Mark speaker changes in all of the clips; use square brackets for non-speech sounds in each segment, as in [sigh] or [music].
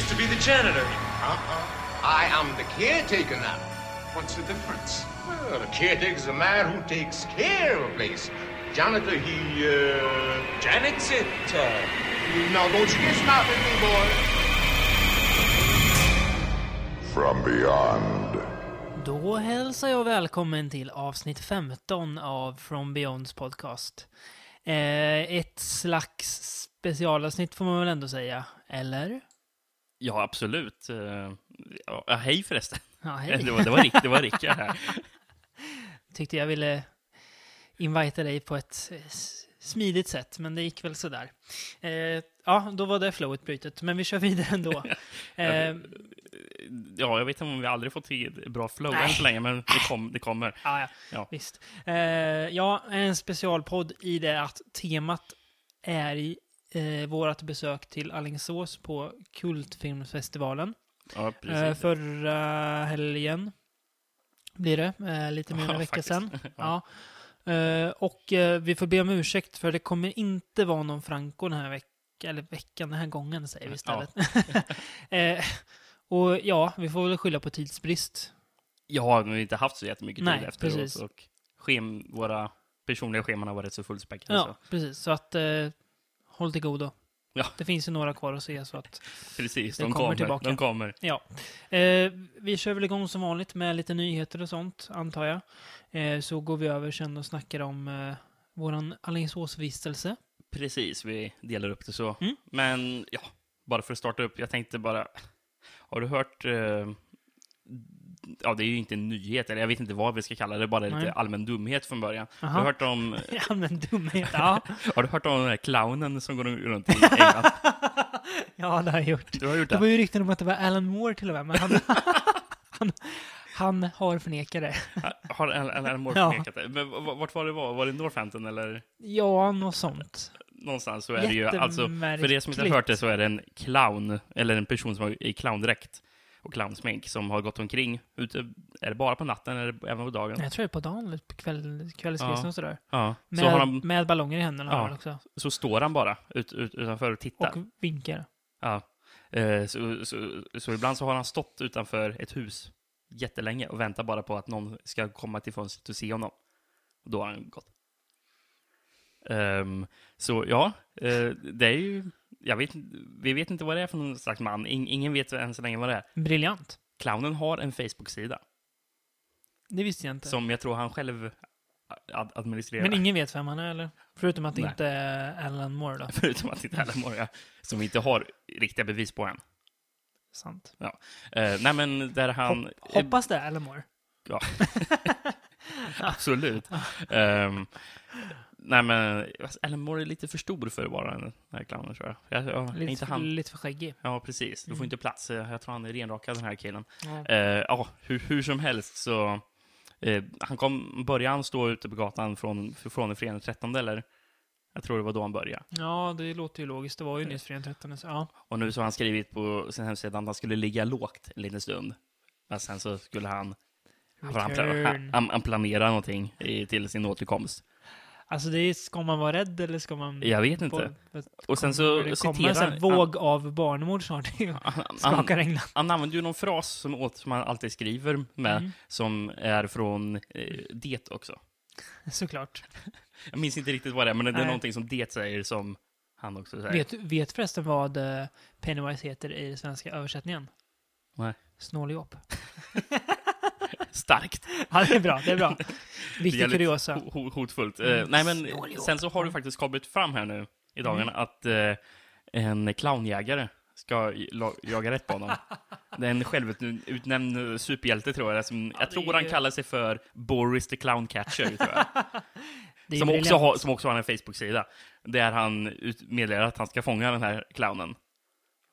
Speaker 1: janitor.
Speaker 2: Uh-uh. I am the caretaker now. What's the difference? Well, a caretaker's a man who takes care of a place. Janitor, he, uh...
Speaker 1: Janet's it. Uh,
Speaker 2: Now, don't you get snappy at me, boy.
Speaker 3: From beyond.
Speaker 4: Då hälsar jag välkommen till avsnitt 15 av From Beyonds podcast. Eh, ett slags specialavsnitt får man väl ändå säga, eller?
Speaker 5: Ja, absolut. Eh, Ja, hej förresten.
Speaker 4: [laughs]
Speaker 5: Eh,
Speaker 4: Ja, hej.
Speaker 5: Det var, det var, Rick, det var
Speaker 4: [laughs]
Speaker 5: Rickard här.
Speaker 4: Tyckte jag ville invita dig på ett eh, s- smidigt sätt, men det gick väl sådär. Eh, ja, då var det flowet brutet, men vi kör vidare ändå. Eh,
Speaker 5: Ja, jag vet inte om vi aldrig fått till ett bra flow än
Speaker 4: Nej.
Speaker 5: så länge, men det, kom, det kommer.
Speaker 4: Ja, ja.
Speaker 5: Ja.
Speaker 4: visst. Eh, ja, en specialpodd i det att temat är i eh, vårt besök till Alingsås på Kultfilmsfestivalen.
Speaker 5: Ja,
Speaker 4: Eh,
Speaker 5: precis.
Speaker 4: förra helgen blir det, eh, lite
Speaker 5: [laughs]
Speaker 4: mer än en
Speaker 5: Ja,
Speaker 4: vecka
Speaker 5: faktiskt.
Speaker 4: sedan. Ja. Eh, och eh, vi får be om ursäkt för det kommer inte vara någon Franco den här veckan, eller veckan, den här gången säger vi istället. [laughs] eh, och ja, vi får väl skylla på tidsbrist.
Speaker 5: Ja, men vi har inte haft så jättemycket tid
Speaker 4: Nej,
Speaker 5: efteråt.
Speaker 4: precis.
Speaker 5: Och schem, våra personliga scheman har varit så fullspäckade.
Speaker 4: Ja,
Speaker 5: Så.
Speaker 4: precis. Så att eh, håll till godo.
Speaker 5: Alltså. Ja.
Speaker 4: Det finns ju några kvar att se, så att
Speaker 5: Precis,
Speaker 4: Det
Speaker 5: de
Speaker 4: kommer
Speaker 5: kommer.
Speaker 4: tillbaka.
Speaker 5: De kommer.
Speaker 4: ja. Eh, vi kör väl igång som vanligt med lite nyheter och sånt, antar jag. Eh, så går vi över sen och snackar om eh, våran Alingsåsvistelse.
Speaker 5: Precis, vi delar upp det så.
Speaker 4: Mm.
Speaker 5: Men ja, bara för att starta upp, jag tänkte bara, har du hört, eh, ja det är ju inte en nyhet, eller jag vet inte vad vi ska kalla det, bara
Speaker 4: Nej.
Speaker 5: lite allmän dumhet från början.
Speaker 4: Aha.
Speaker 5: Har du hört om,
Speaker 4: Ja, men
Speaker 5: [laughs]
Speaker 4: dumhet. [laughs] Ja,
Speaker 5: har du hört om den här clownen som går runt i England?
Speaker 4: ja det har jag gjort.
Speaker 5: Du har gjort
Speaker 4: Det [laughs] var
Speaker 5: det?
Speaker 4: ju rykten om att det var Alan Moore till och med, men han, [laughs] han, han har förnekat det.
Speaker 5: Har Alan Moore
Speaker 4: Ja.
Speaker 5: förnekat det? Men v- v- vart var det var? Var det Northampton eller
Speaker 4: Ja, något sånt.
Speaker 5: någonstans så är det ju, alltså, för er som inte har
Speaker 4: Jättemärkligt.
Speaker 5: hört det så är det en clown, eller en person som har i clowndräkt och clownsmink som har gått omkring ute, är det bara på natten eller även på dagen?
Speaker 4: Jag tror det är på dagen, eller på kväll, kvällskvisten
Speaker 5: Ja.
Speaker 4: och sådär.
Speaker 5: Ja,
Speaker 4: Med,
Speaker 5: så, har han,
Speaker 4: med ballonger i händerna
Speaker 5: Ja.
Speaker 4: har han också.
Speaker 5: så står han bara ut, ut, utanför och tittar.
Speaker 4: Och vinkar.
Speaker 5: Ja. Eh, så, så, så ibland så har han stått utanför ett hus jättelänge och väntar bara på att någon ska komma till fönstret och se honom. Och då har han gått. Ehm, så ja, eh, det är ju... Jag vet, inte- vi vet inte vad det är för någon slags man. In, ingen vet än så länge vad det är.
Speaker 4: Briljant.
Speaker 5: Clownen har en Facebook-sida
Speaker 4: Det visste jag inte.
Speaker 5: som jag tror han själv ad- administrerar.
Speaker 4: Men ingen vet vem han är, eller? Förutom att det
Speaker 5: Nej.
Speaker 4: inte är Alan Moore då.
Speaker 5: [laughs] Förutom att det inte är Alan Moore, ja, som vi inte har riktiga bevis på än.
Speaker 4: Sant.
Speaker 5: Eh, nej, men där han...
Speaker 4: Hop- Hoppas det är Alan Moore.
Speaker 5: Eh, Absolut. Ehm, nej, men alltså, Alan Moore är lite för stor för att vara den här clownen, tror jag. jag, jag
Speaker 4: Lite,
Speaker 5: inte
Speaker 4: för,
Speaker 5: han.
Speaker 4: lite för skäggig.
Speaker 5: Ja, precis. Du får
Speaker 4: Mm.
Speaker 5: inte plats. Eh, Jag tror han är renrakad, den här killen.
Speaker 4: Ja.
Speaker 5: Eh, ja, hur, hur som helst så... eh, han kom, började han stå ute på gatan från, från fredag den 13, eller? Jag tror det var då han började.
Speaker 4: ja, det låter ju logiskt. Det var ju
Speaker 5: Eh.
Speaker 4: nyss fredag den 13. Så, ja.
Speaker 5: Och nu så har han skrivit på sin hemsida att han skulle ligga lågt en liten stund. Men sen så skulle han... Han, han,
Speaker 4: Return.
Speaker 5: han, han planerar någonting i, till sin återkomst.
Speaker 4: Alltså, det är, ska man vara rädd eller ska man...
Speaker 5: Jag vet inte. Och sen så
Speaker 4: det kommer en
Speaker 5: citerar
Speaker 4: sån här våg av barnmord snart.
Speaker 5: han, han,
Speaker 4: Skakar England.
Speaker 5: han använder ju någon fras som, åt, som han alltid skriver med,
Speaker 4: Mm.
Speaker 5: som är från eh, det också.
Speaker 4: Såklart.
Speaker 5: Jag minns inte riktigt vad det är, men det, det är
Speaker 4: Nej.
Speaker 5: någonting som det säger som han också säger.
Speaker 4: Vet, vet förresten vad eh, Pennywise heter i den svenska översättningen?
Speaker 5: Nej.
Speaker 4: Snåljåp.
Speaker 5: Starkt.
Speaker 4: Ja, det är bra. Det är
Speaker 5: [laughs]
Speaker 4: bra.
Speaker 5: Det är
Speaker 4: Viktig
Speaker 5: lite
Speaker 4: kuriosa.
Speaker 5: ho- ho- Hotfullt. Eh,
Speaker 4: Mm.
Speaker 5: nej, men
Speaker 4: Snåljåp.
Speaker 5: sen så har det faktiskt kommit fram här nu i dagarna
Speaker 4: Mm.
Speaker 5: att eh, en clownjägare ska la- jaga rätt på honom. Det är en självutnämnd superhjälte, tror jag. Som, jag
Speaker 4: det
Speaker 5: tror
Speaker 4: är
Speaker 5: han
Speaker 4: ju-
Speaker 5: kallar sig för Boris the Clown Catcher, tror jag.
Speaker 4: Det är
Speaker 5: Som
Speaker 4: briljant.
Speaker 5: också, har, som också har en Facebook-sida. Där han ut- meddelar att han ska fånga den här clownen.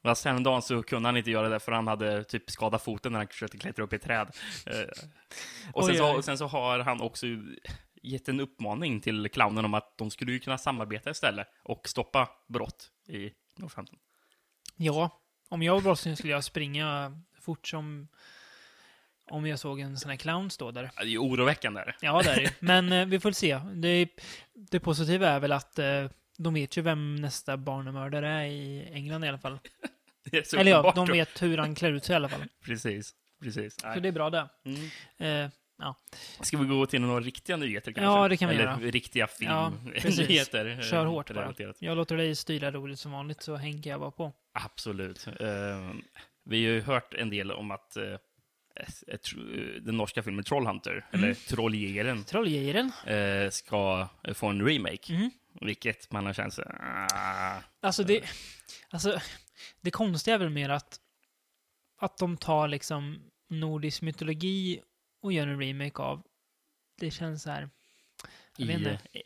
Speaker 5: Men sen en dag så kunde han inte göra det för han hade typ skadat foten när han försökte klättra upp i ett träd. Eh, och sen
Speaker 4: Oj,
Speaker 5: så,
Speaker 4: oj.
Speaker 5: och sen så har han också gett en uppmaning till clownen om att de skulle ju kunna samarbeta istället och stoppa brott i Northampton.
Speaker 4: Ja, om jag var brottsling skulle jag springa fort som om jag såg en sån här clown stå där.
Speaker 5: Ja, Det är ju oroväckande. är det.
Speaker 4: Ja, det är det
Speaker 5: [laughs]
Speaker 4: ju. Men eh, vi får se. Det, det positiva är väl att eh, de vet ju vem nästa barnmördare är i England i alla fall.
Speaker 5: Det är så
Speaker 4: Eller ja,
Speaker 5: uppenbart
Speaker 4: de
Speaker 5: då.
Speaker 4: vet hur han klär ut sig i alla fall.
Speaker 5: Precis, precis.
Speaker 4: Så
Speaker 5: Nej.
Speaker 4: det är bra det.
Speaker 5: Mm.
Speaker 4: Eh, ja.
Speaker 5: Ska vi gå till några riktiga nyheter kanske?
Speaker 4: Ja, det kan vi
Speaker 5: Eller
Speaker 4: göra.
Speaker 5: riktiga
Speaker 4: Ja, precis.
Speaker 5: filmnyheter. eh,
Speaker 4: Kör hårt bara.
Speaker 5: relaterat.
Speaker 4: Jag låter dig styra roligt som vanligt så hänger jag bara på.
Speaker 5: Absolut. Eh, vi har ju hört en del om att eh, jag tror- den norska filmen Trollhunter,
Speaker 4: Mm.
Speaker 5: eller Trolljägaren,
Speaker 4: Trolljägaren.
Speaker 5: eh, ska få en remake.
Speaker 4: Mm.
Speaker 5: Vilket man har känt så ah,
Speaker 4: Alltså det, alltså det konstiga är väl mer att, att de tar liksom nordisk mytologi och gör en remake av. Det känns så här, Jag vet
Speaker 5: i,
Speaker 4: inte.
Speaker 5: eh,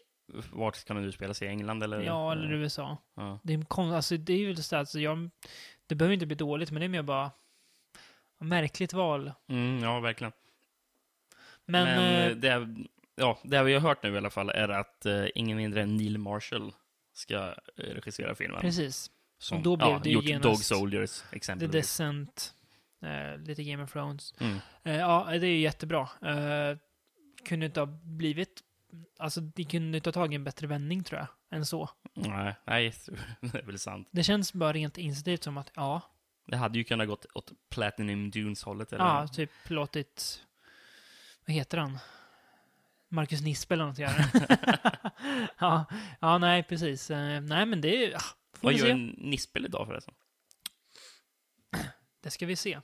Speaker 5: vart ska den utspela sig? I England eller?
Speaker 4: eh, ja, eller USA.
Speaker 5: Ja.
Speaker 4: Det är, kon- alltså, det är ju så här, alltså, jag, det behöver inte bli dåligt, men det är mer bara märkligt val.
Speaker 5: Mm, ja, verkligen.
Speaker 4: Men,
Speaker 5: Men,
Speaker 4: eh,
Speaker 5: eh, det, ja, det vi har hört nu i alla fall är att eh, ingen mindre än Neil Marshall ska eh, regissera filmen.
Speaker 4: precis.
Speaker 5: Som
Speaker 4: Och då blev
Speaker 5: ja,
Speaker 4: det ju
Speaker 5: gjort
Speaker 4: genast
Speaker 5: Dog Soldiers,
Speaker 4: The
Speaker 5: exempelvis.
Speaker 4: Descent, eh, lite Game of Thrones.
Speaker 5: Mm.
Speaker 4: Eh, ja, det är ju jättebra. Eh, kunde inte ha blivit... Alltså, det kunde inte ha tagit en bättre vändning, tror jag, än så.
Speaker 5: Nej, nej, [laughs] det är väl sant.
Speaker 4: Det känns bara rent instinktivt som att, ja,
Speaker 5: Det hade ju kunnat gått åt Platinum Dunes-hållet. Eller?
Speaker 4: ja typ låtit... Vad heter han? Marcus Nispe eller något göra
Speaker 5: [laughs]
Speaker 4: [laughs] det. ja, ja, nej, precis. Eh, nej, men det är... Ja, får
Speaker 5: Vad
Speaker 4: vi
Speaker 5: gör
Speaker 4: se.
Speaker 5: en nispel idag förresten?
Speaker 4: Det ska vi se.
Speaker 5: Eh,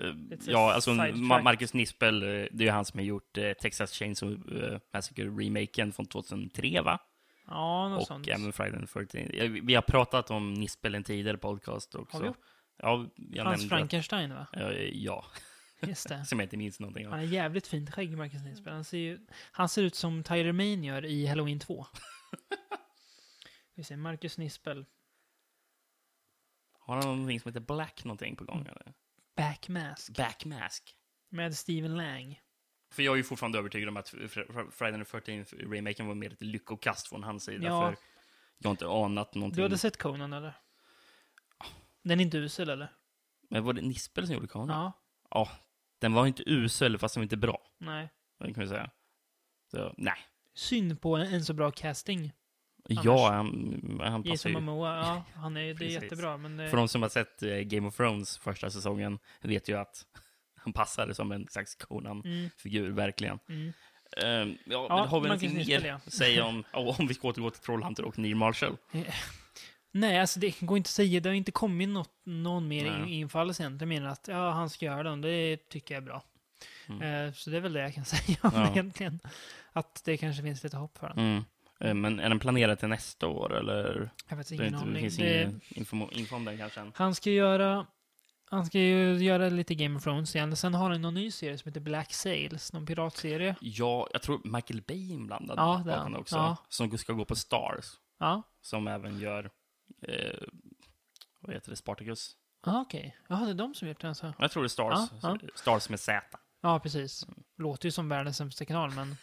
Speaker 4: It's a
Speaker 5: Ja, alltså
Speaker 4: side
Speaker 5: Ma-
Speaker 4: track.
Speaker 5: Marcus Nispel, eh, det är ju han som har gjort eh, Texas Chainsaw eh, Massacre-remaken från 2003, va?
Speaker 4: Ja, något sånt.
Speaker 5: Och även Friday the 13. Ja, vi- Vi har pratat om Nispel i en tidigare podcast också.
Speaker 4: Har vi gjort?
Speaker 5: Ja, jag
Speaker 4: Hans
Speaker 5: nämnde
Speaker 4: Frankenstein, va?
Speaker 5: att- eh, Ja, [laughs]
Speaker 4: Just det.
Speaker 5: som jag inte minns någonting
Speaker 4: Han
Speaker 5: av.
Speaker 4: har jävligt fint skägg, Marcus Nisberg. Han ser, ju, han ser ut som Tyler Mane gör i Halloween
Speaker 5: [laughs]
Speaker 4: 2. Vi ser Marcus Nispel,
Speaker 5: Har han någonting som heter Black någonting på
Speaker 4: Mm.
Speaker 5: gång? Eller?
Speaker 4: Backmask,
Speaker 5: Backmask.
Speaker 4: med Steven Lang.
Speaker 5: För jag är ju fortfarande övertygad om att Fr- Fr- Friday the 13th remaken var mer ett lyckokast från hans sida.
Speaker 4: Ja.
Speaker 5: För jag har inte anat någonting.
Speaker 4: Du hade sett Conan, eller? Den är inte usel, eller?
Speaker 5: Men var det Nispel som gjorde kameran?
Speaker 4: Ja.
Speaker 5: Ja, den var inte usel fast den var inte bra.
Speaker 4: Nej.
Speaker 5: Det kan vi säga. Så, nej.
Speaker 4: Synd på en, en så bra casting.
Speaker 5: Ja, han, han passar
Speaker 4: Jason
Speaker 5: ju.
Speaker 4: Momoa, ja, han är, det är
Speaker 5: Alltså, Precis.
Speaker 4: jättebra, men det,
Speaker 5: För de som har sett eh, Game of Thrones första säsongen vet ju att [laughs] han passade som en slags Conan-figur, verkligen.
Speaker 4: Mm.
Speaker 5: Ehm, ja,
Speaker 4: Ja,
Speaker 5: men har vi
Speaker 4: man kan
Speaker 5: någonting
Speaker 4: snitspel,
Speaker 5: mer
Speaker 4: ja.
Speaker 5: att säga om, [laughs] ja, om vi ska återgå till Trollhunter och Neil Marshall?
Speaker 4: Nej, alltså det går inte att säga. Det har inte kommit något, någon mer in,
Speaker 5: Nej.
Speaker 4: infall egentligen, mer än att ja, han ska göra den. Det tycker jag är bra. Eh, så det är väl det jag kan [laughs] säga om
Speaker 5: Mm. Ja.
Speaker 4: det egentligen. Att det kanske finns lite hopp för honom.
Speaker 5: Mm. Ehm, Men är den planerad till nästa år, eller?
Speaker 4: Jag har faktiskt
Speaker 5: det
Speaker 4: ingen
Speaker 5: är inte, det
Speaker 4: aning.
Speaker 5: finns
Speaker 4: Det,
Speaker 5: ingen info, info om den kanske än.
Speaker 4: han ska göra... Han ska ju göra lite Game of Thrones igen. Sen har han någon ny serie som heter Black Sails, någon piratserie.
Speaker 5: Ja, jag tror Michael Bay är inblandad
Speaker 4: Ja, det är
Speaker 5: bakom
Speaker 4: han.
Speaker 5: det också.
Speaker 4: Ja.
Speaker 5: Som ska gå på Stars,
Speaker 4: Ja,
Speaker 5: som även gör, eh, vad heter det, Spartacus?
Speaker 4: ah, okej. Jaha, det är de som gjort den alltså.
Speaker 5: Jag tror det är Stars,
Speaker 4: Ja,
Speaker 5: Stars med Z.
Speaker 4: Ja, precis. Låter ju som världens sämsta kanal, men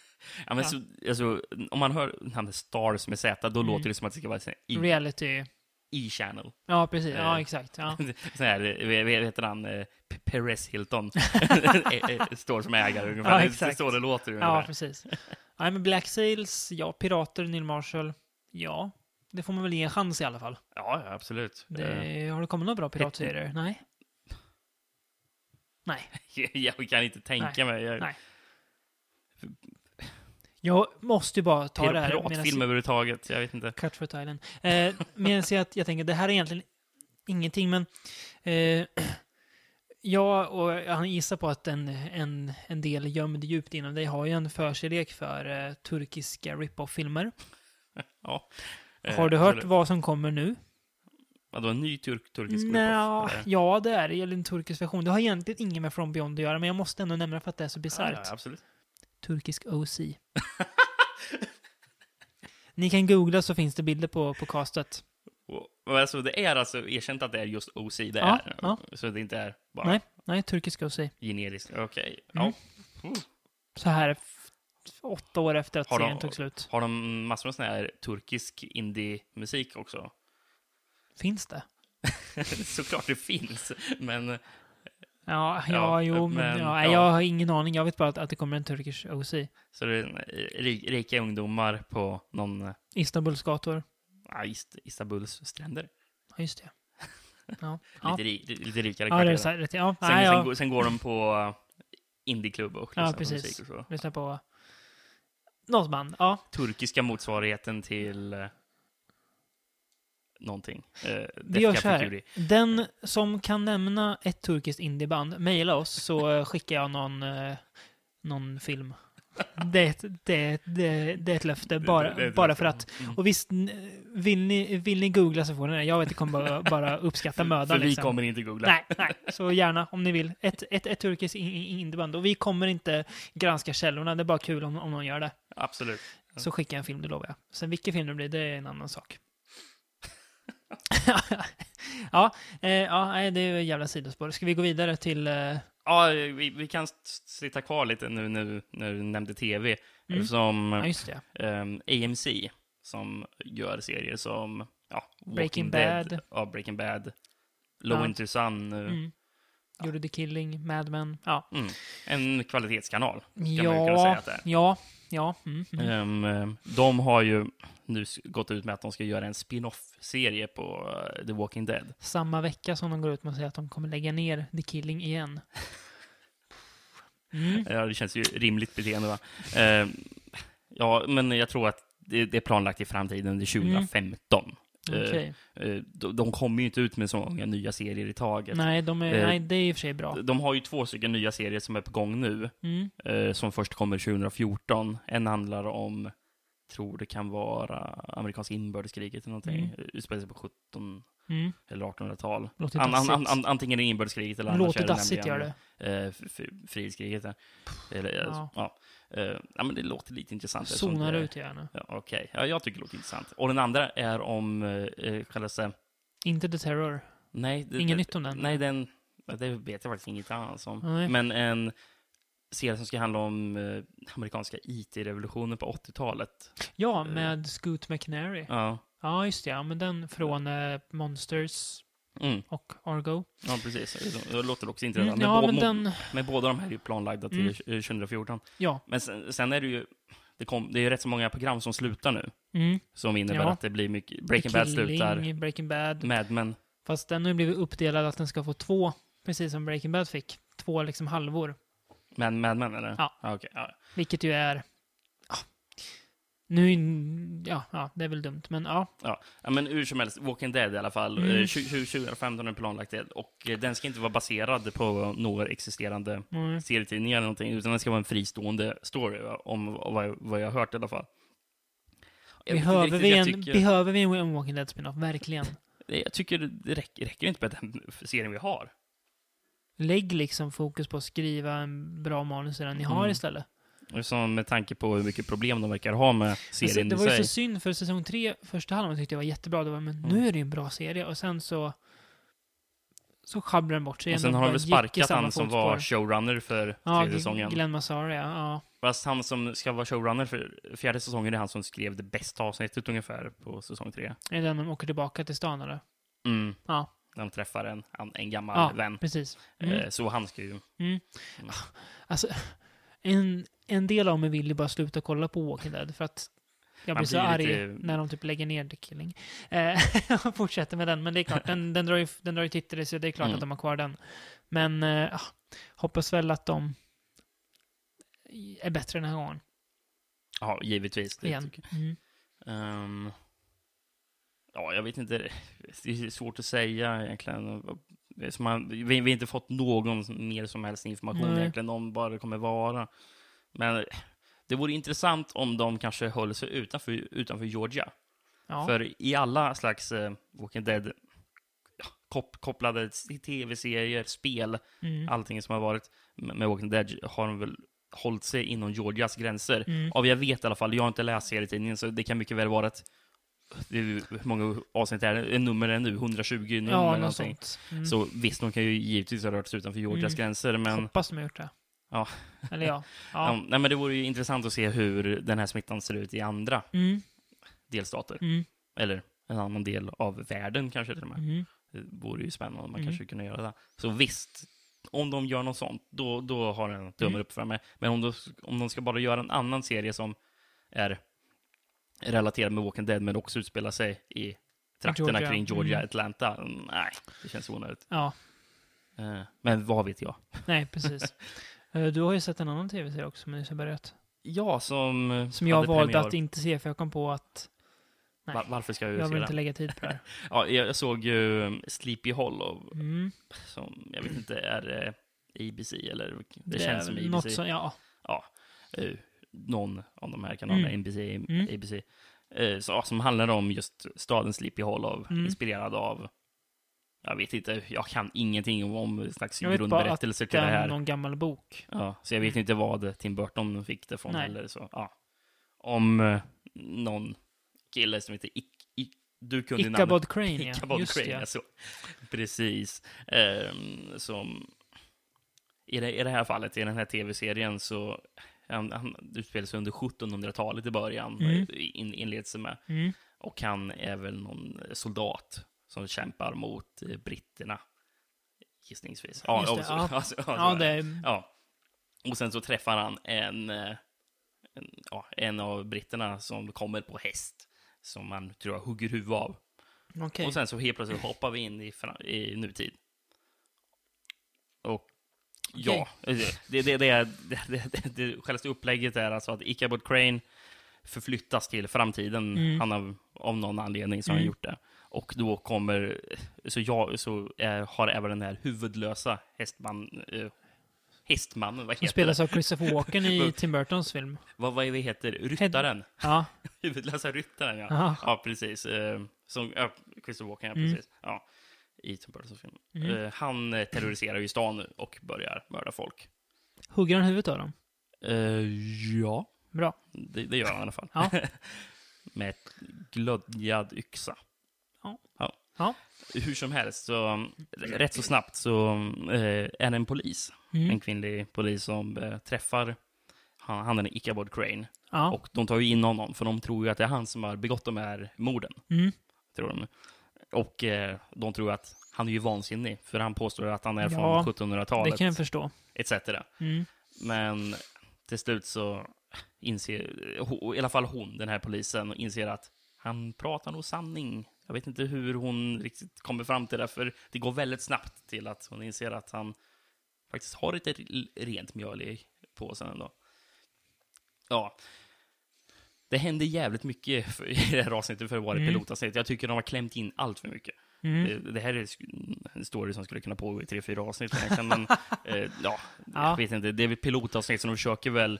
Speaker 5: Ja, men Så, alltså, om man hör namnet Stars med Z, då låter det som att det ska vara en
Speaker 4: reality...
Speaker 5: E-channel.
Speaker 4: Ja, precis.
Speaker 5: Eh.
Speaker 4: Ja, exakt.
Speaker 5: [laughs]
Speaker 4: Ja.
Speaker 5: Sån här, eh, vad heter han, eh, P- Perez Hilton, Eh, eh, står som ägare ungefär.
Speaker 4: Ja,
Speaker 5: Det- Det är
Speaker 4: exakt.
Speaker 5: så det låter
Speaker 4: Ja,
Speaker 5: ungefär.
Speaker 4: precis. Nej, men Black Sails, ja. Pirater, Neil Marshall, ja. Det får man väl ge en chans i alla fall.
Speaker 5: Ja, ja absolut. Eh, [laughs]
Speaker 4: Det, har det kommit några bra piratserier? Nej. Nej,
Speaker 5: Jag kan inte tänka mig. Jag,
Speaker 4: nej. Jag måste ju bara ta det här
Speaker 5: piratfilm överhuvudtaget, jag vet inte.
Speaker 4: Cut for Thailand. Eh, medan jag, jag tänker, det här är egentligen ingenting, men eh, [clears throat] jag och han gissar på att en, en, en del gömd djupt inom dig har ju en förkärlek för eh, turkiska rip-off-filmer.
Speaker 5: Ja.
Speaker 4: Har du
Speaker 5: Eh,
Speaker 4: hört vad som kommer nu?
Speaker 5: Vadå, en ny turk, turkisk Eh,
Speaker 4: Nja,
Speaker 5: rip-off, eller?
Speaker 4: ja det är det, eller en turkisk version. Det har egentligen inget med From Beyond att göra, men jag måste ändå nämna för att det är så
Speaker 5: Ja,
Speaker 4: bisarrt.
Speaker 5: ja, absolut.
Speaker 4: Turkisk OC.
Speaker 5: [laughs]
Speaker 4: Ni kan googla så finns det bilder på, på castet.
Speaker 5: Och- och Alltså, det är alltså erkänt att det är just OC det
Speaker 4: Ja,
Speaker 5: är.
Speaker 4: ja.
Speaker 5: Så det inte är bara
Speaker 4: Nej, nej, turkisk OC.
Speaker 5: generiskt. Okej.
Speaker 4: Mm.
Speaker 5: Ja. Oh.
Speaker 4: Så här f- åtta år efter att
Speaker 5: Har de-
Speaker 4: serien tog slut.
Speaker 5: Har de massor med sån här turkisk indie-musik också? [laughs]
Speaker 4: Finns det?
Speaker 5: Såklart det finns, men
Speaker 4: Ja, ja,
Speaker 5: Ja,
Speaker 4: jo, men,
Speaker 5: men-
Speaker 4: ja, nej,
Speaker 5: ja.
Speaker 4: Jag har ingen aning. Jag vet bara att, att det kommer en turkisk OC.
Speaker 5: så det är en, eh, ri- rika ungdomar på någon eh,
Speaker 4: Istanbuls gator.
Speaker 5: ja, Ist- Istanbuls stränder.
Speaker 4: Ja, just det. Ja.
Speaker 5: [laughs] Lite, ri, lite rikare
Speaker 4: Ja, det är
Speaker 5: kvarter.
Speaker 4: så
Speaker 5: Sen,
Speaker 4: här, ja.
Speaker 5: sen,
Speaker 4: Nej, ja.
Speaker 5: går- sen går de på eh, indieklubb och
Speaker 4: Ja,
Speaker 5: lyssnar på
Speaker 4: precis.
Speaker 5: musik och så.
Speaker 4: Lyssna på något band. Ja,
Speaker 5: Turkiska motsvarigheten till eh, någonting. Eh,
Speaker 4: vi
Speaker 5: Death
Speaker 4: gör
Speaker 5: Cab
Speaker 4: så
Speaker 5: for Cutie.
Speaker 4: här. Den som kan nämna ett turkiskt indieband, mejla oss så eh, skickar jag någon, eh, någon film. Det, är ett- det, det, det är ett löfte, bara,
Speaker 5: det- det är ett
Speaker 4: bara
Speaker 5: löfte. Mm.
Speaker 4: för att. Och visst, n- vill ni, vill ni googla så får ni det. Jag vet, det kommer bara, bara uppskatta mödan.
Speaker 5: För vi
Speaker 4: liksom.
Speaker 5: kommer inte googla.
Speaker 4: Nej, nej, så gärna om ni vill. Ett, ett, ett turkiskt in- in- indieband. Och vi kommer inte granska källorna, det är bara kul om, om någon gör det.
Speaker 5: Absolut.
Speaker 4: Så skicka en film, det lovar jag. Sen vilken film det blir, det är en annan
Speaker 5: [laughs]
Speaker 4: sak. ja, eh, ja, nej, det är ju jävla sidospår. Ska vi gå vidare till... Eh,
Speaker 5: Ja, vi, vi kan s- sitta kvar lite nu nu- när du nämnde tv. Som
Speaker 4: Mm. ja, just det.
Speaker 5: ehm, AMC, som gör serier som ja, Walking
Speaker 4: Breaking
Speaker 5: Dead,
Speaker 4: Bad.
Speaker 5: Ja, Breaking Bad, Low
Speaker 4: Ja.
Speaker 5: Winter Sun, eh,
Speaker 4: Mm. Gjorde The Killing, Mad Men. Ja,
Speaker 5: mm, en kvalitetskanal. Kan man ju kunna säga
Speaker 4: ja,
Speaker 5: att det är.
Speaker 4: ja, ja. Mm, mm.
Speaker 5: Ehm, eh, de har ju nu s- gått ut med att de ska göra en spin-off-serie på eh, The Walking Dead.
Speaker 4: Samma vecka som de går ut med att säga att de kommer lägga ner The Killing
Speaker 5: [laughs]
Speaker 4: igen. Mm.
Speaker 5: Ja, det känns ju rimligt beteende, va? Ehm, ja, men jag tror att det, det är planlagt i framtiden, under 2015.
Speaker 4: Mm. Okej.
Speaker 5: Eh, Eh, de, de kommer ju inte ut med så många nya serier i taget.
Speaker 4: Nej, de är,
Speaker 5: eh,
Speaker 4: nej, det är i och för sig bra.
Speaker 5: De har ju två stycken nya serier som är på gång nu,
Speaker 4: Mm.
Speaker 5: eh, som först kommer 2014. En handlar om, tror det kan vara amerikanska inbördeskriget eller någonting,
Speaker 4: Mm.
Speaker 5: eh, utspelar sig på 17
Speaker 4: Mm.
Speaker 5: eller 1800-tal.
Speaker 4: Låter
Speaker 5: An, an,
Speaker 4: Typ dassigt.
Speaker 5: an, an, antingen är det inbördeskriget eller annars
Speaker 4: Låter
Speaker 5: är det
Speaker 4: dassigt, gör det.
Speaker 5: eh, f- f- frihetskriget. där. Eller, eh,
Speaker 4: Ja.
Speaker 5: ja. Eh, ja, men det låter lite intressant. eftersom
Speaker 4: Zonar
Speaker 5: det-
Speaker 4: ut gärna.
Speaker 5: Ja, Okej, ja, jag tycker det låter intressant. Och den andra är om eh, eh, själva se-
Speaker 4: Inte The Terror.
Speaker 5: Nej, det,
Speaker 4: Inget
Speaker 5: det,
Speaker 4: nytt om den?
Speaker 5: Nej, den, det vet jag faktiskt inget annat om.
Speaker 4: Nej.
Speaker 5: Men en serie som ska handla om eh, amerikanska IT-revolutionen på 80-talet.
Speaker 4: Ja, med Scoot McNairy. Ja,
Speaker 5: Ja.
Speaker 4: just det. Ja, men den från eh, Monsters
Speaker 5: Mm.
Speaker 4: och Argo.
Speaker 5: ja, precis. Det låter också intressant.
Speaker 4: Mm, ja,
Speaker 5: bå-
Speaker 4: men
Speaker 5: må-
Speaker 4: den...
Speaker 5: men båda de här är ju planlagda till
Speaker 4: Mm.
Speaker 5: eh, 2014.
Speaker 4: Ja.
Speaker 5: Men sen, sen är det ju det, kom, det är ju rätt så många program som slutar nu,
Speaker 4: Mm.
Speaker 5: som innebär
Speaker 4: Ja.
Speaker 5: att det blir mycket... Breaking Bad
Speaker 4: Killing,
Speaker 5: slutar, Mm.
Speaker 4: Breaking Bad.
Speaker 5: Mad Men.
Speaker 4: Fast den har ju blivit uppdelad att den ska få två, precis som Breaking Bad fick. Två liksom halvor.
Speaker 5: Mad, Mad Men, eller?
Speaker 4: Ja.
Speaker 5: ja okej, ja.
Speaker 4: Vilket ju är... Ja. Nu... Ja, ja, det är väl dumt, men ja.
Speaker 5: Ja, ja, men hur som helst, Walking Dead i alla fall.
Speaker 4: Mm.
Speaker 5: Mm. 2015 är planlagt det. Och eh, den ska inte vara baserad på några existerande
Speaker 4: Mm.
Speaker 5: serietidningar eller någonting, utan den ska vara en fristående story, va? om vad jag, vad jag har hört i alla fall. Jag vet inte
Speaker 4: Behöver
Speaker 5: riktigt,
Speaker 4: vi,
Speaker 5: jag
Speaker 4: en,
Speaker 5: tycker-
Speaker 4: behöver vi en Walking Dead spin-off? Verkligen.
Speaker 5: Jag tycker det räcker, räcker inte med den serien vi har.
Speaker 4: Lägg liksom fokus på att skriva en bra manus redan ni har
Speaker 5: Mm.
Speaker 4: istället.
Speaker 5: Och Som med tanke på hur mycket problem de verkar ha med
Speaker 4: Alltså,
Speaker 5: serien
Speaker 4: det
Speaker 5: i
Speaker 4: var ju
Speaker 5: sig. Mm.
Speaker 4: så synd för säsong tre, första halvan tyckte jag var jättebra. Det var, men nu är det ju en bra serie. Och sen så... Så sjabblar den bort sig
Speaker 5: Och
Speaker 4: igen
Speaker 5: sen har
Speaker 4: bara
Speaker 5: de väl
Speaker 4: gick i
Speaker 5: sparkat
Speaker 4: samma
Speaker 5: han som
Speaker 4: fotspår.
Speaker 5: var showrunner för
Speaker 4: ja,
Speaker 5: tredje säsongen.
Speaker 4: Glenn Massara, ja. ja.
Speaker 5: Fast han som ska vara showrunner för fjärde säsongen är han som skrev det bästa avsnittet ungefär på säsong tre.
Speaker 4: Är det den de åker tillbaka till stan eller?
Speaker 5: Mm.
Speaker 4: Ja,
Speaker 5: När de träffar en, en, en gammal
Speaker 4: ja
Speaker 5: vän.
Speaker 4: precis. Mm.
Speaker 5: Eh, Så han ska ju...
Speaker 4: Alltså, en, en del av mig vill ju bara sluta kolla på Walking Dead för att jag
Speaker 5: Man
Speaker 4: blir så
Speaker 5: blir
Speaker 4: arg
Speaker 5: lite-
Speaker 4: när de typ lägger ner The Killing. Eh, [laughs] jag fortsätter med den, men det är klart, den, den drar ju, den drar ju tittare så det är klart
Speaker 5: Mm.
Speaker 4: att de har kvar den. Men eh, ah, hoppas väl att de är bättre den här gången.
Speaker 5: Ja, givetvis. Det
Speaker 4: Igen.
Speaker 5: tycker
Speaker 4: Mm.
Speaker 5: jag. Ehm, ja, jag vet inte. Det är svårt att säga egentligen. Som man, vi, vi har inte fått någon mer som helst information
Speaker 4: Nej.
Speaker 5: egentligen om vad det kommer vara. Men det vore intressant om de kanske höll sig utanför, utanför Georgia.
Speaker 4: Ja.
Speaker 5: För i alla slags eh, Walking Dead ja, kop kopplade till tv-serier, spel,
Speaker 4: Mm.
Speaker 5: allting som har varit med med Walking Dead har de väl hållit sig inom Georgias gränser.
Speaker 4: Mm.
Speaker 5: Av jag vet i alla fall, jag har inte läst serietidningen, så det kan mycket väl vara att det är ju- hur många avsnitt är det? En nummer är det nu? 120 nummer eller
Speaker 4: Ja, något
Speaker 5: någonting.
Speaker 4: sånt. Mm.
Speaker 5: Så visst, de kan ju givetvis ha rört sig utanför Georgias
Speaker 4: Mm.
Speaker 5: gränser, men,
Speaker 4: Hoppas de har gjort det.
Speaker 5: Ja.
Speaker 4: Eller
Speaker 5: [laughs]
Speaker 4: ja. ja.
Speaker 5: ja. nej, men det vore ju intressant att se hur den här smittan ser ut i andra
Speaker 4: Mm.
Speaker 5: delstater.
Speaker 4: Mm.
Speaker 5: Eller en annan del av världen kanske till och med.
Speaker 4: Mm.
Speaker 5: Det Eh, vore ju spännande om man
Speaker 4: Mm.
Speaker 5: kanske kunde göra det. Så visst, om de gör något sånt, då, då har den tummen
Speaker 4: Mm.
Speaker 5: upp för mig. Men om de, om de ska bara göra en annan serie som är relaterad med Walking Dead, men också utspelar sig i trakterna
Speaker 4: Georgia,
Speaker 5: kring Georgia,
Speaker 4: mm.
Speaker 5: Atlanta. Mm, Nej, det känns onödigt.
Speaker 4: Ja,
Speaker 5: Eh, Men vad vet jag?
Speaker 4: nej
Speaker 5: [laughs]
Speaker 4: precis. Eh, Du har ju sett en annan tv-serie också som nyss har börjat.
Speaker 5: Jag som... eh,
Speaker 4: Som jag
Speaker 5: hade
Speaker 4: valde
Speaker 5: premiär-
Speaker 4: att inte se för jag kom på att nej,
Speaker 5: Va- Varför ska jag,
Speaker 4: jag
Speaker 5: se
Speaker 4: vill
Speaker 5: det?
Speaker 4: inte lägga tid på det
Speaker 5: [laughs]
Speaker 4: här.
Speaker 5: Ja, jag, jag såg ju eh, Sleepy Hollow,
Speaker 4: Mm.
Speaker 5: som jag vet inte är eh, ABC eller det, känns som
Speaker 4: är
Speaker 5: ABC.
Speaker 4: Något som, ja,
Speaker 5: ja, eh, någon av de här kanalerna,
Speaker 4: Mm.
Speaker 5: NBC,
Speaker 4: Mm.
Speaker 5: ABC, eh, så, ja, som handlar om just staden Sleepy Hollow,
Speaker 4: Mm.
Speaker 5: inspirerad av, jag vet inte, jag kan ingenting om, om slags
Speaker 4: Jag vet bara att
Speaker 5: grundberättelser till det
Speaker 4: den-
Speaker 5: här.
Speaker 4: någon gammal bok.
Speaker 5: Ja, så jag vet inte vad Tim Burton fick det från
Speaker 4: Nej.
Speaker 5: eller så. Ja. Om eh, någon kille som heter Ick, Ick, du kunde namnet-
Speaker 4: Ichabod Crane, ja.
Speaker 5: Ichabod
Speaker 4: Just
Speaker 5: Crane,
Speaker 4: det, ja.
Speaker 5: alltså. Precis. Ehm, som... I det, I det här fallet, i den här tv-serien, så... Han, han utspelar sig under 1700-talet i början,
Speaker 4: Mm.
Speaker 5: eh, in, inleds det med.
Speaker 4: Mm.
Speaker 5: Och han är väl någon soldat som kämpar mot eh, britterna, gissningsvis.
Speaker 4: Just det,
Speaker 5: och så-
Speaker 4: ja.
Speaker 5: [laughs] alltså, ja, så
Speaker 4: Ja,
Speaker 5: är
Speaker 4: det är...
Speaker 5: Ja. Och sen så träffar han en, eh, en, ja, en av britterna som kommer på häst. Som man tror jag hugger huvud av.
Speaker 4: Okej.
Speaker 5: Och sen så helt plötsligt hoppar vi in i, fra- i nutid. Och ja, det, det, det, är- det, det, det, det självaste upplägget är alltså att Ichabod Crane förflyttas till framtiden.
Speaker 4: Mm.
Speaker 5: Han har, av någon anledning så har han
Speaker 4: Mm.
Speaker 5: gjort det. Och då kommer, så jag så är, har även den här huvudlösa hästman, eh, hästmannen, vad
Speaker 4: Som
Speaker 5: heter
Speaker 4: spelas
Speaker 5: det?
Speaker 4: av Christopher Walken
Speaker 5: [laughs]
Speaker 4: i Tim Burtons film.
Speaker 5: Vad, vad är det heter? Ryttaren?
Speaker 4: Ja,
Speaker 5: Huvudlösa ryttaren, ja.
Speaker 4: Aha.
Speaker 5: Ja, precis. Eh, Som ja, Christopher Walken, ja,
Speaker 4: Mm.
Speaker 5: precis. Ja, I Tim Burtons film.
Speaker 4: Mm.
Speaker 5: Eh, Han eh, terroriserar ju stan nu och börjar mörda folk.
Speaker 4: hugger han huvudet av dem?
Speaker 5: ja,
Speaker 4: Bra.
Speaker 5: det, det gör han i alla fall.
Speaker 4: Eh, Ja.
Speaker 5: [laughs] Med ett glödgad yxa.
Speaker 4: Ja.
Speaker 5: ja.
Speaker 4: Ja.
Speaker 5: Hur som helst, så mm, rätt så snabbt så eh, är det en polis, en
Speaker 4: Mm.
Speaker 5: kvinnlig polis som eh, träffar han, han är Ichabod Crane.
Speaker 4: Ja.
Speaker 5: Och de tar ju in honom, för de tror ju att det är han som har begått de här morden.
Speaker 4: Mm.
Speaker 5: tror de. Och eh, de tror att han är ju vansinnig, för han påstår att han är
Speaker 4: Ja,
Speaker 5: från
Speaker 4: Det kan jag
Speaker 5: 1700-talet,
Speaker 4: förstå.
Speaker 5: etc.
Speaker 4: Mm.
Speaker 5: Men till slut så inser, ho- i alla fall hon, den här polisen, inser att han pratar nog sanning. Jag vet inte hur hon riktigt kommer fram till det, för det går väldigt snabbt till att hon inser att han faktiskt har lite r- rent mjöl i påsen ändå. Ja. Det hände jävligt mycket för, i det här avsnittet för att vara ett
Speaker 4: Mm.
Speaker 5: pilotavsnitt. Jag tycker de har klämt in allt för mycket.
Speaker 4: Mm.
Speaker 5: Eh, Det, det här är sk- en story som skulle kunna pågå i tre, fyra avsnitt
Speaker 4: [laughs]
Speaker 5: egentligen, men eh, ja,
Speaker 4: Ja.
Speaker 5: jag vet inte. Det är väl pilotavsnitt, så de försöker väl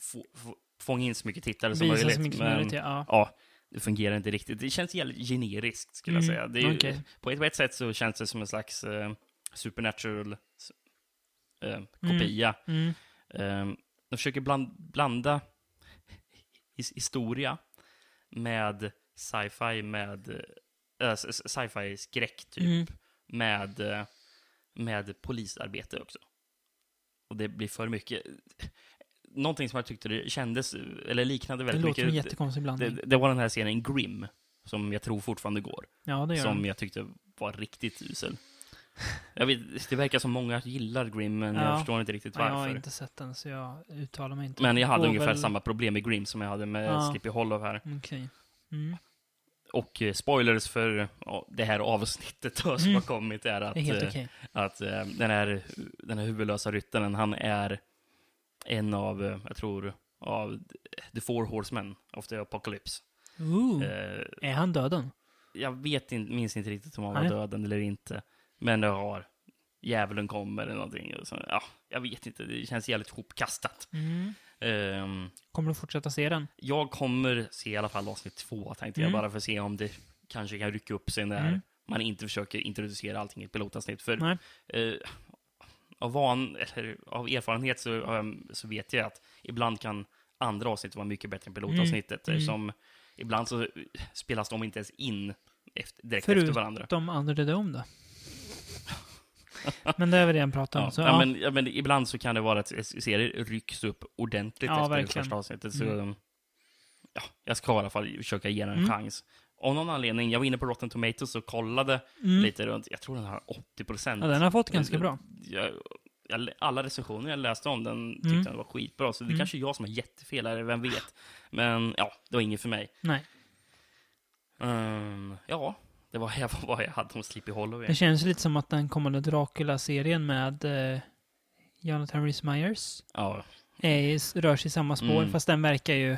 Speaker 5: få, få, fånga in så mycket tittare som
Speaker 4: Visa
Speaker 5: möjligt.
Speaker 4: så mycket som
Speaker 5: men,
Speaker 4: möjligt, ja.
Speaker 5: ja, det fungerar inte riktigt. Det känns jävligt generiskt, skulle
Speaker 4: Mm,
Speaker 5: jag säga. Det är, ju-
Speaker 4: okej.
Speaker 5: på, ett, på ett sätt så känns det som en slags eh, supernatural eh, kopia.
Speaker 4: Mm.
Speaker 5: Eh, de försöker bland, blanda his, historia med sci-fi, med eh, s- s- sci-fi skräck typ,
Speaker 4: Mm.
Speaker 5: med, eh, med polisarbete också. Och det blir för mycket. Någonting som jag tyckte det kändes, eller liknade
Speaker 4: Det
Speaker 5: väldigt
Speaker 4: låter som en
Speaker 5: mycket.
Speaker 4: jättekonstig
Speaker 5: det,
Speaker 4: blandning.
Speaker 5: det var den här scenen Grim, som jag tror fortfarande går,
Speaker 4: Ja, det gör
Speaker 5: som
Speaker 4: den.
Speaker 5: jag tyckte var riktigt usel. Jag vet, det verkar som många gillar Grim, men
Speaker 4: Ja.
Speaker 5: jag förstår inte riktigt
Speaker 4: Ja,
Speaker 5: varför.
Speaker 4: Jag har inte sett den, så jag uttalar mig inte.
Speaker 5: Men jag hade
Speaker 4: Går
Speaker 5: ungefär
Speaker 4: väl-
Speaker 5: samma problem med Grim som jag hade med
Speaker 4: Ja.
Speaker 5: Sleepy Hollow här.
Speaker 4: Okej. Mm.
Speaker 5: Och eh, spoilers för ja, det här avsnittet då, som
Speaker 4: Mm.
Speaker 5: har kommit är att,
Speaker 4: Det är helt
Speaker 5: eh,
Speaker 4: okej.
Speaker 5: att eh, den, här, den här huvudlösa ryttaren, han är en av, eh, jag tror, av The Four Horsemen of the Apocalypse.
Speaker 4: Ooh,
Speaker 5: Eh,
Speaker 4: Är han döden?
Speaker 5: jag vet inte, minns inte riktigt om han var
Speaker 4: Nej.
Speaker 5: döden eller inte. Men det har djävulen kommer eller någonting. Och så, ja, jag vet inte, det känns jävligt hopkastat.
Speaker 4: Mm.
Speaker 5: Ehm,
Speaker 4: Kommer du fortsätta se den?
Speaker 5: Jag kommer se i alla fall avsnitt två, tänkte
Speaker 4: Mm.
Speaker 5: jag, bara för att se om det kanske kan rycka upp sig när
Speaker 4: Mm.
Speaker 5: man inte försöker introducera allting i ett pilotavsnitt. För
Speaker 4: Nej.
Speaker 5: eh, av, van, eller, av erfarenhet så, har jag- så vet jag att ibland kan andra avsnitt vara mycket bättre än pilotavsnittet. eh,
Speaker 4: Mm.
Speaker 5: Som ibland så spelas de inte ens in efter, direkt efter varandra.
Speaker 4: Förutom Under the Dome då? Men det är vi redan pratat om.
Speaker 5: Ja,
Speaker 4: så,
Speaker 5: ja,
Speaker 4: ja.
Speaker 5: Men, ja, men ibland så kan det vara att s- serier rycks upp ordentligt
Speaker 4: Ja,
Speaker 5: efter
Speaker 4: verkligen.
Speaker 5: det första avsnittet. Så,
Speaker 4: Mm.
Speaker 5: ja, jag ska i alla fall försöka ge den en
Speaker 4: Mm.
Speaker 5: chans. Av någon anledning, jag var inne på Rotten Tomatoes och kollade
Speaker 4: Mm.
Speaker 5: lite runt. Jag tror den har 80 procent.
Speaker 4: ja, den har fått ganska bra.
Speaker 5: Jag, jag, alla recensioner jag läste om den tyckte
Speaker 4: Mm.
Speaker 5: den var skitbra. Så det
Speaker 4: Mm.
Speaker 5: kanske är jag som har jättefel, eller vem vet. Men ja, det var inget för mig.
Speaker 4: Nej.
Speaker 5: Ehm, ja, Det var [laughs] jag, vad jag hade hos Sleepy Hollow.
Speaker 4: Det
Speaker 5: igen.
Speaker 4: känns lite som att den kommande Dracula-serien med eh, Jonathan Rhys Meyers
Speaker 5: Ja.
Speaker 4: eh, rör sig i samma spår,
Speaker 5: Mm.
Speaker 4: fast den verkar ju...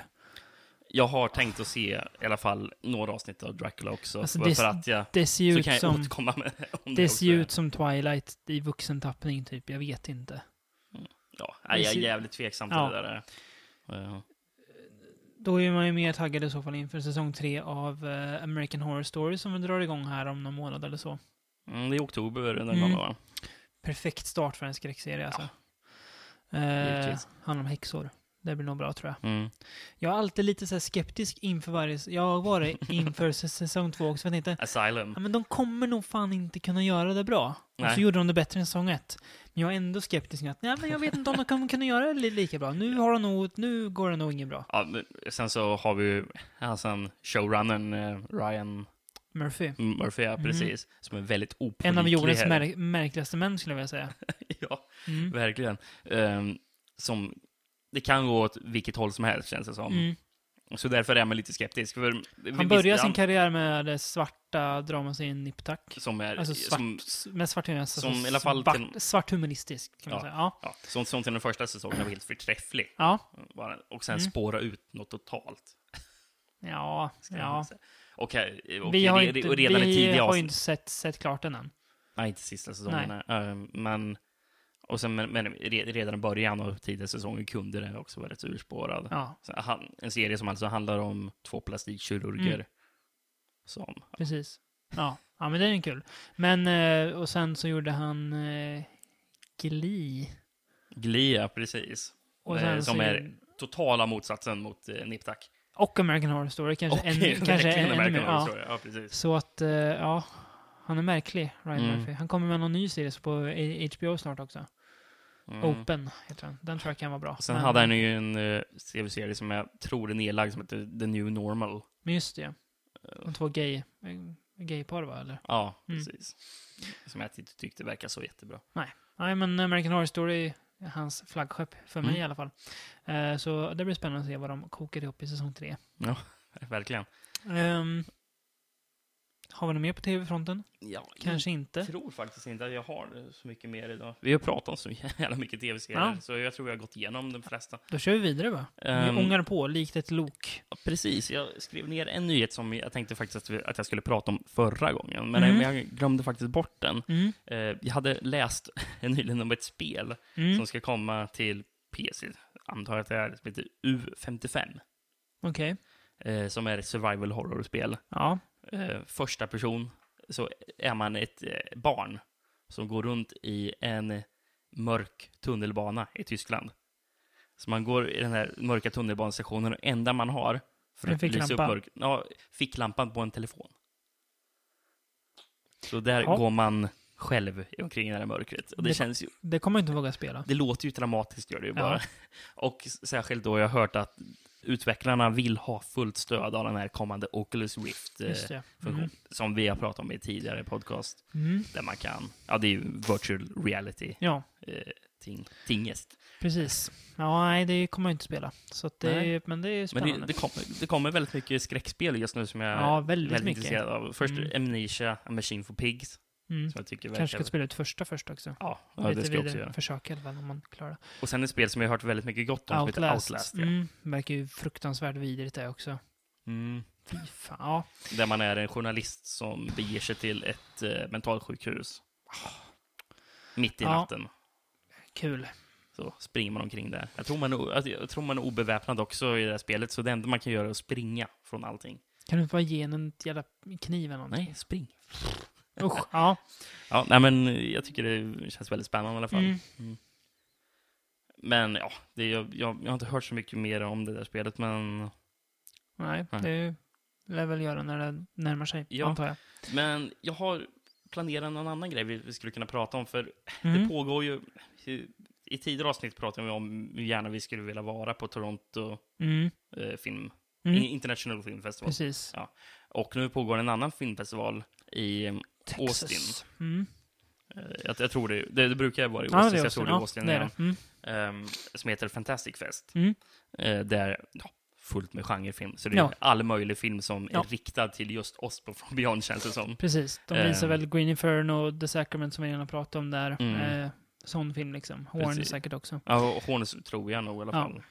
Speaker 5: Jag har tänkt att se i alla fall några avsnitt av Dracula också.
Speaker 4: Alltså,
Speaker 5: för,
Speaker 4: det-
Speaker 5: för att jag...
Speaker 4: Det ser ju
Speaker 5: Så
Speaker 4: ut
Speaker 5: kan jag
Speaker 4: som...
Speaker 5: återkomma med om det
Speaker 4: Det ser ju
Speaker 5: också.
Speaker 4: ut som Twilight i vuxen tappning, typ. Jag vet inte.
Speaker 5: Ja, nej, jag är
Speaker 4: ser-
Speaker 5: jävligt tveksam till
Speaker 4: Ja.
Speaker 5: det där. eh. Ja.
Speaker 4: Då är man ju mer taggad i så fall inför säsong tre av eh, American Horror Story som vi drar igång här om någon månad eller så.
Speaker 5: Mm, det är oktober den
Speaker 4: Mm.
Speaker 5: gången, va?
Speaker 4: Perfekt start för en skräckserie alltså. eh,
Speaker 5: givetvis.
Speaker 4: handlar om häxor. Det blir nog bra tror jag.
Speaker 5: Mm.
Speaker 4: Jag är alltid lite så här skeptisk inför varje... Jag har
Speaker 5: [laughs]
Speaker 4: varit inför s- säsong två också, för jag tänkte
Speaker 5: Asylum.
Speaker 4: ja, men de kommer nog fan inte kunna göra det bra. Och så
Speaker 5: Nej.
Speaker 4: gjorde de det bättre än säsong ett. Men jag är ändå skeptisk nu att nej, men jag vet inte om de kommer kunna göra det li- lika bra. Nu, har de nog, nu går det nog inget bra.
Speaker 5: Ja, men sen så har vi ju alltså en showrunnern eh, Ryan
Speaker 4: Murphy.
Speaker 5: Murphy, ja,
Speaker 4: Mm.
Speaker 5: precis. Som är väldigt opålitlig.
Speaker 4: En av jordens
Speaker 5: här.
Speaker 4: mär märkligaste män skulle jag vilja säga.
Speaker 5: [laughs] Ja,
Speaker 4: Mm.
Speaker 5: verkligen. Ehm, som, det kan gå åt vilket håll som helst, känns det som.
Speaker 4: Mm.
Speaker 5: Så därför är man lite skeptisk. För vi
Speaker 4: Han
Speaker 5: visste-
Speaker 4: började sin karriär med det svarta dramascenen Nip Tuck.
Speaker 5: som är,
Speaker 4: Alltså svart,
Speaker 5: som,
Speaker 4: med svart humor. Alltså
Speaker 5: som i alla fall
Speaker 4: svart,
Speaker 5: till-
Speaker 4: svart humanistisk kan man
Speaker 5: Ja.
Speaker 4: säga. Ja.
Speaker 5: ja, som, som till den första säsongen var helt förträfflig.
Speaker 4: Ja.
Speaker 5: Bara- Och sen
Speaker 4: Mm.
Speaker 5: spåra ut något totalt.
Speaker 4: Ja.
Speaker 5: ska jag
Speaker 4: ja.
Speaker 5: säga. Och, här- och,
Speaker 4: Vi har
Speaker 5: re-
Speaker 4: inte,
Speaker 5: och redan i
Speaker 4: vi
Speaker 5: tidiga
Speaker 4: har ju
Speaker 5: avsnitt.
Speaker 4: inte sett, sett klart den än.
Speaker 5: Nej, inte sista säsongen. eh, Men, och sen, men, men re- redan i början av tidiga säsonger kunde den också vara rätt urspårad.
Speaker 4: Ja,
Speaker 5: Så han, en serie som alltså handlar om två plastikkirurger.
Speaker 4: Mm.
Speaker 5: Som,
Speaker 4: precis. Ja. ja, men det är ju kul. Men, eh, och sen så gjorde han eh, Glee.
Speaker 5: Glia, precis.
Speaker 4: Och
Speaker 5: Eh,
Speaker 4: sen
Speaker 5: som
Speaker 4: så-
Speaker 5: är totala motsatsen mot eh, Niptak.
Speaker 4: Och American Horror Story kanske.
Speaker 5: [laughs]
Speaker 4: än, kanske än, ännu mer. Ja.
Speaker 5: ja. ja, precis.
Speaker 4: Så att, eh, ja. Han är märklig, Ryan
Speaker 5: Mm.
Speaker 4: Murphy. Han kommer med någon ny serie på eh, HBO snart också.
Speaker 5: Mm.
Speaker 4: Open heter den. Den tror jag kan vara bra.
Speaker 5: Sen
Speaker 4: men,
Speaker 5: hade han ju en eh, tv-serie som jag tror är nedlagd som heter The New Normal.
Speaker 4: Men just det. De två gay... eh, Gaypar va, eller?
Speaker 5: Ja,
Speaker 4: Mm.
Speaker 5: precis. Som jag inte tyckte verkar så jättebra.
Speaker 4: Nej, men American Horror Story är hans flaggskepp, för mig
Speaker 5: Mm.
Speaker 4: i alla fall. Eh, så det blir spännande att se vad de kokar ihop i säsong tre.
Speaker 5: Verkligen.
Speaker 4: Ehm, har vi något mer på tv-fronten?
Speaker 5: Ja,
Speaker 4: Kanske inte.
Speaker 5: Jag tror faktiskt inte att jag har så mycket mer idag. Vi har pratat om så [laughs] jävla mycket tv-serier,
Speaker 4: Ja.
Speaker 5: så jag tror jag har gått igenom de flesta.
Speaker 4: Då kör vi vidare va?
Speaker 5: Ehm,
Speaker 4: vi ångar på likt ett lok.
Speaker 5: Precis, jag skrev ner en nyhet som jag tänkte faktiskt att vi- att jag skulle prata om förra gången, men
Speaker 4: Mm.
Speaker 5: men jag glömde faktiskt bort den.
Speaker 4: Mm.
Speaker 5: Eh, Jag hade läst [laughs] nyligen om ett spel
Speaker 4: Mm.
Speaker 5: som ska komma till PC, antar jag att det är, som heter U55,
Speaker 4: Okej.
Speaker 5: eh, som är ett survival horror-spel.
Speaker 4: Ja.
Speaker 5: eh, första person så är man ett eh, barn som går runt i en mörk tunnelbana i Tyskland. Så man går i den här mörka tunnelbanestationen och enda man har för
Speaker 4: En
Speaker 5: att lysa upp
Speaker 4: ficklampa.
Speaker 5: mörk, ja, ficklampan på en telefon. Så där
Speaker 4: Ja.
Speaker 5: går man själv omkring i det här mörkret. Och det,
Speaker 4: Det-
Speaker 5: känns ju,
Speaker 4: Det kommer jag inte våga spela.
Speaker 5: det låter ju dramatiskt gör det ju
Speaker 4: Ja.
Speaker 5: bara. [laughs] Och s- särskilt då jag har hört att utvecklarna vill ha fullt stöd av den här kommande Oculus Rift. eh,
Speaker 4: Just det.
Speaker 5: funktion.
Speaker 4: Mm.
Speaker 5: Som vi har pratat om i tidigare podcast.
Speaker 4: Mm.
Speaker 5: Där man kan, ja det är ju virtual reality
Speaker 4: Ja,
Speaker 5: eh, ting, tingest.
Speaker 4: precis. Ja, nej, det kommer jag inte spela. Så att det,
Speaker 5: Nej.
Speaker 4: men det är
Speaker 5: Men
Speaker 4: spännande.
Speaker 5: det, det, kommer, det kommer väldigt mycket skräckspel just nu som jag
Speaker 4: ja,
Speaker 5: är
Speaker 4: väldigt,
Speaker 5: väldigt
Speaker 4: mycket.
Speaker 5: intresserad av. Först
Speaker 4: Mm.
Speaker 5: Amnesia, A Machine for Pigs.
Speaker 4: Mm.
Speaker 5: Som jag tycker
Speaker 4: Kanske
Speaker 5: verkar...
Speaker 4: ska spela ut första först också.
Speaker 5: Ja, ja det
Speaker 4: Lite
Speaker 5: ska jag också
Speaker 4: vidare
Speaker 5: göra.
Speaker 4: Försök i alla fall om man klarar det.
Speaker 5: Och sen ett spel som jag har hört väldigt mycket gott om som heter
Speaker 4: Outlast.
Speaker 5: Outlast. Ja.
Speaker 4: mm, verkar ju fruktansvärt vidrigt det också.
Speaker 5: Mm.
Speaker 4: Fy fan. Ja.
Speaker 5: Där man är en journalist som beger sig till ett eh, mentalsjukhus. Ah. Mitt i
Speaker 4: Ja.
Speaker 5: natten.
Speaker 4: Kul.
Speaker 5: Så springer man omkring där. Jag tror man, är- att- jag tror man är obeväpnad också i det här spelet, så det enda man kan göra är att springa från allting.
Speaker 4: Kan du inte bara ge henne en jävla kniv eller någonting?
Speaker 5: Nej, spring.
Speaker 4: Usch, ja.
Speaker 5: Ja, nej, men jag tycker det känns väldigt spännande i alla fall.
Speaker 4: Mm.
Speaker 5: Men ja, det, jag, jag, jag har inte hört så mycket mer om det där spelet, men,
Speaker 4: Nej,
Speaker 5: Nej.
Speaker 4: det lär väl göra när det närmar sig,
Speaker 5: Ja.
Speaker 4: antar jag.
Speaker 5: men jag har planerat någon annan grej vi, vi skulle kunna prata om, för det
Speaker 4: Mm.
Speaker 5: pågår ju... I, i tidigare avsnitt pratade vi om hur gärna vi skulle vilja vara på Toronto
Speaker 4: Mm.
Speaker 5: eh, film,
Speaker 4: Mm.
Speaker 5: International Film Festival.
Speaker 4: Precis.
Speaker 5: Och nu pågår en annan filmfestival i eh,
Speaker 4: Texas.
Speaker 5: Austin.
Speaker 4: Mm.
Speaker 5: Eh, Jag, jag tror det, det, det brukar vara i Austin,
Speaker 4: Ja,
Speaker 5: så
Speaker 4: det Mm. är
Speaker 5: jag tror det är ehm,
Speaker 4: Austin.
Speaker 5: Austin
Speaker 4: Ja, det är
Speaker 5: igen,
Speaker 4: det. Mm.
Speaker 5: ehm, som heter Fantastic Fest.
Speaker 4: Mm.
Speaker 5: Eh, där ja, fullt med genrefilm. Så det är
Speaker 4: Ja.
Speaker 5: all möjlig film som
Speaker 4: Ja.
Speaker 5: är riktad till just oss på From Beyond känns det som.
Speaker 4: Precis, de
Speaker 5: Eh.
Speaker 4: visar väl Green Inferno och The Sacrament som vi redan pratat om där.
Speaker 5: Mm.
Speaker 4: Eh, sån film liksom. Horn
Speaker 5: Precis.
Speaker 4: säkert också.
Speaker 5: Ja, och Horns tror jag nog i alla
Speaker 4: Ja.
Speaker 5: fall.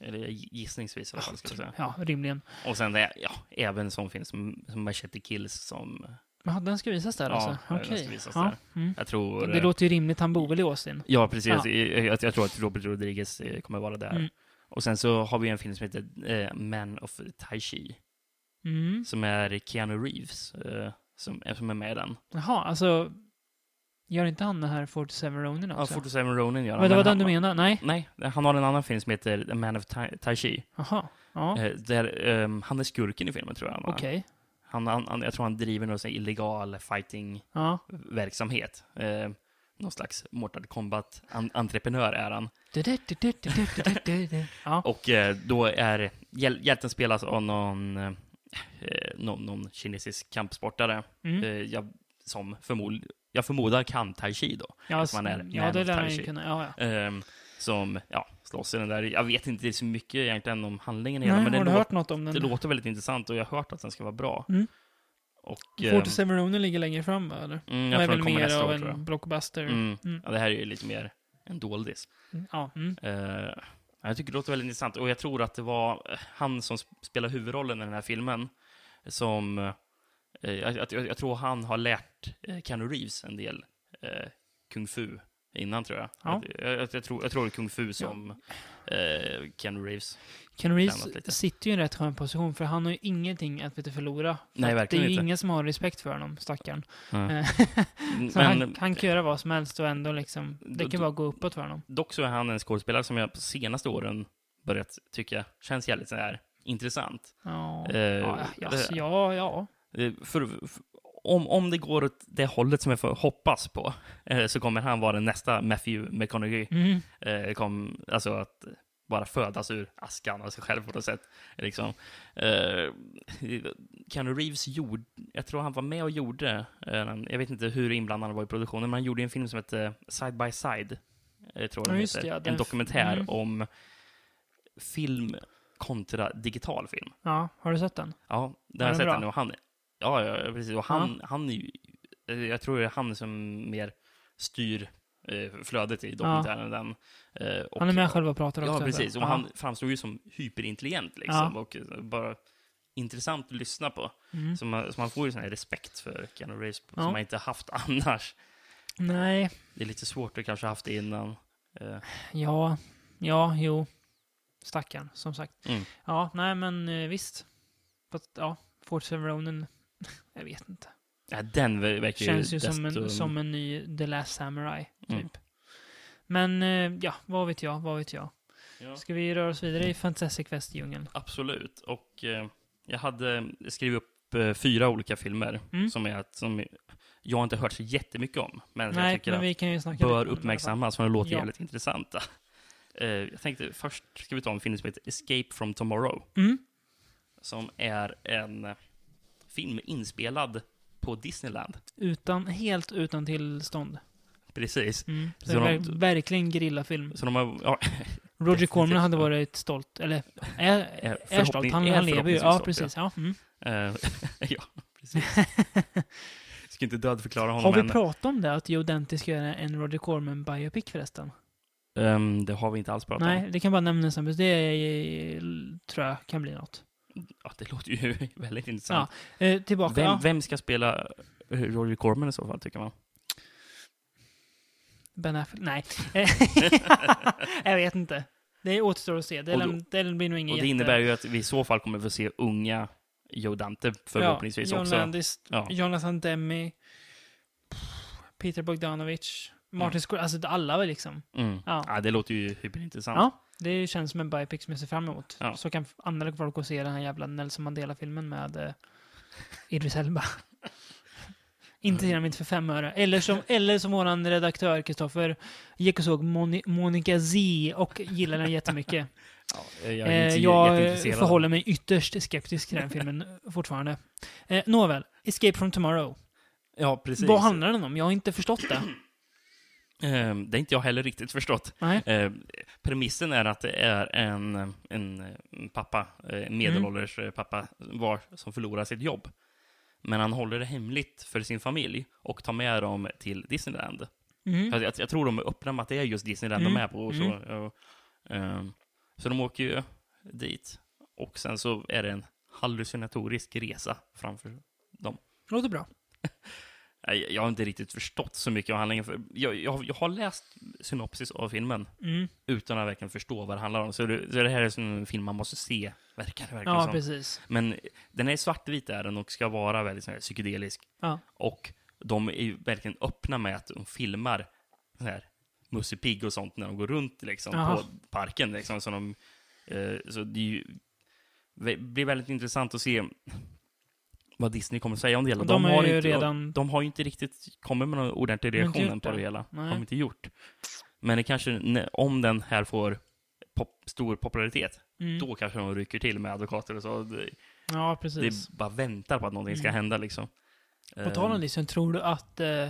Speaker 5: Eller gissningsvis i alla fall, ska jag säga.
Speaker 4: Ja, rimligen.
Speaker 5: Och sen, det- ja, även sån film som, som Machete Kills som...
Speaker 4: Jaha, den ska visas där
Speaker 5: Ja,
Speaker 4: alltså?
Speaker 5: den ska
Speaker 4: Okej.
Speaker 5: visas
Speaker 4: Ja, mm.
Speaker 5: Jag tror... eh,
Speaker 4: Det låter ju rimligt, han bor väl i Austin?
Speaker 5: Ja, precis. Eh,
Speaker 4: Ja.
Speaker 5: Jag, jag, jag tror att Robert Rodriguez eh, kommer vara där.
Speaker 4: Mm.
Speaker 5: Och sen så har vi en film som heter eh, Man of Tai Chi,
Speaker 4: Mm.
Speaker 5: som är Keanu Reeves, eh, som, eh, som är med i den.
Speaker 4: Jaha, alltså... Gör inte han den här 47 Ronin
Speaker 5: Ja,
Speaker 4: också?
Speaker 5: 47 Ronin gör han,
Speaker 4: Men det var den
Speaker 5: men han- Mm.
Speaker 4: du menade? Nej?
Speaker 5: Nej, han har en annan film som heter The Man of Tai, tai Chi.
Speaker 4: Jaha. Ja,
Speaker 5: Eh, där, ehm, han är skurken i filmen, tror jag. han var.
Speaker 4: okej.
Speaker 5: Han, han, han, jag tror han driver någon sån här illegal fighting...
Speaker 4: Ja.
Speaker 5: verksamhet. Eh, någon slags Mortal Kombat-entreprenör är han.
Speaker 4: Du, du, du, du, du, du, du, du, du. Ja,
Speaker 5: Och eh, då är hjäl hjälten spelas av någon, eh, någon, någon kinesisk kampsportare.
Speaker 4: Mm.
Speaker 5: Eh, jag, som förmod jag förmodar kan tai chi då.
Speaker 4: ja,
Speaker 5: man är
Speaker 4: ja
Speaker 5: man
Speaker 4: det
Speaker 5: of
Speaker 4: lär
Speaker 5: Tai
Speaker 4: han ju
Speaker 5: Chi.
Speaker 4: kunna. Ja, ja.
Speaker 5: Eh, som ja, slåss i den där. Jag vet inte så mycket egentligen om handlingen i
Speaker 4: Nej,
Speaker 5: hela, men det,
Speaker 4: har du
Speaker 5: lå-
Speaker 4: hört något om
Speaker 5: det
Speaker 4: den?
Speaker 5: låter väldigt intressant och jag har hört att den ska vara bra.
Speaker 4: Mm.
Speaker 5: Och, eh,
Speaker 4: 47 Ronin ligger längre fram va, eller? Jag
Speaker 5: mm, jag
Speaker 4: är väl
Speaker 5: tror den kommer
Speaker 4: mer
Speaker 5: nästa
Speaker 4: av
Speaker 5: år, tror jag.
Speaker 4: en blockbuster.
Speaker 5: Mm.
Speaker 4: Mm.
Speaker 5: Ja, det här är ju lite mer en doldis.
Speaker 4: Ja, mm.
Speaker 5: Eh, jag tycker det låter väldigt intressant och jag tror att det var eh, han som sp- spelar huvudrollen i den här filmen som... eh, jag, jag, jag tror han har lärt eh, Keanu Reeves en del eh, kung fu innan, tror jag.
Speaker 4: Ja.
Speaker 5: Jag, jag, jag, tror, jag tror det är kung fu som eh, Keanu Reeves.
Speaker 4: Ken
Speaker 5: Blandat lite.
Speaker 4: Reeves sitter ju i en rätt skön position för han har ju ingenting att vet, du, förlora. För
Speaker 5: Nej,
Speaker 4: att
Speaker 5: verkligen
Speaker 4: det är ju
Speaker 5: inte.
Speaker 4: ingen som har respekt för honom, stackaren. Eh, [laughs] Så
Speaker 5: Men
Speaker 4: han, han kan göra vad som helst och ändå liksom, det
Speaker 5: Då-
Speaker 4: kan
Speaker 5: då-
Speaker 4: bara gå uppåt för honom.
Speaker 5: dock så är han en skådespelare som jag på senaste åren börjat tycka känns jävligt så här intressant.
Speaker 4: Ja,
Speaker 5: Eh,
Speaker 4: ja, ja, alltså, ja, ja.
Speaker 5: Eh, för, för, om, om det går åt det hållet som jag får hoppas på eh, så kommer han vara den nästa Matthew McConaughey.
Speaker 4: Mm.
Speaker 5: Eh, kom, alltså att eh, bara födas ur askan av sig själv på något sätt. Liksom. Eh, Keanu Reeves gjorde, jag tror han var med och gjorde, eh, en- jag vet inte hur inblandad han var i produktionen, men han gjorde en film som hette Side by Side. Eh, tror jag
Speaker 4: Ja,
Speaker 5: den
Speaker 4: just
Speaker 5: heter.
Speaker 4: det, ja, den
Speaker 5: en
Speaker 4: f-
Speaker 5: dokumentär
Speaker 4: mm.
Speaker 5: om film kontra digital film.
Speaker 4: ja, har du sett den?
Speaker 5: Ja, det har jag
Speaker 4: den
Speaker 5: sett
Speaker 4: bra?
Speaker 5: den. Och han, ja, ja, precis. Och han, han är ju, eh, jag tror det är han som mer styr eh, flödet i dokumentären. Den, eh, och,
Speaker 4: Han är med själv och pratar också.
Speaker 5: Ja,
Speaker 4: alltså.
Speaker 5: precis. Och
Speaker 4: Ja.
Speaker 5: han framstår ju som hyperintelligent liksom. Och eh, bara intressant att lyssna på.
Speaker 4: Mm.
Speaker 5: Så man, så man får ju sån här respekt för Keanu Reeves
Speaker 4: Ja.
Speaker 5: som man inte haft [laughs] annars.
Speaker 4: Nej,
Speaker 5: Det är lite svårt att kanske haft det innan. Eh,
Speaker 4: ja, ja, jo. Stackaren, som sagt.
Speaker 5: Mm.
Speaker 4: Ja, nej men eh, visst. Fast, ja, Fortune Ronin, [laughs] jag vet inte.
Speaker 5: ja, den ver- verkar ju
Speaker 4: Känns ju som en,
Speaker 5: desto-
Speaker 4: som en ny The Last Samurai, typ.
Speaker 5: Mm.
Speaker 4: Men eh, ja, vad vet jag, vad vet jag.
Speaker 5: Ja.
Speaker 4: Ska vi röra oss vidare i Fantastic Fest-djungeln?
Speaker 5: Absolut. Och eh, jag hade skrivit upp eh, fyra olika filmer
Speaker 4: Mm.
Speaker 5: som, är, att- som jag inte hört så jättemycket om, men jag
Speaker 4: Nej,
Speaker 5: tycker
Speaker 4: men
Speaker 5: att
Speaker 4: vi kan ju snacka lite om
Speaker 5: bör
Speaker 4: den i alla fall.
Speaker 5: uppmärksammas, för de låter
Speaker 4: Ja.
Speaker 5: jävligt intressanta. Eh, jag tänkte först ska vi ta en film som heter Escape from Tomorrow,
Speaker 4: Mm.
Speaker 5: som är en eh, film inspelad på Disneyland.
Speaker 4: Utan, helt utan tillstånd.
Speaker 5: Precis.
Speaker 4: Mm.
Speaker 5: Så
Speaker 4: Så det är
Speaker 5: de-
Speaker 4: ver- verkligen grillafilm.
Speaker 5: Så de har, ja,
Speaker 4: Roger Corman hade
Speaker 5: ja.
Speaker 4: varit stolt, eller är, är
Speaker 5: förhoppning-
Speaker 4: stolt. Han,
Speaker 5: är
Speaker 4: han lever ju.
Speaker 5: förhoppningsvis
Speaker 4: Ja,
Speaker 5: stolt,
Speaker 4: precis. Ja. Mm.
Speaker 5: eh, [laughs] ja,
Speaker 4: [laughs]
Speaker 5: precis. Ska inte dödförklara honom
Speaker 4: Har vi
Speaker 5: än.
Speaker 4: pratat om det, att Joe Dante ska göra en Roger Corman-biopic förresten?
Speaker 5: Ehm, det har vi inte alls pratat om.
Speaker 4: Nej, det kan bara nämnas sen, men det är, tror jag kan bli något.
Speaker 5: Ja, det låter ju [laughs] väldigt intressant.
Speaker 4: Eh, tillbaka.
Speaker 5: vem,
Speaker 4: ja.
Speaker 5: vem ska spela eh, Roger Corman i så fall, tycker man?
Speaker 4: Ben Affleck?
Speaker 5: [laughs]
Speaker 4: Nej. Eh, jag vet inte. Det återstår att se. Det,
Speaker 5: Och då-
Speaker 4: lär- det blir nog ingen
Speaker 5: Och
Speaker 4: jätte-
Speaker 5: det innebär ju att vi i så fall kommer få se unga Joe Dante förhoppningsvis
Speaker 4: ja, John
Speaker 5: också.
Speaker 4: Landis,
Speaker 5: Ja.
Speaker 4: Jonathan Demme, Peter Bogdanovich, Martin
Speaker 5: Mm.
Speaker 4: Scorsese, alltså alla väl liksom.
Speaker 5: Mm.
Speaker 4: Ja.
Speaker 5: Ja. det låter ju hyperintressant.
Speaker 4: Ja, det känns som en biopic som jag ser fram emot.
Speaker 5: Ja.
Speaker 4: Så kan andra folk gå och se den här jävla Nelson Mandela-filmen med eh, Idris Elba.
Speaker 5: [laughs]
Speaker 4: inte genom inte för fem öre. Eller som, eller som våran redaktör Kristoffer gick och såg Moni, Monica Z och gillade den jättemycket.
Speaker 5: Eh, [laughs] Jag är
Speaker 4: Eh,
Speaker 5: inte
Speaker 4: jag
Speaker 5: jätteintresserad.
Speaker 4: förhåller mig ytterst skeptisk till den filmen [laughs] fortfarande. Eh, nåväl, Escape from Tomorrow.
Speaker 5: Ja, precis.
Speaker 4: Vad handlar den om? Jag har inte förstått det.
Speaker 5: Eh, Det är inte jag heller riktigt förstått.
Speaker 4: Nej.
Speaker 5: [clears throat] Eh, premissen är att det är en, en pappa, eh, medelålders eh, pappa, var, som förlorar sitt jobb. Men han håller det hemligt för sin familj och tar med dem till Disneyland.
Speaker 4: Mm. Mm.
Speaker 5: För att Alltså, Jag, jag tror de är öppna med att det är just Disneyland de är på. Och så, och, ehm, så de åker ju dit. Och sen så är det en hallucinatorisk resa framför dem.
Speaker 4: Låter bra.
Speaker 5: Nej, Jag har inte riktigt förstått så mycket av handlingen. För jag, jag, jag har läst synopsis av filmen
Speaker 4: Mm.
Speaker 5: utan att verkligen förstå vad det handlar om. Så det, så det här är en sån film man måste se, verkar det verkligen
Speaker 4: Ja,
Speaker 5: som.
Speaker 4: precis.
Speaker 5: Men den är svartvit är den och ska vara väldigt sån här psykedelisk.
Speaker 4: Ja.
Speaker 5: Och de är ju verkligen öppna med att de filmar så här Musse Pigg och sånt när de går runt liksom,
Speaker 4: Jaha.
Speaker 5: på parken. Liksom, så, de, eh, så det är ju, det blir väldigt intressant att se vad Disney kommer säga om det hela.
Speaker 4: Och de är ju
Speaker 5: inte,
Speaker 4: redan-
Speaker 5: de, de har ju inte riktigt kommit med någon ordentlig
Speaker 4: De har inte
Speaker 5: reaktion
Speaker 4: gjort
Speaker 5: på
Speaker 4: det.
Speaker 5: det hela.
Speaker 4: Nej.
Speaker 5: Har de inte gjort. Men det kanske, när- om den här får pop, stor popularitet,
Speaker 4: Mm.
Speaker 5: då kanske de rycker till med advokater och så. Det,
Speaker 4: Ja,
Speaker 5: det
Speaker 4: precis. Mm.
Speaker 5: bara väntar på att någonting ska hända liksom.
Speaker 4: På tal om
Speaker 5: Ehm,
Speaker 4: det, så tror du att eh,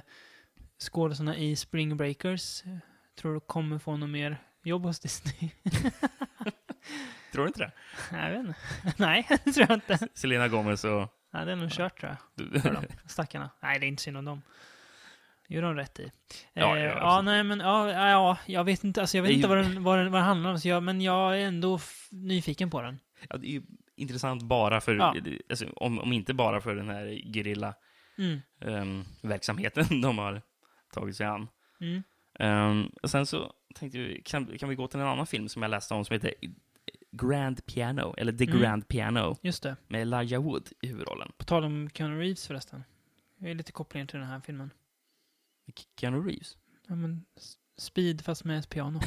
Speaker 4: skådisarna i Spring Breakers eh, tror du kommer få något mer jobb hos Disney? [laughs]
Speaker 5: Tror du inte det?
Speaker 4: Nej, jag vet inte. [laughs] Nej, det tror jag inte.
Speaker 5: Selena Gomez och...
Speaker 4: Nej, det är nog kört tror jag. för dem, stackarna. Nej, det är inte synd om dem. Det gör de rätt i.
Speaker 5: Ja,
Speaker 4: eh,
Speaker 5: ja,
Speaker 4: ja
Speaker 5: absolut.
Speaker 4: nej, men ja, ja, ja, jag vet inte, alltså, jag vet
Speaker 5: Det är
Speaker 4: inte
Speaker 5: ju-
Speaker 4: vad, den, vad, den, vad det handlar om, så jag, men jag är ändå f- nyfiken på den.
Speaker 5: [laughs] ja, det är ju intressant bara för...
Speaker 4: Ja.
Speaker 5: Alltså, om, om inte bara för den här gerilla
Speaker 4: Mm.
Speaker 5: ehm, verksamheten [laughs] de har tagit sig an.
Speaker 4: Mm.
Speaker 5: Ehm, och sen så tänkte vi, kan, kan vi gå till en annan film som jag läste om som heter Grand Piano, eller The
Speaker 4: Mm.
Speaker 5: Grand Piano,
Speaker 4: Just det.
Speaker 5: med Elijah Wood i huvudrollen.
Speaker 4: På tal om Keanu Reeves förresten. Det är lite kopplingar till den här filmen.
Speaker 5: Keanu Reeves. [laughs]
Speaker 4: Ja, men s- speed fast med ett piano.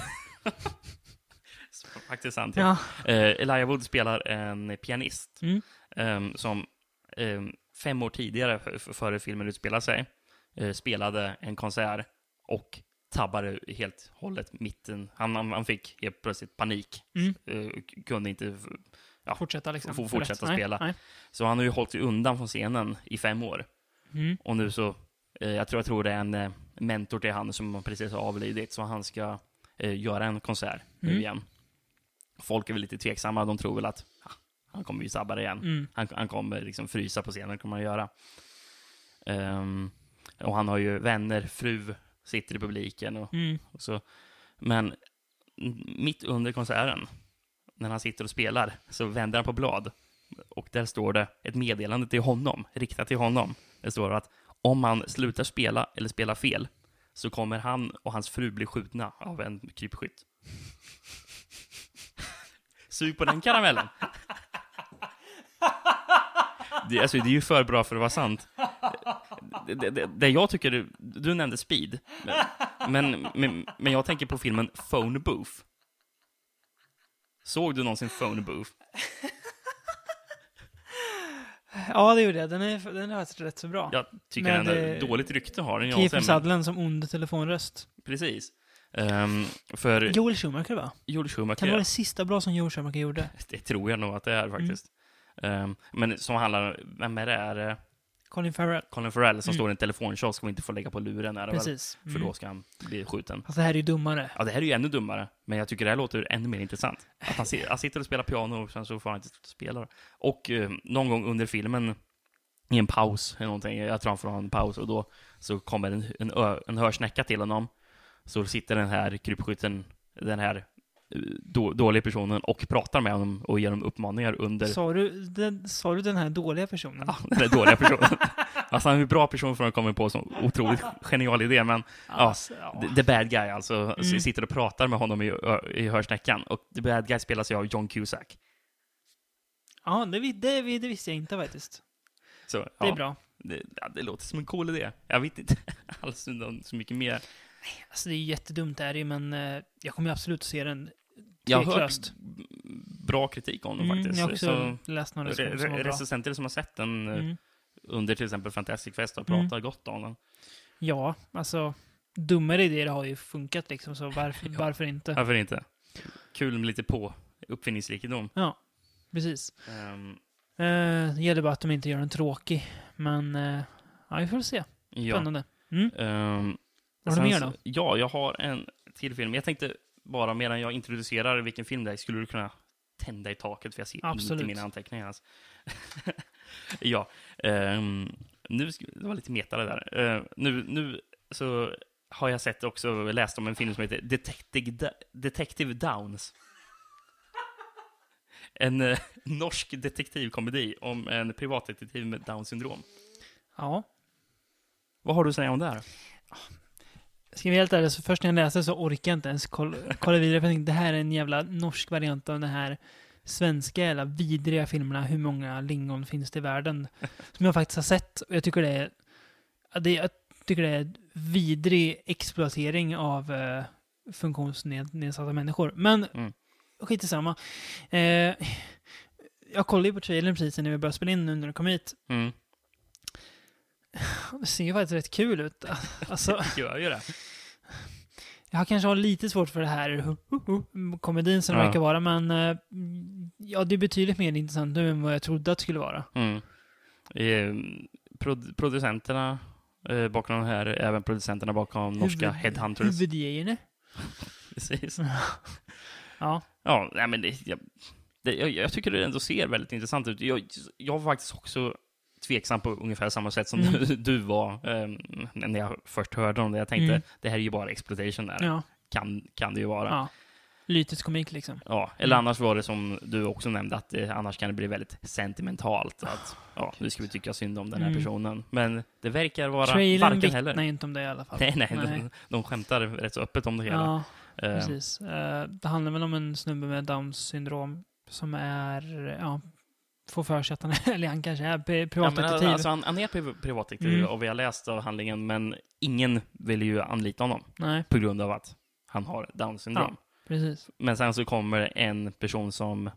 Speaker 5: Faktiskt sant. Ja.
Speaker 4: ja.
Speaker 5: Eh, Elijah Wood spelar en pianist
Speaker 4: Mm.
Speaker 5: ehm, som ehm, fem år tidigare, f- f- före filmen utspelar sig, eh, spelade en konsert och tabbade helt hållet mitten. Han, han, han fick helt plötsligt panik.
Speaker 4: Mm.
Speaker 5: Eh, k- kunde inte... f- Ja.
Speaker 4: Fortsätta liksom.
Speaker 5: Får fortsätta
Speaker 4: Nej,
Speaker 5: spela.
Speaker 4: Nej.
Speaker 5: Så han har ju hållit sig undan från scenen i fem år.
Speaker 4: Mm.
Speaker 5: Och nu så, eh, jag tror, jag tror det är en eh, mentor till han som precis har avlidit, så han ska eh, göra en konsert nu
Speaker 4: Mm.
Speaker 5: igen. Folk är väl lite tveksamma, de tror väl att ah, han kommer ju sabba det igen.
Speaker 4: Mm.
Speaker 5: Han, han kommer liksom frysa på scenen, kommer han göra. Ehm, och han har ju vänner, fru, sitter i publiken och,
Speaker 4: Mm.
Speaker 5: och så. Men m- mitt under konserten, när han sitter och spelar, så vänder han på blad. Och där står det ett meddelande till honom, riktat till honom. Det står att om han slutar spela eller spelar fel så kommer han och hans fru bli skjutna av en krypskytt. Sug på den karamellen! Det, alltså, det är ju för bra för att vara sant. Det, det- det, det jag tycker, du, du nämnde speed, men, men, men, men jag tänker på filmen Phone Booth. Såg du någonsin Phone Booth?
Speaker 4: Ja, det gjorde jag. Den är, den är faktiskt rätt så bra.
Speaker 5: Jag tycker
Speaker 4: Men,
Speaker 5: den har
Speaker 4: eh,
Speaker 5: dåligt rykte har den.
Speaker 4: Kiefer
Speaker 5: sen, men,
Speaker 4: Sutherland som ond telefonröst.
Speaker 5: precis. Ehm, för
Speaker 4: Joel Schumacher, va?
Speaker 5: Joel Schumacher,
Speaker 4: Kan det vara Mm. det sista bra som Joel Schumacher gjorde?
Speaker 5: [laughs] det tror jag nog att det är faktiskt. Ehm, men som handlar, vem är det? Är det
Speaker 4: Colin Farrell.
Speaker 5: Colin Farrell som
Speaker 4: Mm.
Speaker 5: står i en telefonkiosk och inte får lägga på luren? Är det väl?
Speaker 4: Precis.
Speaker 5: För
Speaker 4: Mm.
Speaker 5: då ska han bli skjuten.
Speaker 4: Fast det här är ju dummare.
Speaker 5: Ja, det här är ju ännu dummare, men jag tycker det här låter ännu mer intressant. Att han, si- han sitter och spelar piano och sen så får han inte spela. Och eh, någon gång under filmen, i en paus eller någonting, jag tror han får ha en paus, och då så kommer en, en, ö, en hörsnäcka till honom. Så sitter den här krypskytten, den här eh, då, dåliga personen, och pratar med honom och ger honom uppmaningar under...
Speaker 4: Sa du, den, sa du den här dåliga personen?
Speaker 5: Ja, [laughs] den där dåliga personen. alltså han är en bra person för att komma på en sån otroligt genial idé, men
Speaker 4: Alltså, ja.
Speaker 5: The- The bad guy alltså,
Speaker 4: Mm.
Speaker 5: s- sitter och pratar med honom i, ö- i hörsnäckan. Och the bad guy spelas ju av John Cusack.
Speaker 4: Ja, det, vi- det, vi- det visste jag inte faktiskt.
Speaker 5: Så,
Speaker 4: Det
Speaker 5: ja,
Speaker 4: är bra.
Speaker 5: Det, ja, det låter som en cool idé. Jag vet inte [laughs] alls om så mycket mer.
Speaker 4: Alltså det är jättedumt det här är ju, men eh, jag kommer ju absolut se den.
Speaker 5: Jag har hört
Speaker 4: Tveklöst.
Speaker 5: b- bra kritik om den
Speaker 4: Mm, jag
Speaker 5: faktiskt.
Speaker 4: har också
Speaker 5: så,
Speaker 4: läst några
Speaker 5: re,
Speaker 4: recensioner som var
Speaker 5: re,
Speaker 4: bra.
Speaker 5: recensenter som har sett den eh,
Speaker 4: Mm.
Speaker 5: under till exempel Fantastic Fest har
Speaker 4: Mm.
Speaker 5: pratat gott om den.
Speaker 4: Ja, alltså dummare idéer har ju funkat liksom, så varför,
Speaker 5: [laughs] Ja.
Speaker 4: varför inte?
Speaker 5: Varför inte? Kul med lite på uppfinningsrikedom.
Speaker 4: Ja, precis.
Speaker 5: Ehm,
Speaker 4: Eh, det gäller bara att de inte gör den tråkig, men eh, ja, vi får se.
Speaker 5: ja.
Speaker 4: Spännande. Mm.
Speaker 5: Ehm,
Speaker 4: Har du
Speaker 5: Sen
Speaker 4: mer
Speaker 5: så-
Speaker 4: då?
Speaker 5: Ja, jag har en till film. Jag tänkte bara medan jag introducerar vilken film det är, skulle du kunna tända i taket för jag ser
Speaker 4: Absolut.
Speaker 5: inte mina anteckningar alls. [laughs] ja, ehm, nu, sk- det var lite meta det där. Eh, nu, nu så har jag sett också, läst om en film som heter Detective, Da- Detective Downs. [laughs] En eh, norsk detektivkomedi om en privatdetektiv med Downs syndrom.
Speaker 4: Ja.
Speaker 5: Vad har du att säga om det här?
Speaker 4: Ska vi vara helt ärlig, så först när jag läste så orkade jag inte ens kolla, kolla vidare. För jag tänkte, det här är en jävla norsk variant av den här svenska jävla vidriga filmerna. Hur många lingon finns det i världen? Som jag faktiskt har sett. Och jag tycker det är... ja, det- Jag tycker det är vidrig exploatering av eh, funktionsnedsatta människor. Men
Speaker 5: Mm.
Speaker 4: skit i samma. Eh, jag kollade ju på trailern precis när vi började spela in nu när du kom hit.
Speaker 5: Mm,
Speaker 4: Det ser ju faktiskt rätt kul ut. Alltså...
Speaker 5: gör ju det.
Speaker 4: Jag kanske har lite svårt för det här hu- hu- hu- komedin som det
Speaker 5: Ja.
Speaker 4: verkar vara, men eh, ja, det är betydligt mer intressant nu än vad jag trodde att det skulle vara.
Speaker 5: Mm. Eh, prod producenterna eh, bakom den här, även producenterna bakom norska Headhunters.
Speaker 4: Huvudgrejerna.
Speaker 5: Precis.
Speaker 4: Ja.
Speaker 5: Ja, nej, men det, jag, det, jag, jag tycker det ändå ser väldigt intressant ut. Jag, jag var faktiskt också tveksam på ungefär samma sätt som
Speaker 4: Mm.
Speaker 5: du, du var eh, när jag först hörde om det. Jag tänkte,
Speaker 4: Mm.
Speaker 5: det här är ju bara exploitation där.
Speaker 4: ja.
Speaker 5: Kan, kan det ju vara. Ja.
Speaker 4: ja. Lytisk komik liksom.
Speaker 5: eller annars var det som du också nämnde, att eh, annars kan det bli väldigt sentimentalt. Att, ja, nu ska vi tycka synd om den här
Speaker 4: Ah, Mm.
Speaker 5: personen. Men det verkar vara
Speaker 4: Trailern
Speaker 5: varken heller.
Speaker 4: vittnar ju inte om det i alla fall.
Speaker 5: Nej, nej, De, de skämtar rätt så öppet om det hela.
Speaker 4: Ja,
Speaker 5: Eh,
Speaker 4: precis. Eh, det handlar väl om en snubbe med Downs syndrom som är, eh, ja, får för sig att han är, [laughs] eller han kanske är pri-
Speaker 5: ja, men
Speaker 4: privatdetektiv.
Speaker 5: alltså, han, han är priv- privatdetektiv
Speaker 4: Mm.
Speaker 5: och vi har läst av handlingen, men ingen vill ju anlita honom
Speaker 4: nej,
Speaker 5: på grund av att han har Downs syndrom.
Speaker 4: precis.
Speaker 5: Men sen så kommer det en person som,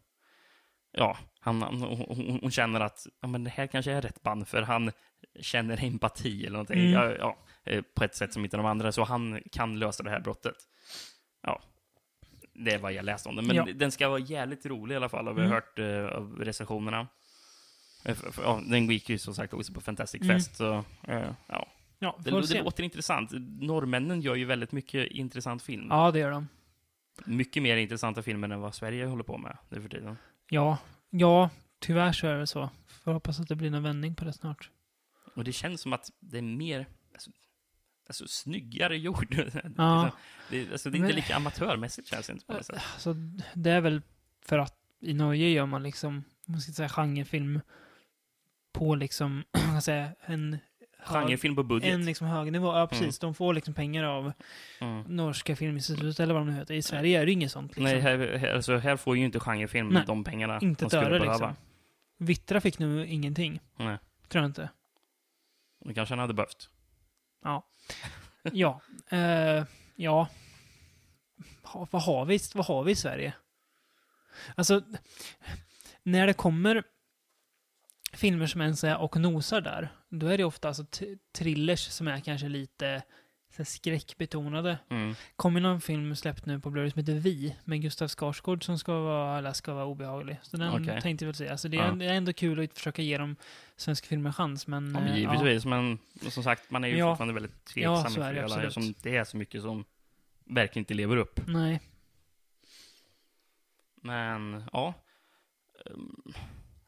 Speaker 5: ja, han, han, hon, hon- hon känner att ja, men det här kanske är rätt band, för han känner empati eller någonting,
Speaker 4: Mm.
Speaker 5: ja, ja, eh, på ett sätt som inte de andra, så han kan lösa det här brottet. Ja, det är vad jag läst om den. Men
Speaker 4: Ja.
Speaker 5: den ska vara jävligt rolig i alla fall, har vi
Speaker 4: Mm.
Speaker 5: hört eh, av recensionerna. Eh, för- för- Ja, den gick ju som sagt också på Fantastic
Speaker 4: Mm.
Speaker 5: Fest, så eh, ja.
Speaker 4: Ja,
Speaker 5: Det,
Speaker 4: får
Speaker 5: det,
Speaker 4: se.
Speaker 5: låter intressant. Norrmännen gör ju väldigt mycket intressant film.
Speaker 4: Ja, det gör de.
Speaker 5: Mycket mer intressanta filmer än vad Sverige håller på med nu för tiden.
Speaker 4: Ja, ja, tyvärr så är det så. Får hoppas att det blir någon vändning på det snart.
Speaker 5: Och det känns som att det är mer, alltså, alltså snyggare [laughs] gjord.
Speaker 4: Ja.
Speaker 5: liksom, det, alltså, det är inte
Speaker 4: Men-
Speaker 5: lika amatörmässigt känns det inte på något sätt.
Speaker 4: Så det är väl för att i Norge gör man liksom, om man ska säga genrefilm på liksom, [clears throat] vad ska jag säga, en hög,
Speaker 5: Genrefilm på budget.
Speaker 4: en liksom hög nivå. Ja, precis. De får liksom pengar av
Speaker 5: Mm.
Speaker 4: Norska Filminstitutet eller vad de nu heter. I Sverige är det inget sånt liksom.
Speaker 5: Nej, här, här, alltså, här får ju inte genrefilm
Speaker 4: Nej.
Speaker 5: de pengarna
Speaker 4: inte
Speaker 5: de
Speaker 4: ett
Speaker 5: skulle
Speaker 4: öre
Speaker 5: behöva.
Speaker 4: liksom. Vittra fick nu ingenting.
Speaker 5: Nej,
Speaker 4: Tror jag inte.
Speaker 5: det kanske han hade behövt.
Speaker 4: Ja. Ja. eh, ja. Ha, vad, har vi, vad har vi i Sverige? Alltså, när det kommer filmer som ens är och nosar där, då är det ofta alltså t- thrillers som är kanske lite så här, skräckbetonade.
Speaker 5: Mm.
Speaker 4: Kommer någon film släppt nu på Blu-ray som heter Vi, med Gustav Skarsgård som ska vara, eller ska vara obehaglig. Så den
Speaker 5: Okej.
Speaker 4: tänkte jag väl säga. Alltså det är,
Speaker 5: Ja.
Speaker 4: det är ändå kul att försöka ge de svenska filmerna en chans, men...
Speaker 5: Ja, men
Speaker 4: eh, ja.
Speaker 5: givetvis, men som sagt, man är ju
Speaker 4: Ja.
Speaker 5: fortfarande väldigt tveksam
Speaker 4: Ja, så
Speaker 5: inför
Speaker 4: är det
Speaker 5: hela,
Speaker 4: absolut.
Speaker 5: eftersom det är så mycket som verkligen inte lever upp.
Speaker 4: Nej.
Speaker 5: Men ja. Ehm,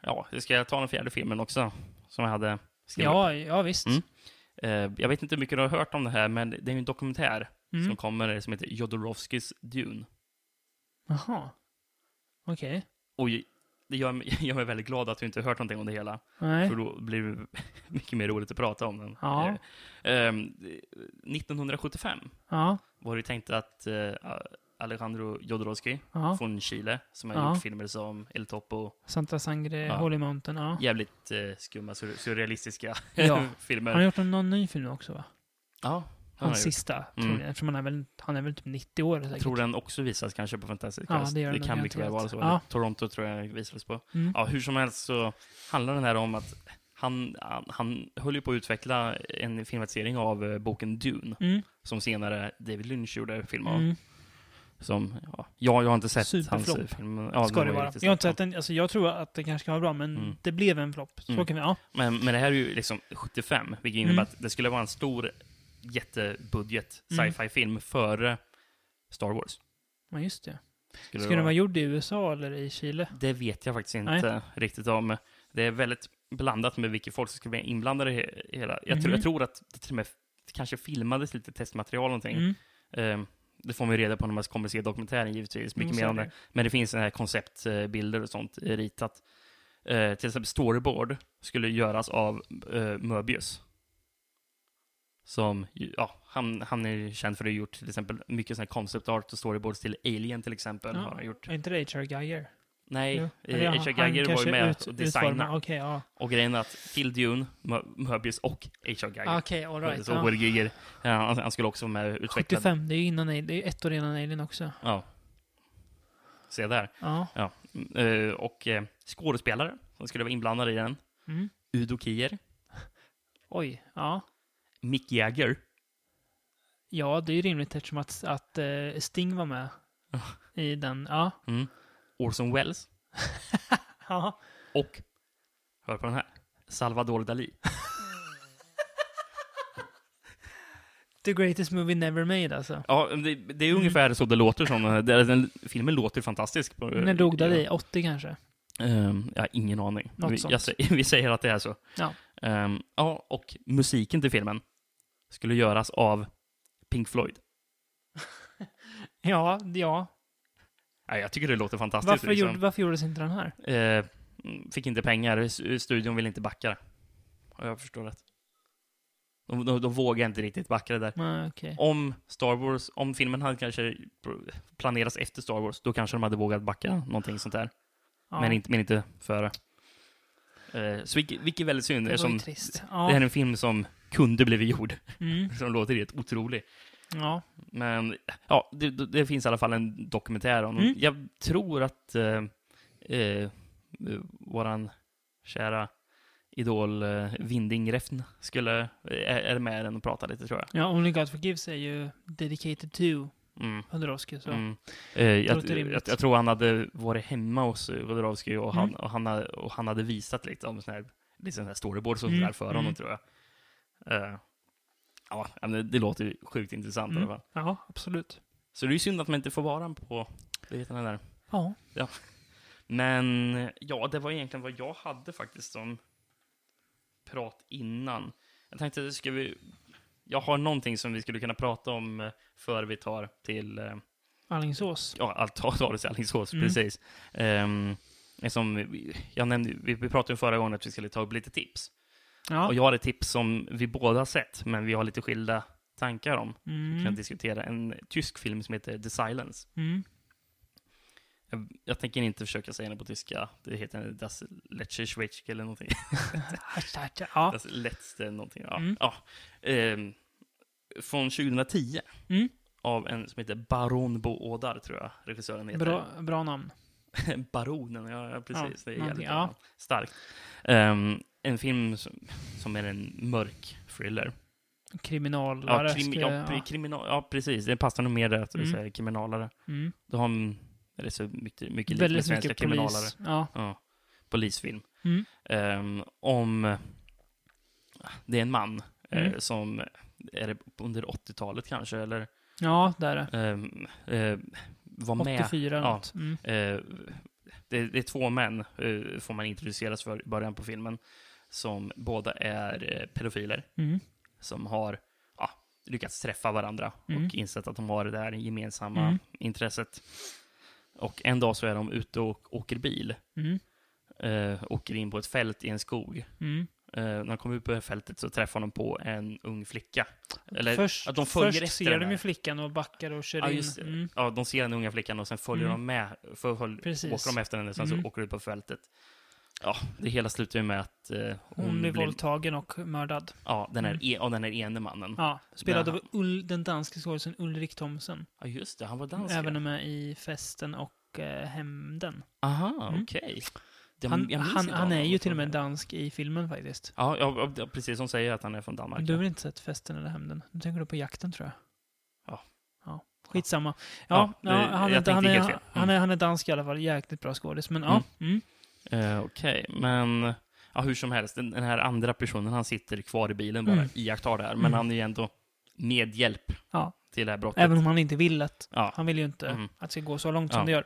Speaker 5: Ja, ska jag ta den fjärde filmen också? Som jag hade skrivit.
Speaker 4: Ja, ja visst.
Speaker 5: Mm. Eh, Jag vet inte hur mycket du har hört om det här, men det är ju en dokumentär
Speaker 4: Mm.
Speaker 5: som kommer som heter Jodorowskys Dune.
Speaker 4: Jaha. Okej.
Speaker 5: Och ju- det gör mig, [laughs] gör mig väldigt glad att du inte har hört någonting om det hela,
Speaker 4: Nej.
Speaker 5: för då blir det [laughs] mycket mer roligt att prata om den.
Speaker 4: Ja.
Speaker 5: Eh, ehm, 1975
Speaker 4: Ja.
Speaker 5: var det ju tänkt att eh, Alejandro Jodorowsky
Speaker 4: Ja.
Speaker 5: från Chile, som har
Speaker 4: Ja.
Speaker 5: gjort filmer som El Topo,
Speaker 4: Santa Sangre,
Speaker 5: Ja.
Speaker 4: Holy Mountain. Ja.
Speaker 5: jävligt eh, skumma, sur- surrealistiska
Speaker 4: Ja.
Speaker 5: [laughs] filmer.
Speaker 4: Han har gjort en- någon ny film också va?
Speaker 5: ja, han har
Speaker 4: Hans
Speaker 5: gjort.
Speaker 4: sista, tror
Speaker 5: Mm.
Speaker 4: jag. Eftersom han är väl, han är väl typ 90 år säkert.
Speaker 5: Jag tror den också visas kanske på Fantastic
Speaker 4: Ja,
Speaker 5: Fest.
Speaker 4: det
Speaker 5: det,
Speaker 4: gör den.
Speaker 5: kan
Speaker 4: Jag
Speaker 5: mycket
Speaker 4: tror
Speaker 5: väl
Speaker 4: att-
Speaker 5: vara så.
Speaker 4: ja.
Speaker 5: Toronto tror jag visades på.
Speaker 4: Mm.
Speaker 5: Ja, hur som helst så handlar den här om att han, han, han höll ju på att utveckla en filmatisering av eh, boken Dune,
Speaker 4: Mm.
Speaker 5: som senare David Lynch gjorde film av.
Speaker 4: Mm.
Speaker 5: Som, ja, jag, jag har inte sett
Speaker 4: Superflopp.
Speaker 5: hans eh, film. Ja,
Speaker 4: Ska
Speaker 5: den
Speaker 4: det
Speaker 5: var ju
Speaker 4: vara.
Speaker 5: riktigt
Speaker 4: Jag har inte
Speaker 5: stark.
Speaker 4: sett den. Alltså, jag tror att det kanske kan vara bra, men
Speaker 5: Mm.
Speaker 4: det blev en flopp. Så
Speaker 5: Mm.
Speaker 4: kan vi, ja.
Speaker 5: Men, men det här är ju liksom 75, vilket innebär
Speaker 4: Mm.
Speaker 5: att det skulle vara en stor jättebudget
Speaker 4: Mm.
Speaker 5: sci-fi-film före Star Wars.
Speaker 4: Ja, just det.
Speaker 5: Skulle
Speaker 4: Skulle den
Speaker 5: vara.
Speaker 4: vara gjord i USA eller i Chile?
Speaker 5: Det vet jag faktiskt inte riktigt om. Det är väldigt blandat med vilka folk som skulle bli inblandade i he- hela. Jag, tror,
Speaker 4: Mhm.
Speaker 5: jag tror att det till och med f- kanske filmades lite testmaterial och någonting.
Speaker 4: Mm.
Speaker 5: Ehm, det får man ju reda på när man kommer se dokumentären givetvis, mycket
Speaker 4: Mm, så
Speaker 5: mer
Speaker 4: är
Speaker 5: om det.
Speaker 4: det.
Speaker 5: Men det finns såna här konceptbilder och sånt eh, ritat. Eh, till exempel storyboard skulle göras av eh, Möbius. Som, ju- ja, han, han är ju känd för att ha gjort till exempel mycket sån här concept art och storyboards till Alien till exempel.
Speaker 4: Ja.
Speaker 5: Har han gjort.
Speaker 4: Är inte det H.R. Geiger?
Speaker 5: Nej,
Speaker 4: Jo.
Speaker 5: eh,
Speaker 4: Eller ja,
Speaker 5: H.R.
Speaker 4: han
Speaker 5: Geiger var
Speaker 4: kanske
Speaker 5: ju med
Speaker 4: ut-
Speaker 5: och designade.
Speaker 4: utformar. Okej, ja.
Speaker 5: Och grejen är att Kill Dune, Mö- Möbius och H.R. Geiger.
Speaker 4: Okej, all Ah, right.
Speaker 5: Så
Speaker 4: ja.
Speaker 5: Will Geiger, ja, han, han skulle också vara med och utveckla.
Speaker 4: 75, det är ju innan, Alien- det är ju ett år innan Alien också.
Speaker 5: Ja. Se där.
Speaker 4: Ja.
Speaker 5: Ja. Mm, eh, och eh, skådespelare som skulle vara inblandade i den.
Speaker 4: Mm.
Speaker 5: Udo Kier,
Speaker 4: Oj, ja.
Speaker 5: Mick Jagger.
Speaker 4: Ja, det är ju rimligt eftersom att, att eh, Sting var med i den. Ja.
Speaker 5: Mm. Orson Welles.
Speaker 4: ja.
Speaker 5: Och, hör på den här, Salvador Dalí.
Speaker 4: The greatest movie never made alltså.
Speaker 5: Ja, det, det är ungefär så det låter som. eh, det- Den, filmen låter fantastisk. på-
Speaker 4: När dog Dalí? 80 kanske?
Speaker 5: Ehm, jag har ingen aning.
Speaker 4: Något
Speaker 5: Vi,
Speaker 4: sånt.
Speaker 5: jag, sä- [laughs] vi säger att det är så.
Speaker 4: Ja.
Speaker 5: Ehm, ja, och musiken till filmen skulle göras av Pink Floyd.
Speaker 4: Ja, ja.
Speaker 5: Ja, jag tycker det låter fantastiskt.
Speaker 4: Varför,
Speaker 5: liksom.
Speaker 4: gjorde, varför gjordes inte den här?
Speaker 5: Eh, mm, fick inte pengar, S- studion ville inte backa det. Har jag förstår rätt. De, de, de vågar inte riktigt backa det där.
Speaker 4: Nej, Ah, okej.
Speaker 5: Om Star Wars, om filmen hade kanske pr- planerats efter Star Wars, då kanske de hade vågat backa någonting sånt där.
Speaker 4: Ja,
Speaker 5: Men, inte, men inte före. Eh, så vilket, vilket är väldigt synd,
Speaker 4: det var ju
Speaker 5: eftersom
Speaker 4: trist. Ja.
Speaker 5: det här är en film som kunde blivit gjord. [laughs]
Speaker 4: mm.
Speaker 5: Som låter helt otrolig.
Speaker 4: ja.
Speaker 5: Men ja, det, det finns i alla fall en dokumentär om
Speaker 4: Mm.
Speaker 5: Jag tror att eh, eh, våran kära idol eh, Vinding Refn skulle, eh, är, är med i den och pratar lite tror jag.
Speaker 4: ja, Only God Forgives är ju dedicated to
Speaker 5: Mm.
Speaker 4: Jodorowsky. Så.
Speaker 5: Mm. Eh, jag,
Speaker 4: låter
Speaker 5: jag,
Speaker 4: rimligt.
Speaker 5: jag tror han hade varit hemma hos Jodorowsky och, han,
Speaker 4: Mm.
Speaker 5: och, han, hade- och han hade visat lite om sån här, lite sån här storyboards och
Speaker 4: Mm,
Speaker 5: sådär för honom
Speaker 4: mm.
Speaker 5: tror jag. Eh, ja, men det, det låter ju sjukt intressant i
Speaker 4: Mm.
Speaker 5: alla fall.
Speaker 4: Ja, absolut.
Speaker 5: Så det är ju synd att man inte får vara på, det heter den där.
Speaker 4: Ja.
Speaker 5: Men ja, det var egentligen vad jag hade faktiskt som prat innan. Jag tänkte att ska vi... Jag har någonting som vi skulle kunna prata om eh, före vi tar till... eh,
Speaker 4: Alingsås.
Speaker 5: Ja, allt tar tar det till Alingsås,
Speaker 4: Mm.
Speaker 5: precis. Um, som vi- jag nämnde, vi vi pratade ju förra gången att vi skulle ta upp lite tips.
Speaker 4: Ja.
Speaker 5: Och jag har ett tips som vi båda har sett, men vi har lite skilda tankar om. Vi kan
Speaker 4: Mm.
Speaker 5: diskutera en tysk film som heter The Silence.
Speaker 4: Mm.
Speaker 5: Jag, jag tänker inte försöka säga det på tyska. Det heter Das letzte Schweizk eller någonting.
Speaker 4: Ja.
Speaker 5: Das letzte Alltså, någonting. Ja.
Speaker 4: Mm.
Speaker 5: ja. Ehm, från 2010.
Speaker 4: Mm.
Speaker 5: Av en som heter Baron Boodar, tror jag regissören heter.
Speaker 4: Bra, bra namn.
Speaker 5: [laughs] Baronen, ja ja, precis. det är jävligt
Speaker 4: någonting, ja.
Speaker 5: bra. starkt. Ehm, en film som, som är en mörk thriller.
Speaker 4: Kriminal.
Speaker 5: Ja, krim, ja, pri- kriminal, ja, precis. Det passar nog mer där att du
Speaker 4: Mm.
Speaker 5: säger kriminalare.
Speaker 4: Mm.
Speaker 5: Du har en, eller så mycket, mycket likt med
Speaker 4: Väldigt
Speaker 5: svenska
Speaker 4: mycket
Speaker 5: kriminalare.
Speaker 4: polis. Ja.
Speaker 5: Ja, polisfilm.
Speaker 4: Mm.
Speaker 5: Ehm, om... eh, Det är en man eh,
Speaker 4: Mm.
Speaker 5: som... Är det under 80-talet kanske? Eller
Speaker 4: ja, där är det.
Speaker 5: ehm, eh, var med...
Speaker 4: 84 eller
Speaker 5: Ja.
Speaker 4: något. Mm.
Speaker 5: Eh, det, det är två män, eh, får man introduceras för i början på filmen, som båda är eh, pedofiler.
Speaker 4: Mm.
Speaker 5: Som har ja, lyckats träffa varandra
Speaker 4: Mm.
Speaker 5: och insett att de har det där gemensamma
Speaker 4: Mm.
Speaker 5: intresset. Och en dag så är de ute och åker bil.
Speaker 4: Mm.
Speaker 5: Eh, åker in på ett fält i en skog.
Speaker 4: Mm.
Speaker 5: Eh, när de kommer ut på det här fältet så träffar de på en ung flicka. Eller
Speaker 4: först
Speaker 5: att de följer
Speaker 4: först ser
Speaker 5: efter den
Speaker 4: de
Speaker 5: här.
Speaker 4: ju flickan och backar och kör
Speaker 5: Ja,
Speaker 4: in.
Speaker 5: just det.
Speaker 4: Mm.
Speaker 5: Ja, de ser den unga flickan och sen följer
Speaker 4: Mm.
Speaker 5: de med. För, följ,
Speaker 4: Precis.
Speaker 5: åker de efter henne, sen
Speaker 4: Mm.
Speaker 5: så åker de ut på fältet. Ja, det hela slutar ju med att eh, hon,
Speaker 4: Hon, blir våldtagen och mördad.
Speaker 5: Ja, den här,
Speaker 4: Mm.
Speaker 5: e, av den här ene mannen. Ja.
Speaker 4: Ja, spelad
Speaker 5: Där
Speaker 4: av Ull, den danske skådisen Ulrik Thomsen.
Speaker 5: just det. Han var dansk.
Speaker 4: Även
Speaker 5: ja.
Speaker 4: med i Festen och eh, Hämnden.
Speaker 5: Aha,
Speaker 4: Mm.
Speaker 5: okej. Det-
Speaker 4: Han,
Speaker 5: jag minns
Speaker 4: han,
Speaker 5: inte
Speaker 4: han
Speaker 5: honom
Speaker 4: är ju till och
Speaker 5: från
Speaker 4: med
Speaker 5: det.
Speaker 4: dansk i filmen faktiskt.
Speaker 5: Ja, ja, ja, precis. Hon säger att han är från Danmark.
Speaker 4: Men du har väl inte sett Festen eller Hämnden? Nu tänker du på jakten tror jag.
Speaker 5: Ja.
Speaker 4: ja. Skitsamma.
Speaker 5: Ja,
Speaker 4: Ja,
Speaker 5: det-
Speaker 4: ja, han,
Speaker 5: jag
Speaker 4: är,
Speaker 5: tänkte
Speaker 4: han, är,
Speaker 5: helt fel. Mm.
Speaker 4: han, är, han är dansk i alla fall. Jäkligt bra skådis. Men ja. Mm.
Speaker 5: Eh, Okej, men ja, hur som helst, den, den här andra personen, han sitter kvar i bilen bara,
Speaker 4: Mm.
Speaker 5: iakttar det här, men
Speaker 4: Mm.
Speaker 5: han är ju ändå medhjälp
Speaker 4: Ja.
Speaker 5: till det här brottet.
Speaker 4: Även om han inte vill att.
Speaker 5: Ja.
Speaker 4: Han vill ju inte
Speaker 5: Mm.
Speaker 4: att det ska gå så långt
Speaker 5: Ja.
Speaker 4: som det gör.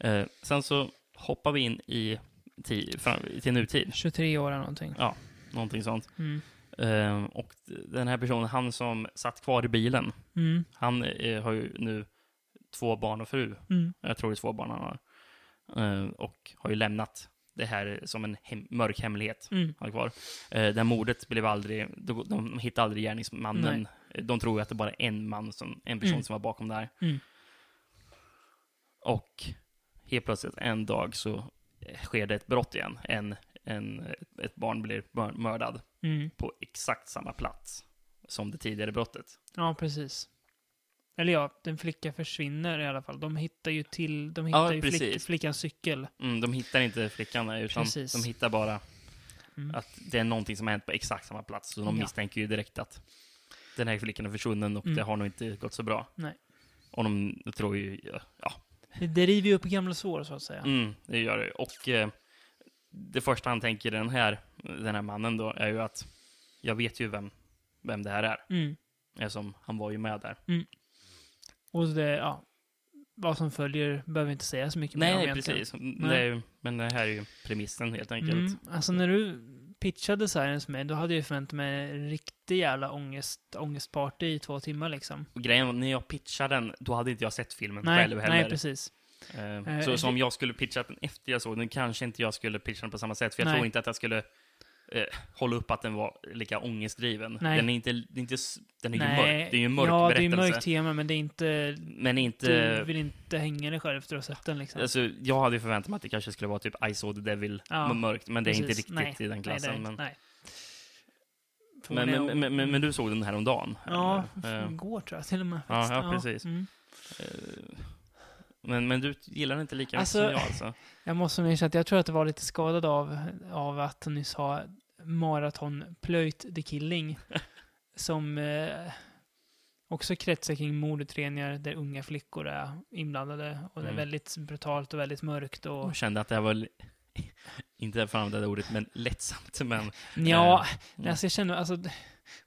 Speaker 5: Eh, sen så hoppar vi in i ti- fram- till nutid,
Speaker 4: 23 år eller någonting.
Speaker 5: någonting sånt.
Speaker 4: Mm.
Speaker 5: Eh, och den här personen, han som satt kvar i bilen,
Speaker 4: Mm.
Speaker 5: han eh, har ju nu två barn och fru.
Speaker 4: Mm.
Speaker 5: Jag tror det är två barn han har. Eh, och har ju lämnat det här som en hem- mörk hemlighet.
Speaker 4: Mm.
Speaker 5: Han har kvar. Eh, det här mordet blev aldrig, de, de hittade aldrig gärningsmannen. De tror ju att det bara är en man, som, en person
Speaker 4: Mm.
Speaker 5: som var bakom det här.
Speaker 4: Mm.
Speaker 5: Och helt plötsligt en dag så eh, sker det ett brott igen. En, en, ett barn blir mör- mördad
Speaker 4: Mm.
Speaker 5: på exakt samma plats som det tidigare brottet.
Speaker 4: Ja, precis. Eller ja, den flicka försvinner i alla fall. De hittar ju till, de
Speaker 5: Ja,
Speaker 4: hittar ju flick,
Speaker 5: precis.
Speaker 4: flickans cykel.
Speaker 5: Mm, de hittar inte flickan eh, utan
Speaker 4: Precis.
Speaker 5: de hittar bara
Speaker 4: Mm.
Speaker 5: att det är någonting som har hänt på exakt samma plats. Så de
Speaker 4: Ja.
Speaker 5: misstänker ju direkt att den här flickan är försvunnen och
Speaker 4: Mm.
Speaker 5: det har nog inte gått så bra.
Speaker 4: Nej.
Speaker 5: Och de tror ju, ja,
Speaker 4: Det- Det river ju upp gamla sår, så att säga.
Speaker 5: mm, det gör det. Och eh, det första han tänker den här, den här mannen då är ju att jag vet ju vem, vem det här är.
Speaker 4: Mm.
Speaker 5: Eftersom han var ju med där.
Speaker 4: Och det, ja. Vad som följer behöver vi inte säga så mycket mer om
Speaker 5: Nej,
Speaker 4: egentligen.
Speaker 5: precis. Mm, Det är, ju- men det här är ju premissen helt enkelt.
Speaker 4: Mm. Alltså när du pitchade Sirens med då hade jag ju förväntat mig en riktig jävla ångest, ångestparty i två timmar liksom.
Speaker 5: Och grejen var, när jag pitchade den, då hade inte jag sett filmen
Speaker 4: Nej,
Speaker 5: själv heller.
Speaker 4: nej precis.
Speaker 5: Eh,
Speaker 4: Eh,
Speaker 5: Så
Speaker 4: det-
Speaker 5: som jag skulle pitchat den efter jag såg den, kanske inte jag skulle pitcha den på samma sätt, för jag
Speaker 4: Nej.
Speaker 5: tror inte att jag skulle eh, hålla upp att den var lika ångestdriven.
Speaker 4: Nej.
Speaker 5: Den är inte, den är inte, s- den är ju
Speaker 4: nej.
Speaker 5: mörk, det är ju en mörk
Speaker 4: Ja, det är
Speaker 5: berättelse.
Speaker 4: ju mörkt tema, men det är inte...
Speaker 5: men
Speaker 4: Du
Speaker 5: inte,
Speaker 4: vill inte hänga dig själv efter att ha sett den liksom.
Speaker 5: alltså, jag hade ju förväntat mig att det kanske skulle vara typ I saw the devil,
Speaker 4: Ja,
Speaker 5: men mörkt, men det är inte
Speaker 4: Precis.
Speaker 5: riktigt
Speaker 4: nej.
Speaker 5: i den klassen.
Speaker 4: Nej, det är inte.
Speaker 5: men,
Speaker 4: nej.
Speaker 5: men, men, men, men, men du såg den här om dagen?
Speaker 4: Ja,
Speaker 5: eller? Eh,
Speaker 4: igår tror jag till och med.
Speaker 5: ja,
Speaker 4: faktiskt.
Speaker 5: ja, precis.
Speaker 4: Mm.
Speaker 5: eh, men, men du gillar den inte lika mycket
Speaker 4: Alltså-
Speaker 5: som jag alltså?
Speaker 4: Jag måste nog erkänna att jag tror att det var lite skadad av, av att hon nyss har maratonplöjt The [laughs] Killing. som eh, också kretsar kring mordutredningar där unga flickor är inblandade. Och det
Speaker 5: Mm.
Speaker 4: är väldigt brutalt och väldigt mörkt. Och,
Speaker 5: Jag kände att det här var, li- [laughs] inte för att använda det ordet, men lättsamt. Men
Speaker 4: Ja,
Speaker 5: mm.
Speaker 4: alltså jag känner, alltså d-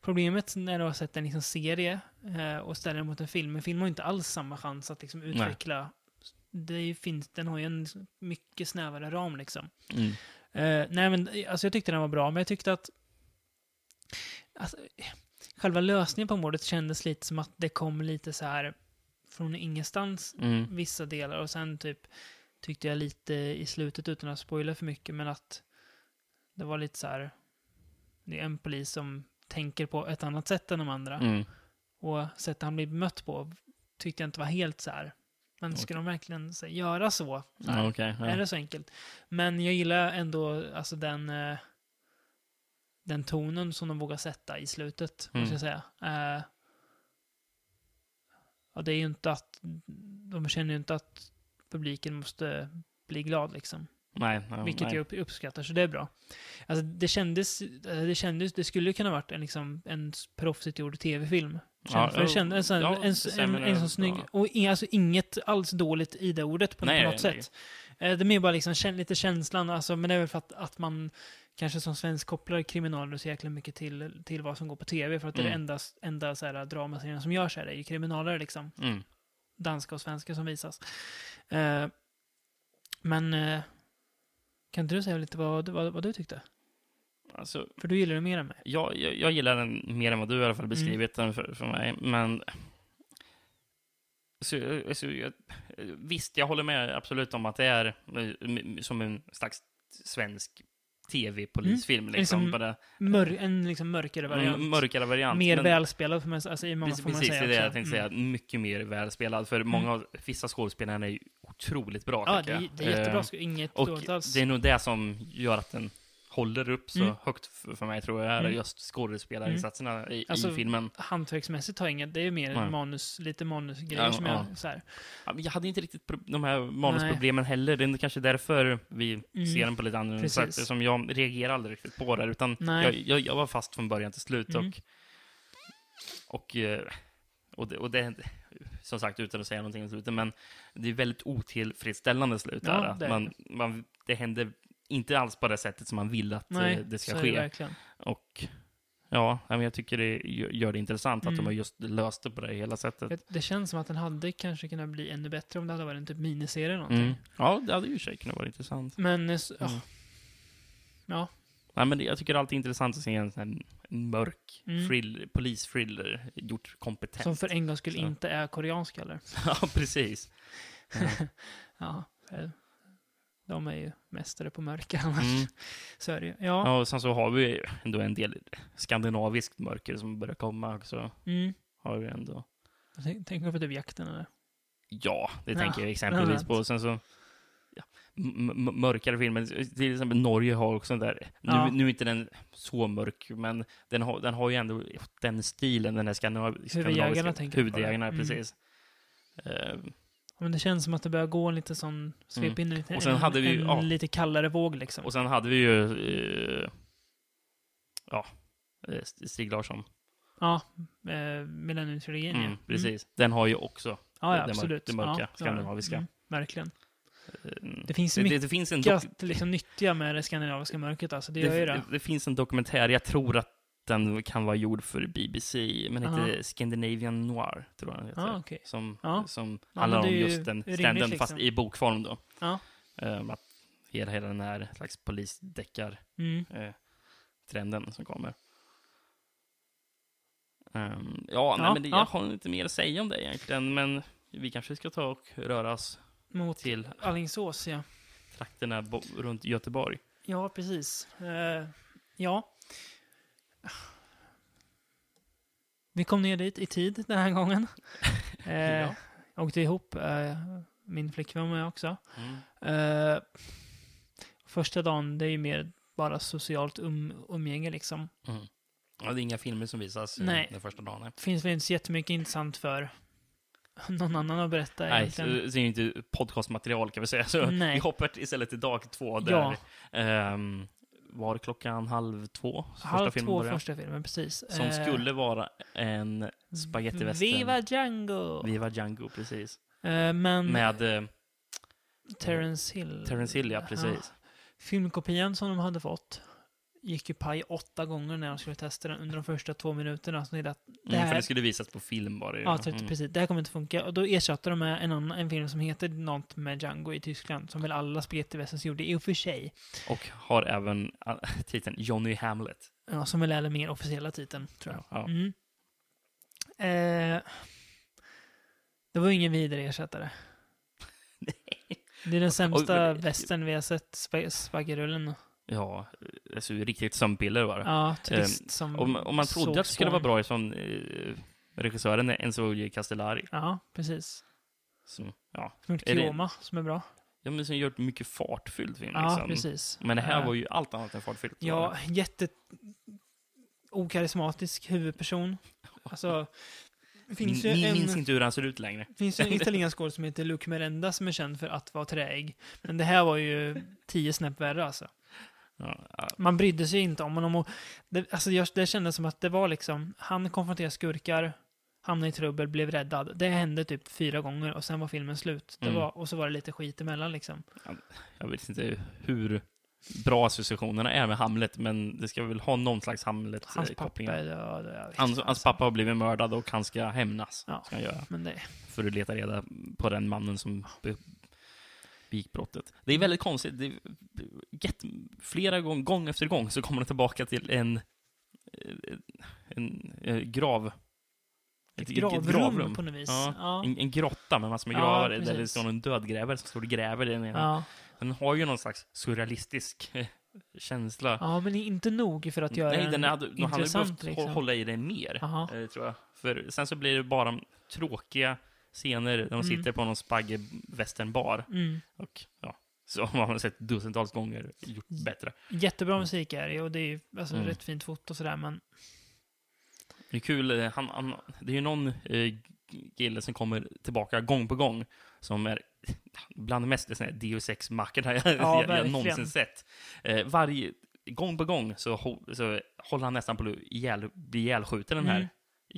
Speaker 4: problemet när du har sett en liksom serie eh, och ställer den mot en film, en film har ju inte alls samma chans att liksom utveckla, det är ju, finns, den har ju en s- mycket snävare ram liksom.
Speaker 5: mm.
Speaker 4: Eh, nej men eh, alltså jag tyckte den var bra, men jag tyckte att alltså, eh, själva lösningen på mordet kändes lite som att det kom lite så här från ingenstans
Speaker 5: Mm.
Speaker 4: vissa delar och sen typ tyckte jag lite i slutet utan att spoila för mycket men att det var lite så här det är en polis som tänker på ett annat sätt än de andra
Speaker 5: Mm.
Speaker 4: och sättet han blir mött på tyckte jag inte var helt så här men ska de verkligen så, här, göra så? så här,
Speaker 5: Ja, okej.
Speaker 4: Är
Speaker 5: ja.
Speaker 4: det så enkelt? Men jag gillar ändå alltså den eh, den tonen som de vågar sätta i slutet,
Speaker 5: Mm.
Speaker 4: måste jag säga. Eh, ja, det är ju inte att de känner ju inte att publiken måste bli glad liksom.
Speaker 5: Nej, ja,
Speaker 4: vilket
Speaker 5: nej.
Speaker 4: jag upp, uppskattar, så det är bra. Alltså det kändes, eh, det kändes, det skulle ju kunna varit en liksom en s- proffsigt gjord tv-film. Kände,
Speaker 5: Ja,
Speaker 4: för det kändes en,
Speaker 5: ja,
Speaker 4: en, en, en,
Speaker 5: sämre,
Speaker 4: sån snygg,
Speaker 5: ja.
Speaker 4: och in, alltså inget alls dåligt i det ordet på,
Speaker 5: Nej,
Speaker 4: på något
Speaker 5: nej.
Speaker 4: sätt. Eh, Det är mer bara liksom kän- lite känslan, alltså, men det är väl för att, att man kanske som svensk kopplar kriminaler så jäkla mycket till, till vad som går på tv, för att det är
Speaker 5: Mm.
Speaker 4: den enda, enda så här, dramaserien som görs här, det är ju kriminaler liksom.
Speaker 5: Mm.
Speaker 4: Danska och svenska som visas. Eh, Men eh, kan inte du säga lite vad, du- vad, vad du tyckte?
Speaker 5: Alltså,
Speaker 4: För du gillar det mer än mig.
Speaker 5: jag, jag, jag gillar den mer än vad du i alla fall beskrivit
Speaker 4: Mm.
Speaker 5: den för, för mig, men... Så, alltså, jag, visst, jag håller med absolut om att det är eh, som en slags svensk tv-polisfilm, liksom.
Speaker 4: Liksom-
Speaker 5: bara,
Speaker 4: Mör, en liksom mörkare variant.
Speaker 5: en Mm, mörkare variant.
Speaker 4: mer
Speaker 5: men-
Speaker 4: välspelad, får man, alltså, i många
Speaker 5: Precis,
Speaker 4: får man
Speaker 5: precis, det
Speaker 4: säga
Speaker 5: är det jag
Speaker 4: också. Mm.
Speaker 5: tänkte säga. Mycket mer välspelad, för många av, vissa skådespelarna är ju otroligt bra,
Speaker 4: Ja, det
Speaker 5: tycker
Speaker 4: är,
Speaker 5: jag.
Speaker 4: det är jättebra.
Speaker 5: Eh,
Speaker 4: sk- Inget
Speaker 5: Och
Speaker 4: dåligt alls.
Speaker 5: det är nog det som gör att den håller upp så
Speaker 4: Mm.
Speaker 5: högt för, för mig, tror jag, är
Speaker 4: Mm.
Speaker 5: just skådespelarinsatserna i, i
Speaker 4: Alltså,
Speaker 5: filmen.
Speaker 4: hantverksmässigt har jag inget. Det är mer
Speaker 5: Nej.
Speaker 4: manus, lite manusgrejer
Speaker 5: Ja,
Speaker 4: som
Speaker 5: ja.
Speaker 4: jag... Så här.
Speaker 5: Ja, men Jag hade inte riktigt pro- de här manusproblemen heller. Det är kanske därför vi
Speaker 4: Mm.
Speaker 5: ser den på lite annorlunda sätt.
Speaker 4: Precis.
Speaker 5: Som jag reagerar aldrig riktigt på det, utan
Speaker 4: Nej.
Speaker 5: jag, jag, jag var fast från början till slut.
Speaker 4: Mm.
Speaker 5: Och, och, eh, och, det, och det, som sagt, utan att säga någonting om slutet, men det är väldigt otillfredsställande slut.
Speaker 4: Ja,
Speaker 5: där, att
Speaker 4: det är
Speaker 5: man, man, det händer inte alls på det sättet som man vill att eh,
Speaker 4: Nej,
Speaker 5: det ska
Speaker 4: så är
Speaker 5: ske.
Speaker 4: Det verkligen.
Speaker 5: Och Ja, men jag tycker det gör det intressant att
Speaker 4: Mm.
Speaker 5: de har just löst det på det hela sättet.
Speaker 4: Det, det känns som att den hade kanske kunnat bli ännu bättre om det hade varit en typ miniserie eller någonting.
Speaker 5: Mm. Ja, det hade ju i och för sig kunnat vara intressant.
Speaker 4: Men, eh, så,
Speaker 5: Mm.
Speaker 4: ja. ja.
Speaker 5: Nej, men det- jag tycker det är alltid intressant att se en sån här mörk
Speaker 4: Mm.
Speaker 5: thriller, polisthriller gjort kompetent.
Speaker 4: Som för en gång skulle
Speaker 5: Så.
Speaker 4: inte är koreansk heller.
Speaker 5: [laughs] ja, precis.
Speaker 4: Ja, eh, de är ju mästare på mörker annars.
Speaker 5: Mm.
Speaker 4: [laughs] Så är det ju. Ja.
Speaker 5: Ja, och sen så har vi ju ändå en del skandinaviskt mörker som börjar komma också.
Speaker 4: Mm.
Speaker 5: Har vi ändå.
Speaker 4: Tänk- Tänker på typ jakten eller?
Speaker 5: Ja, det
Speaker 4: Ja,
Speaker 5: tänker jag
Speaker 4: bland
Speaker 5: exempelvis
Speaker 4: annat.
Speaker 5: på. Sen så, ja, m- m- mörkare filmer, till exempel Norge har också den där, nu,
Speaker 4: Ja.
Speaker 5: nu är inte den så mörk, men den har, den har ju ändå den stilen, den där skandinaviska.
Speaker 4: Huvudjägarna
Speaker 5: skandinaviska-
Speaker 4: tänker du på,
Speaker 5: Huvudjägarna,
Speaker 4: eller? Mm.
Speaker 5: precis. Eh,
Speaker 4: Ja, Men det känns som att det börjar gå en lite sån, svepa in lite,
Speaker 5: Mm. Och sen hade
Speaker 4: en,
Speaker 5: vi ju-
Speaker 4: en
Speaker 5: ja.
Speaker 4: lite kallare våg liksom.
Speaker 5: och sen hade vi ju, eh, ja, eh, Stig Larsson.
Speaker 4: ja, eh, Millennium-trilogin ja.
Speaker 5: Mm,
Speaker 4: Mm.
Speaker 5: precis. Den har ju också
Speaker 4: Ja,
Speaker 5: det
Speaker 4: ja,
Speaker 5: mör-
Speaker 4: absolut.
Speaker 5: det mörka
Speaker 4: ja, så är
Speaker 5: skandinaviska.
Speaker 4: Mm, verkligen.
Speaker 5: eh,
Speaker 4: Det finns ju
Speaker 5: det, det,
Speaker 4: mycket
Speaker 5: det finns en dock-
Speaker 4: att liksom, nyttja med det skandinaviska mörkret alltså. Det gör ju
Speaker 5: det,
Speaker 4: det.
Speaker 5: det, finns en dokumentär, jag tror att den kan vara gjord för BBC, men
Speaker 4: Ja.
Speaker 5: heter Scandinavian Noir, tror jag den heter.
Speaker 4: Ja, okej.
Speaker 5: Som,
Speaker 4: Ja.
Speaker 5: som
Speaker 4: men
Speaker 5: handlar
Speaker 4: det
Speaker 5: om
Speaker 4: är ju
Speaker 5: just den
Speaker 4: rimligt,
Speaker 5: ständen,
Speaker 4: liksom.
Speaker 5: fast i bokform då.
Speaker 4: Ja.
Speaker 5: Ehm, att hela, hela den här slags polisdeckar
Speaker 4: Mm.
Speaker 5: eh, trenden som kommer. Ehm, ja, nej,
Speaker 4: Ja,
Speaker 5: men det,
Speaker 4: ja.
Speaker 5: jag har inte mer att säga om det egentligen, men vi kanske ska ta och röra oss
Speaker 4: Mot
Speaker 5: till
Speaker 4: Alingsås, ja.
Speaker 5: trakterna bo- runt Göteborg.
Speaker 4: Ja, precis. Eh, ja. Vi kom ner dit i tid den här gången. Uh,
Speaker 5: [laughs] Ja.
Speaker 4: Åkte ihop, eh, min flickvän med också.
Speaker 5: Mm.
Speaker 4: Eh, första dagen, det är ju mer bara socialt um, umgänge liksom.
Speaker 5: Mm. Ja, det är inga filmer som visas eh,
Speaker 4: Nej.
Speaker 5: den första dagen. Nej,
Speaker 4: Finns väl inte så jättemycket intressant för någon annan att berätta
Speaker 5: nej så, så
Speaker 4: egentligen.
Speaker 5: är det inte podcastmaterial kan vi säga. [laughs] Så
Speaker 4: Nej.
Speaker 5: vi hoppar istället till dag två
Speaker 4: Ja.
Speaker 5: där ehm, var klockan halv två? så
Speaker 4: Halv
Speaker 5: filmen
Speaker 4: två
Speaker 5: börjar.
Speaker 4: första filmen, precis.
Speaker 5: Som
Speaker 4: Eh,
Speaker 5: skulle vara en spagettivästern.
Speaker 4: Viva Django!
Speaker 5: Viva Django, precis.
Speaker 4: Eh, men
Speaker 5: Med eh,
Speaker 4: Terence Hill.
Speaker 5: Terence Hill, ja, precis.
Speaker 4: Filmkopian som de hade fått gick ju paj åtta gånger när de skulle testa den under de första två minuterna. Så de tänkte att det
Speaker 5: Mm, för
Speaker 4: här,
Speaker 5: det skulle visas på film var det ju.
Speaker 4: ja, typ,
Speaker 5: Mm.
Speaker 4: precis, det här kommer inte funka. Och då ersatte de med en, annan, en film som heter något med Django i Tyskland, som väl alla spagettivästens gjorde i och för sig.
Speaker 5: Och har även äh, [laughs] titeln Johnny Hamlet.
Speaker 4: Ja, som väl är den mer officiella titeln, tror jag.
Speaker 5: Ja.
Speaker 4: Mm. Eh, det var ingen vidare
Speaker 5: [laughs]
Speaker 4: ersättare. Det är den sämsta
Speaker 5: Oj, men-
Speaker 4: västern vi har sett, spa- Spaggerullen.
Speaker 5: ja, alltså riktigt sömnpiller var det.
Speaker 4: Ja, turist som
Speaker 5: Ehm, Om, om man
Speaker 4: såg
Speaker 5: trodde att det skulle vara
Speaker 4: spåren.
Speaker 5: bra ifrån eh, regissören Enzo Castellari,
Speaker 4: Ja, precis.
Speaker 5: som, ja,
Speaker 4: Som gjort
Speaker 5: Är det-
Speaker 4: Kioma, som är bra.
Speaker 5: ja, men som gjort mycket fartfylld film.
Speaker 4: Ja,
Speaker 5: liksom.
Speaker 4: precis.
Speaker 5: Men det här
Speaker 4: Eh,
Speaker 5: var ju allt annat än fartfyllt.
Speaker 4: Ja, jätte... Okarismatisk huvudperson. Alltså, det finns ju
Speaker 5: ni
Speaker 4: en...
Speaker 5: minns inte hur han ser ut längre.
Speaker 4: Det finns ju
Speaker 5: [laughs]
Speaker 4: en italiensk skådespelare som heter Luke Merenda som är känd för att vara träig. Men det här var ju tio snäpp värre alltså.
Speaker 5: Ja, ja.
Speaker 4: Man brydde sig inte om honom och det, alltså jag, det kändes som att det var liksom, han konfronterade skurkar, hamnade i trubbel, blev räddad. Det hände typ fyra gånger och sen var filmen slut. Det
Speaker 5: Mm.
Speaker 4: var, och så var det lite skit emellan liksom.
Speaker 5: Jag vet inte hur bra associationerna är med Hamlet, men det ska väl ha någon slags
Speaker 4: Hans pappa
Speaker 5: Hamlet-koppling.
Speaker 4: är död. jag vet
Speaker 5: Hans,
Speaker 4: inte, alltså.
Speaker 5: hans pappa har blivit mördad och han ska hämnas.
Speaker 4: Ja.
Speaker 5: Ska han göra,
Speaker 4: Men det,
Speaker 5: för att leta reda på den mannen som be- begick brottet. Det är väldigt konstigt. Det är jätte, flera gång, gång efter gång så kommer det tillbaka till en, eh, en, en grav.
Speaker 4: ett, gravrum, på något vis.
Speaker 5: Ja.
Speaker 4: Ja.
Speaker 5: En, en grotta med massor med
Speaker 4: Ja,
Speaker 5: gravar där det
Speaker 4: precis.
Speaker 5: står en dödgrävare som står och gräver i den ena.
Speaker 4: Ja.
Speaker 5: Den har ju någon slags surrealistisk eh, känsla.
Speaker 4: ja, men inte nog för att göra
Speaker 5: Nej, den hade, de hade
Speaker 4: intressant.
Speaker 5: behövt hå-
Speaker 4: liksom.
Speaker 5: hålla i den mer,
Speaker 4: Aha.
Speaker 5: eh, tror jag. För sen så blir det bara tråkiga scener där de sitter på någon spagge-västernbar.
Speaker 4: Mm.
Speaker 5: Och ja, så har man sett dussintals gånger gjort bättre.
Speaker 4: Jättebra musik är det och det är ju alltså,
Speaker 5: Mm.
Speaker 4: rätt fint foto och sådär men
Speaker 5: Det är kul, eh, han, han, det är ju någon eh, kille som kommer tillbaka gång på gång som är bland de mest såna här Deus Ex-mackorna jag, jag, jag
Speaker 4: verkligen.
Speaker 5: någonsin sett. Eh, varje, gång på gång så, ho, så håller han nästan på att ihjäl, bli ihjälskjuten, den här
Speaker 4: Mm.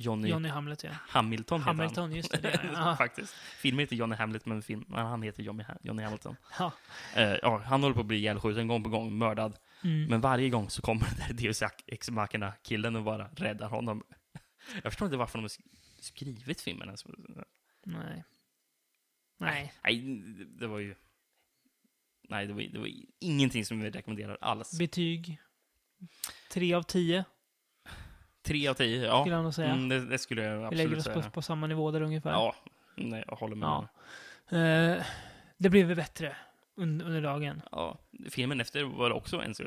Speaker 5: Johnny,
Speaker 4: Johnny Hamlet ja.
Speaker 5: Hamilton. heter han.
Speaker 4: Hamilton, just det.
Speaker 5: [laughs]
Speaker 4: det är han. ja.
Speaker 5: Faktiskt. Filmen heter Johnny Hamlet, men film, men han heter Johnny, Ha- Johnny Hamilton.
Speaker 4: Ja.
Speaker 5: Eh, ja, han håller på att bli ihjälskjuten gång på gång, mördad.
Speaker 4: Mm.
Speaker 5: Men varje gång så kommer den där Deus Ex Machina killen och bara räddar honom. Jag förstår inte varför de har sk- skrivit filmen ens.
Speaker 4: Nej. Nej.
Speaker 5: Nej, det var ju... Nej, det var, det var ingenting som vi rekommenderar alls.
Speaker 4: Betyg? Tre av tio.
Speaker 5: Tre av tio, ja.
Speaker 4: Skulle jag nog säga.
Speaker 5: Mm, det, det skulle jag
Speaker 4: Vi lägger
Speaker 5: absolut
Speaker 4: oss
Speaker 5: säga.
Speaker 4: på, på samma nivå där ungefär.
Speaker 5: Ja, nej, jag håller med.
Speaker 4: Ja.
Speaker 5: Ja.
Speaker 4: Eh, det blev ju bättre under, under dagen.
Speaker 5: Filmen efter var det också Enzo,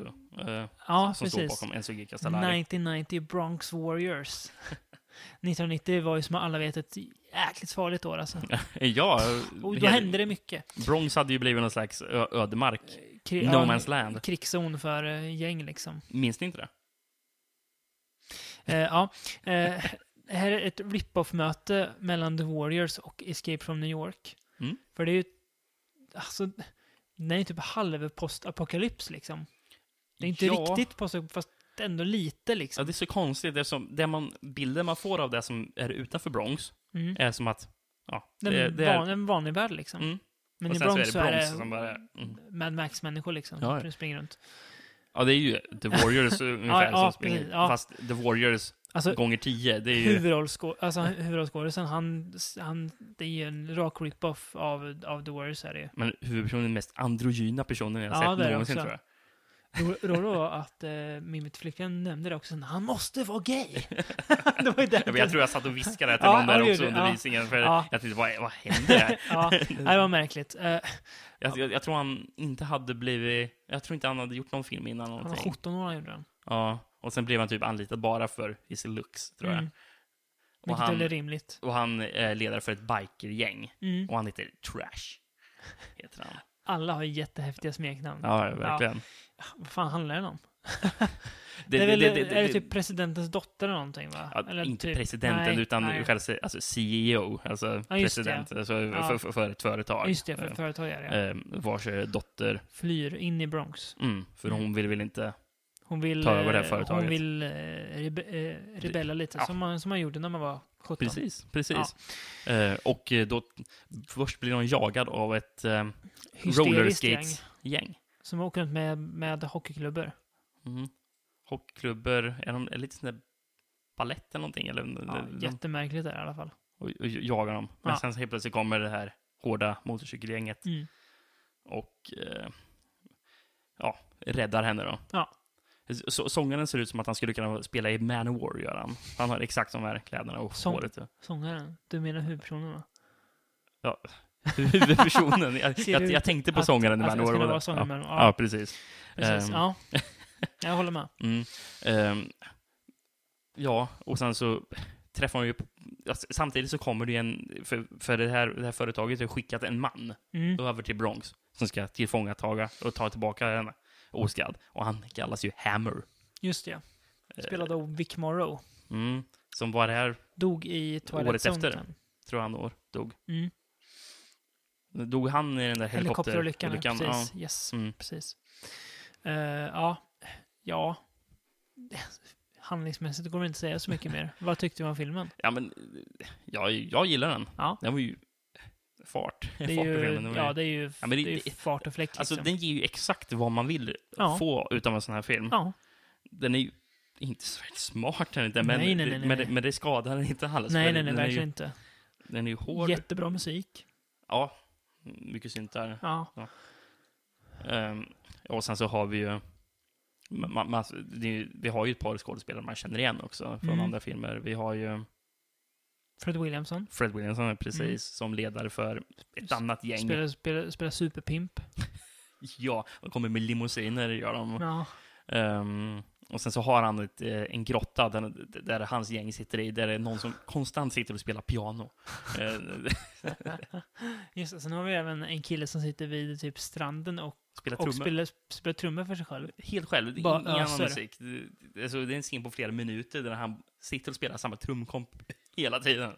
Speaker 5: eh,
Speaker 4: Ja,
Speaker 5: som stod
Speaker 4: precis.
Speaker 5: bakom Enzo G. Castellari.
Speaker 4: 1990 Bronx
Speaker 5: [laughs]
Speaker 4: Warriors. 1990 var ju som alla vet ett jäkligt farligt år alltså.
Speaker 5: ja,
Speaker 4: Och då
Speaker 5: hel-
Speaker 4: hände det mycket.
Speaker 5: Bronx hade ju blivit någon slags ö- ödemark.
Speaker 4: Kri-
Speaker 5: No
Speaker 4: ja,
Speaker 5: man's land.
Speaker 4: Krigszon för eh, gäng liksom.
Speaker 5: Minns ni inte det?
Speaker 4: Eh, ja. Eh, här är ett rip-off-möte mellan The Warriors och Escape from New York.
Speaker 5: Mm.
Speaker 4: För det är ju... Alltså, den är ju typ halv postapokalyps liksom. Det är inte
Speaker 5: Ja. Alltså,
Speaker 4: riktigt post fast ändå lite
Speaker 5: Ja,
Speaker 4: liksom.
Speaker 5: det är så konstigt eftersom det man, bilden man får av det som är utanför Bronx
Speaker 4: Mm.
Speaker 5: är som att, ja,
Speaker 4: Den
Speaker 5: eh, det, det är...
Speaker 4: van, en vanlig värld liksom.
Speaker 5: Mm.
Speaker 4: Men
Speaker 5: och
Speaker 4: i
Speaker 5: sen
Speaker 4: Bronx
Speaker 5: så är det Bronx
Speaker 4: så är
Speaker 5: som
Speaker 4: det
Speaker 5: bara... Mm.
Speaker 4: Mad Max-människor liksom.
Speaker 5: Ja,
Speaker 4: som
Speaker 5: ja.
Speaker 4: som springer runt.
Speaker 5: Ja, det är ju
Speaker 4: [laughs]
Speaker 5: The Warriors ungefär
Speaker 4: Ja, ja,
Speaker 5: som springer.
Speaker 4: precis, ja.
Speaker 5: Fast The Warriors
Speaker 4: Alltså,
Speaker 5: gånger tio, det är ju...
Speaker 4: huvudrollskå- alltså, hu- huvudrollskådisen, han, han, det är ju en rak rip-off av, av The Warriors är det ju.
Speaker 5: Men huvudpersonen är den mest androgyna personen jag har
Speaker 4: Ja, det är
Speaker 5: sett
Speaker 4: det
Speaker 5: någonsin
Speaker 4: också.
Speaker 5: tror jag.
Speaker 4: Roligt då, då att eh, min flickvän nämnde det också, sen, han måste vara gay!
Speaker 5: [laughs]
Speaker 4: det var ju det.
Speaker 5: Ja, men Jag tror jag satt och
Speaker 4: [laughs]
Speaker 5: viskade till
Speaker 4: Ja,
Speaker 5: någon
Speaker 4: ja, det
Speaker 5: där också
Speaker 4: gjorde du,
Speaker 5: under
Speaker 4: ja.
Speaker 5: visningen, för
Speaker 4: Ja.
Speaker 5: jag tänkte, vad, vad
Speaker 4: [laughs]
Speaker 5: händer här? [laughs]
Speaker 4: ja, det var märkligt. Eh,
Speaker 5: jag, jag, jag tror han inte hade blivit... Jag tror inte han hade gjort någon film innan
Speaker 4: han var
Speaker 5: någonting.
Speaker 4: 17 år när han gjorde den.
Speaker 5: Ja, och sen blev han typ anlitad bara för his looks, tror jag.
Speaker 4: Mm.
Speaker 5: Och
Speaker 4: Vilket
Speaker 5: han,
Speaker 4: väl är rimligt.
Speaker 5: och han är ledare för ett bikergäng.
Speaker 4: Mm.
Speaker 5: Och han heter Trash.
Speaker 4: [laughs]
Speaker 5: Heter han.
Speaker 4: Alla har ju jättehäftiga smeknamn.
Speaker 5: Ja, verkligen.
Speaker 4: Vad fan handlar den om?
Speaker 5: Det,
Speaker 4: Det, är väl,
Speaker 5: det- det-
Speaker 4: är det
Speaker 5: det-
Speaker 4: typ presidentens dotter eller någonting va?
Speaker 5: ja,
Speaker 4: eller
Speaker 5: inte
Speaker 4: typ-
Speaker 5: presidenten,
Speaker 4: nej,
Speaker 5: utan
Speaker 4: nej.
Speaker 5: själva se- alltså CEO, alltså
Speaker 4: Ja, just
Speaker 5: president, alltså
Speaker 4: Ja.
Speaker 5: för, för, för ett företag.
Speaker 4: Just det,
Speaker 5: Eh,
Speaker 4: för företagare. Ja.
Speaker 5: eh, vars eh, dotter,
Speaker 4: Flyr in i Bronx.
Speaker 5: mm, för
Speaker 4: Mm.
Speaker 5: hon vill väl inte...
Speaker 4: Hon vill,
Speaker 5: Ta över det här
Speaker 4: eh,
Speaker 5: företaget.
Speaker 4: Hon vill eh, rebe eh, rebella lite,
Speaker 5: Ja.
Speaker 4: som, man, som man gjorde när man var 17.
Speaker 5: Precis, precis. Eh, och eh, då först blir hon jagad av ett eh,
Speaker 4: Hysteriskt gäng
Speaker 5: rollerskates-gäng.
Speaker 4: som åker runt med, med hockeyklubbor.
Speaker 5: Mm. Hockeyklubbor, är de är lite sån där balett eller någonting? Eller,
Speaker 4: Ja,
Speaker 5: de,
Speaker 4: jättemärkligt där i alla fall.
Speaker 5: och, och jagar dem. Men
Speaker 4: Ja.
Speaker 5: sen så helt plötsligt kommer det här hårda motorcykelgänget
Speaker 4: Mm.
Speaker 5: och eh, ja, räddar henne då.
Speaker 4: Ja.
Speaker 5: Så, sångaren ser ut som att han skulle kunna spela i Manowar, gör han. Han har exakt de här kläderna och [laughs]
Speaker 4: Sång-
Speaker 5: håret. ja.
Speaker 4: Sångaren, du menar huvudpersonen va?
Speaker 5: Huvudpersonen. Jag,
Speaker 4: Ser
Speaker 5: jag,
Speaker 4: ut
Speaker 5: jag tänkte på
Speaker 4: att-
Speaker 5: sångaren i
Speaker 4: att det
Speaker 5: Manowar.
Speaker 4: Alltså, skulle
Speaker 5: var
Speaker 4: vara sångaren
Speaker 5: det.
Speaker 4: i
Speaker 5: ja.
Speaker 4: Manowar.
Speaker 5: Ja, precis.
Speaker 4: Precis,
Speaker 5: Ehm,
Speaker 4: ja.
Speaker 5: [laughs]
Speaker 4: Jag håller med.
Speaker 5: Mm. Ehm, ja, och sen så träffar hon ju... på- alltså, Samtidigt så kommer det ju en... För, för det, här, det här företaget har skickat en man
Speaker 4: Mm.
Speaker 5: över till Bronx som ska tillfångataga och ta tillbaka henne oskadd. Och han kallas ju Hammer.
Speaker 4: Just det.
Speaker 5: Eh,
Speaker 4: Spelade av Vic Morrow.
Speaker 5: Mm. Som var här,
Speaker 4: Dog i Twilight
Speaker 5: Året
Speaker 4: Zone
Speaker 5: efter.
Speaker 4: sen.
Speaker 5: tror jag han år, dog.
Speaker 4: Mm.
Speaker 5: Dog han i den där
Speaker 4: Helikopterolyckan,
Speaker 5: helikopterolyckan?
Speaker 4: Helikopterolyckan
Speaker 5: ja.
Speaker 4: precis. Yes,
Speaker 5: Mm.
Speaker 4: precis. Eh, ja. ja. Handlingsmässigt går det inte att säga så
Speaker 5: [laughs]
Speaker 4: mycket mer. Vad tyckte du om filmen?
Speaker 5: ja, men ja, jag gillar den.
Speaker 4: Ja.
Speaker 5: Den var ju fart.
Speaker 4: Det är
Speaker 5: fart i
Speaker 4: ju,
Speaker 5: filmen, den var
Speaker 4: ja, det är ju,
Speaker 5: Ja, men
Speaker 4: det,
Speaker 5: det-
Speaker 4: är ju
Speaker 5: det-
Speaker 4: fart och fläkt.
Speaker 5: Alltså,
Speaker 4: liksom.
Speaker 5: den ger ju exakt vad man vill
Speaker 4: Ja.
Speaker 5: få utav en sån här film.
Speaker 4: ja.
Speaker 5: Den är ju inte så väldigt smart, den inte, men,
Speaker 4: Nej, nej, nej,
Speaker 5: det-
Speaker 4: nej,
Speaker 5: men,
Speaker 4: nej.
Speaker 5: det- men det skadar den inte alls.
Speaker 4: Nej,
Speaker 5: för
Speaker 4: nej, nej,
Speaker 5: Alltså, den, är
Speaker 4: verkligen
Speaker 5: ju,
Speaker 4: inte.
Speaker 5: den är ju hård.
Speaker 4: Jättebra musik.
Speaker 5: Ja, mycket syntar.
Speaker 4: Ja.
Speaker 5: Ehm, och sen så har vi ju... Man, man, det är ju vi har ju ett par skådespelare man känner igen också från
Speaker 4: Mm.
Speaker 5: andra filmer. Vi har ju
Speaker 4: Fred Williamson.
Speaker 5: Fred Williamson precis,
Speaker 4: Mm.
Speaker 5: som ledare för ett annat gäng. Mm.
Speaker 4: Spelar, spelar, spelar superpimp.
Speaker 5: Ja, och kommer med limousiner gör de.
Speaker 4: Ja.
Speaker 5: Ehm, och sen så har han ett, eh, en grotta där, där hans gäng sitter i, där det är någon som konstant sitter och
Speaker 4: [laughs]
Speaker 5: spelar piano. Ehm,
Speaker 4: Just det. Sen har vi även en kille som sitter vid typ stranden och,
Speaker 5: spelar trummor.
Speaker 4: och spelar, spelar trummor för sig själv.
Speaker 5: Helt själv, det
Speaker 4: Bara
Speaker 5: är ingen annan
Speaker 4: öser.
Speaker 5: musik. Det- det- Alltså, det är en scen på flera minuter där han sitter och spelar samma trumkomp [laughs] hela tiden.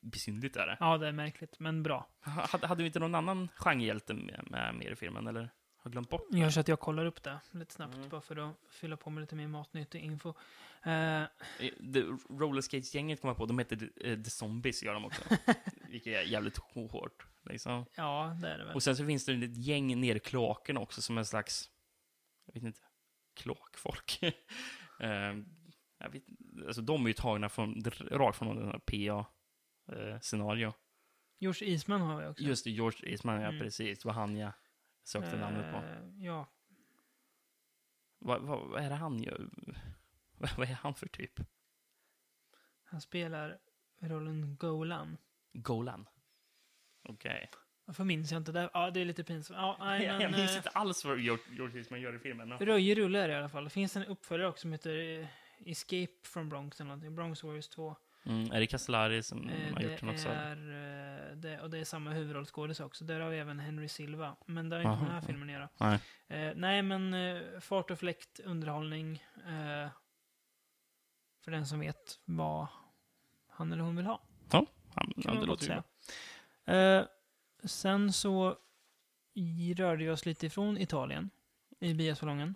Speaker 5: Besynnerligt är det.
Speaker 4: Ja, det är märkligt, men bra.
Speaker 5: Ha- Hade, hade vi inte någon annan genrehjälte med, med, med i filmen, eller? Har jag glömt bort?
Speaker 4: Gör så att jag kollar upp det lite snabbt
Speaker 5: Mm.
Speaker 4: bara för att fylla på med lite mer matnyttig info. Eh,
Speaker 5: Eh, The Rollerskates-gänget kom jag på, de heter eh, The Zombies, gör
Speaker 4: [laughs]
Speaker 5: de också. Vilket är jävligt hårt, liksom.
Speaker 4: ja, det är det väl.
Speaker 5: Och sen så finns det ett gäng nere i kloakerna också som en slags jag vet inte, [laughs] klåkfolk. eh, jag vet, alltså de är ju tagna från, rakt från den här PA-scenario.
Speaker 4: George Eastman har vi också.
Speaker 5: Just det, George Eastman, ja
Speaker 4: Mm.
Speaker 5: precis. Det var han jag sökte namnet på.
Speaker 4: Eh, Ja,
Speaker 5: Vad, vad, vad är det han gör? [laughs] Vad, vad är han för typ?
Speaker 4: han spelar rollen Golan.
Speaker 5: Golan? Okej.
Speaker 4: Varför minns jag inte det? Ja, det är lite pinsamt. Ja, nej,
Speaker 5: [laughs] Jag,
Speaker 4: men,
Speaker 5: jag minns
Speaker 4: eh,
Speaker 5: inte alls vad George George Eastman gör i filmen. Ja.
Speaker 4: Röje rullar i alla fall. Det finns en uppföljare också som heter eh, Escape from Bronx eller någonting. Bronx Warriors 2.
Speaker 5: Mm, är det Castellari som
Speaker 4: Eh,
Speaker 5: Mm, har
Speaker 4: det,
Speaker 5: gjort den också? eller?
Speaker 4: är, eh, det, och det är samma huvudrollskådis också. Där har vi även Henry Silva. Men det har inte
Speaker 5: Aha.
Speaker 4: med den här filmen att göra.
Speaker 5: Nej.
Speaker 4: Eh, nej, men eh, fart och fläkt, underhållning. Eh, för den som vet vad han eller hon vill ha. Kan
Speaker 5: Han, ja, det
Speaker 4: man gott
Speaker 5: låter ju
Speaker 4: säga.
Speaker 5: bra.
Speaker 4: Eh, sen så i- rörde jag oss lite ifrån Italien i biosalongen.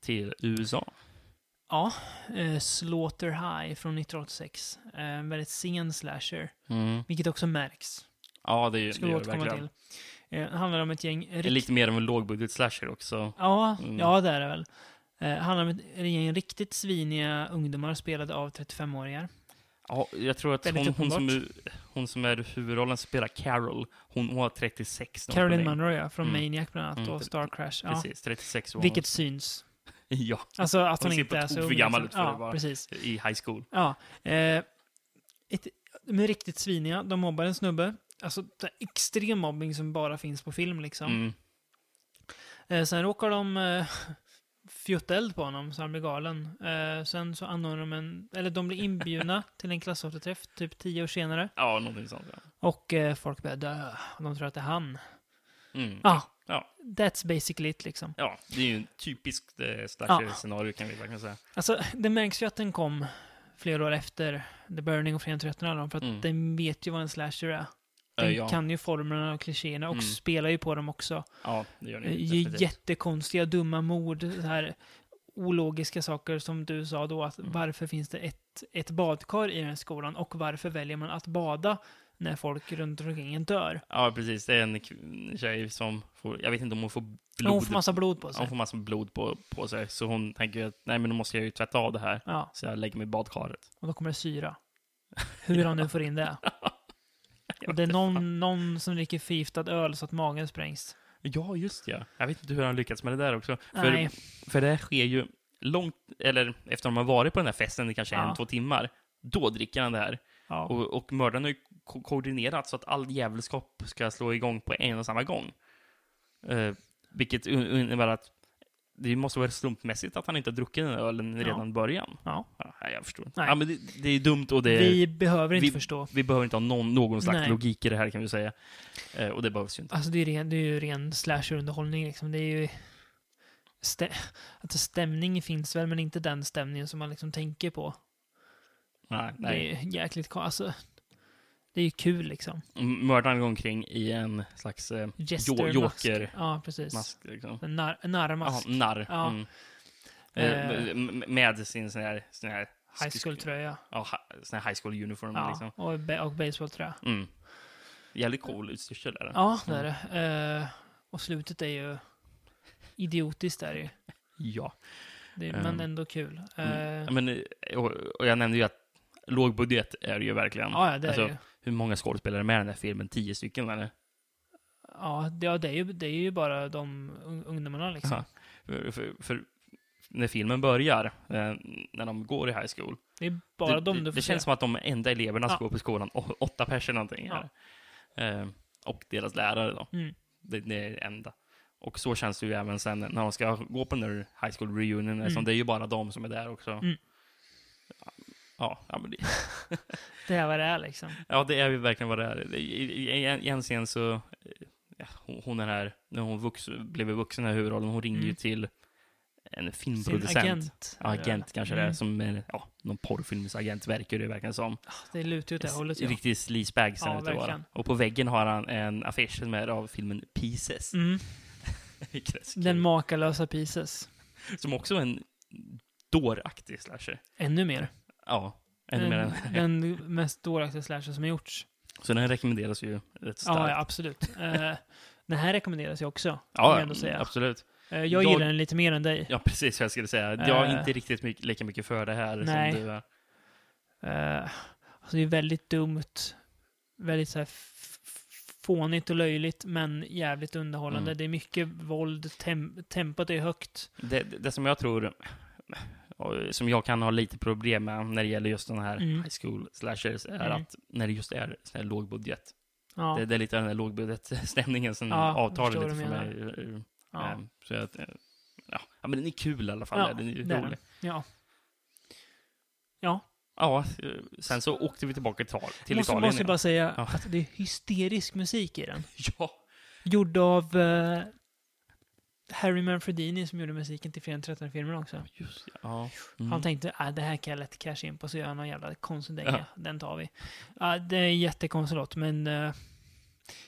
Speaker 5: Till USA.
Speaker 4: Ja, eh, Slaughter High från 1986. Eh, en väldigt sen slasher,
Speaker 5: Mm.
Speaker 4: vilket också märks.
Speaker 5: Ja, det, är ju-
Speaker 4: Ska
Speaker 5: det
Speaker 4: vi
Speaker 5: gör det
Speaker 4: återkomma
Speaker 5: verkligen.
Speaker 4: till. Eh, det handlar om ett gäng...
Speaker 5: Det är
Speaker 4: rikt-
Speaker 5: lite mer av en lågbudget-slasher också.
Speaker 4: Ja,
Speaker 5: Mm.
Speaker 4: ja, det är det väl. Eh, det handlar om ett ett gäng riktigt sviniga ungdomar spelade av 35-åringar.
Speaker 5: Ja, jag tror att
Speaker 4: Väldigt
Speaker 5: hon, hon, som,
Speaker 4: uppenbart.
Speaker 5: hon som är huvudrollen spelar Carol. Hon, hon var 36. när hon
Speaker 4: Caroline
Speaker 5: spelade in.
Speaker 4: Munro, ja, från
Speaker 5: Mm.
Speaker 4: Maniac bland annat,
Speaker 5: Mm,
Speaker 4: och
Speaker 5: pre-
Speaker 4: Star Crash. Ja.
Speaker 5: Precis, 36 var
Speaker 4: Vilket syns.
Speaker 5: hon. [laughs] Ja,
Speaker 4: Alltså att
Speaker 5: Hon
Speaker 4: hon,
Speaker 5: ser på
Speaker 4: inte är
Speaker 5: tok
Speaker 4: så
Speaker 5: för
Speaker 4: ung,
Speaker 5: gammal
Speaker 4: liksom.
Speaker 5: ut för att
Speaker 4: Ja,
Speaker 5: vara-
Speaker 4: precis.
Speaker 5: i high school.
Speaker 4: Ja. Eh, ett, de är riktigt sviniga. De mobbar en snubbe. Alltså det är extrem mobbing som bara finns på film liksom.
Speaker 5: Mm.
Speaker 4: Eh, sen råkar de eh, [laughs] fjutta eld på honom så han blir galen. Eh, sen så anordnar de en, eller de blir inbjudna till en klassåterträff typ tio år senare.
Speaker 5: Ja, någonting sånt. Ja.
Speaker 4: Och eh, folk börjar dö. Och de tror att det är han.
Speaker 5: Mm.
Speaker 4: Ja,
Speaker 5: Ja.
Speaker 4: that's basically it liksom.
Speaker 5: ja, det är ju en typisk eh, slasher-scenario kan vi verkligen säga.
Speaker 4: Alltså, det märks ju att den kom flera år efter The Burning och Förenade alla de, för att
Speaker 5: Mm.
Speaker 4: den vet ju vad en slasher är. Den
Speaker 5: Eh, ja.
Speaker 4: kan ju formerna och klichéerna och
Speaker 5: Mm.
Speaker 4: spelar ju på dem också.
Speaker 5: ja, det gör
Speaker 4: Eh,
Speaker 5: ni.
Speaker 4: ju
Speaker 5: definitivt.
Speaker 4: Jättekonstiga, dumma mord, så här ologiska saker som du sa då, att
Speaker 5: Mm.
Speaker 4: varför finns det ett, ett badkar i den här skolan och varför väljer man att bada när folk runt omkring en dör?
Speaker 5: Ja, precis. Det är en kv- tjej som får, jag vet inte om hon får blod,
Speaker 4: Hon får massa blod på
Speaker 5: Ja,
Speaker 4: sig.
Speaker 5: hon får massa blod på, på sig. Så hon tänker ju att nej, men då måste jag ju tvätta av det här.
Speaker 4: Ja,
Speaker 5: Så jag lägger mig i badkaret.
Speaker 4: och då kommer det syra. Hur han nu får in
Speaker 5: [laughs]
Speaker 4: det. Och det är någon, någon som dricker förgiftad öl så att magen sprängs.
Speaker 5: Ja, just ja. Jag vet inte hur han lyckats med det där också.
Speaker 4: Nej.
Speaker 5: För, för det sker ju långt, eller efter de har varit på den här festen i kanske
Speaker 4: Ja.
Speaker 5: en, två timmar. Då dricker han det här.
Speaker 4: Ja.
Speaker 5: Och, och mördaren har ju ko koordinerat så att all djävulskap ska slå igång på en och samma gång. Eh, vilket un- innebär att det måste vara slumpmässigt att han inte har druckit den ölen
Speaker 4: Ja.
Speaker 5: redan i början.
Speaker 4: ja.
Speaker 5: Ja, nej, jag förstår inte.
Speaker 4: Nej.
Speaker 5: Ja, men det, det är dumt och det
Speaker 4: Vi behöver inte
Speaker 5: vi-
Speaker 4: förstå.
Speaker 5: vi behöver inte ha någon, någon slags
Speaker 4: Nej.
Speaker 5: logik i det här kan vi säga. Eh, och det behövs ju inte.
Speaker 4: Alltså det är, ren, det är ju ren slasher-underhållning liksom. Det är ju... Stä- alltså stämning finns väl, men inte den stämningen som man liksom tänker på.
Speaker 5: Nej,
Speaker 4: Det
Speaker 5: nej.
Speaker 4: är ju jäkligt ko- Alltså, det är ju kul liksom.
Speaker 5: M- Mördaren går omkring i en slags eh, jo-
Speaker 4: Jester-mask.
Speaker 5: jokermask.
Speaker 4: Ja, precis.
Speaker 5: Liksom.
Speaker 4: En nar- en narrmask.
Speaker 5: Jaha, narr.
Speaker 4: Ja.
Speaker 5: Mm.
Speaker 4: Eh.
Speaker 5: Eh, m- med sin sån här, sån här
Speaker 4: High school-tröja.
Speaker 5: Ja, hi- sån här high school uniform
Speaker 4: Ja,
Speaker 5: liksom.
Speaker 4: och, be- och baseballtröja.
Speaker 5: Mm. Jävligt cool utstyrsel är det.
Speaker 4: Ja, det
Speaker 5: Mm.
Speaker 4: är det. Eh, och slutet är ju idiotiskt är det ju.
Speaker 5: Ja.
Speaker 4: Det är,
Speaker 5: Ehm.
Speaker 4: Men ändå kul. Eh,
Speaker 5: Mm. Men, eh, och, och jag nämnde ju att låg budget är det ju verkligen.
Speaker 4: ja, ja, det är
Speaker 5: Alltså,
Speaker 4: det ju.
Speaker 5: Hur många skådespelare är med i den här filmen? Tio stycken eller?
Speaker 4: Ja, det, ja, det, är ju, det är ju bara de un- ungdomarna liksom.
Speaker 5: Ja. För, för, för när filmen börjar, eh, när de går i high school.
Speaker 4: Det är bara
Speaker 5: det,
Speaker 4: de
Speaker 5: det,
Speaker 4: du får
Speaker 5: det känns
Speaker 4: se.
Speaker 5: som att de enda eleverna som
Speaker 4: Ja.
Speaker 5: går på skolan, å- åtta personer någonting.
Speaker 4: Ja.
Speaker 5: Här. Eh, och deras lärare då.
Speaker 4: Mm.
Speaker 5: Det, det är det enda. Och så känns det ju även sen när de ska gå på den där high school reunion,
Speaker 4: Mm.
Speaker 5: som det är ju bara de som är där också.
Speaker 4: Mm.
Speaker 5: Ja, ja, men det,
Speaker 4: Det är vad det är liksom.
Speaker 5: ja, det är ju verkligen vad det är. Det- I, i, i en scen så, eh, ja, hon, hon är här, när hon vux, blev vuxen, den här huvudrollen, hon ringer ju
Speaker 4: Mm.
Speaker 5: till
Speaker 4: Sin
Speaker 5: en filmproducent.
Speaker 4: agent.
Speaker 5: Ja, agent kanske det är,
Speaker 4: Mm.
Speaker 5: som är, ja, någon porrfilmsagent verkar det verkligen som.
Speaker 4: Det lutar ju åt det hållet ja.
Speaker 5: Riktig sleazebag
Speaker 4: Ja,
Speaker 5: ser ut att vara.
Speaker 4: verkligen.
Speaker 5: Och på väggen har han en affisch som är av filmen Pieces.
Speaker 4: Mm.
Speaker 5: [laughs] Vilket är så kul.
Speaker 4: Den makalösa Pieces.
Speaker 5: Som också är en dåraktig slasher.
Speaker 4: Ännu mer.
Speaker 5: Ja, ännu mer än...
Speaker 4: [laughs] den, den mest dåraktiga slasher som har gjorts.
Speaker 5: [laughs] Så den rekommenderas ju rätt starkt.
Speaker 4: Ja, ja, absolut. Eh, den här rekommenderas ju också.
Speaker 5: Ja,
Speaker 4: vill jag ändå säga.
Speaker 5: absolut.
Speaker 4: Eh, Jag
Speaker 5: Jag-
Speaker 4: gillar den lite mer än dig.
Speaker 5: Ja, precis vad jag skulle säga. Jag är
Speaker 4: Eh.
Speaker 5: inte riktigt mycket, lika mycket för det här
Speaker 4: Nej.
Speaker 5: som du är.
Speaker 4: Eh, alltså det är väldigt dumt, väldigt så här f- f- fånigt och löjligt, men jävligt underhållande.
Speaker 5: Mm.
Speaker 4: Det är mycket våld, tem- tempot är högt.
Speaker 5: Det, det som jag tror, och som jag kan ha lite problem med när det gäller just den här
Speaker 4: Mm.
Speaker 5: high school slashers, är
Speaker 4: Mm.
Speaker 5: att när det just är sån här låg budget.
Speaker 4: Ja,
Speaker 5: Det, det är lite den här lågbudgetstämningen som
Speaker 4: Ja, jag
Speaker 5: avtar
Speaker 4: förstår
Speaker 5: lite för
Speaker 4: vad du
Speaker 5: mig.
Speaker 4: ja,
Speaker 5: Ehm, Så att, eh, ja. ja, men den är kul i alla fall.
Speaker 4: Ja,
Speaker 5: den är ju
Speaker 4: det är den.
Speaker 5: rolig.
Speaker 4: ja. Ja,
Speaker 5: Ja, eh, sen så åkte vi tillbaka till, Ital- till
Speaker 4: måste, måste
Speaker 5: Italien.
Speaker 4: jag
Speaker 5: igen.
Speaker 4: bara säga
Speaker 5: Ja.
Speaker 4: att det är hysterisk musik i den.
Speaker 5: Ja,
Speaker 4: Gjord av eh, Harry Manfredini som gjorde musiken till fler än 13 filmer också.
Speaker 5: just det. ja. Mm.
Speaker 4: Han tänkte att det här kan jag lätt casha in på, så gör jag någon jävla konstig dänga.
Speaker 5: Ja.
Speaker 4: Den tar vi. Ja, det är jättekonstigt låt, men eh,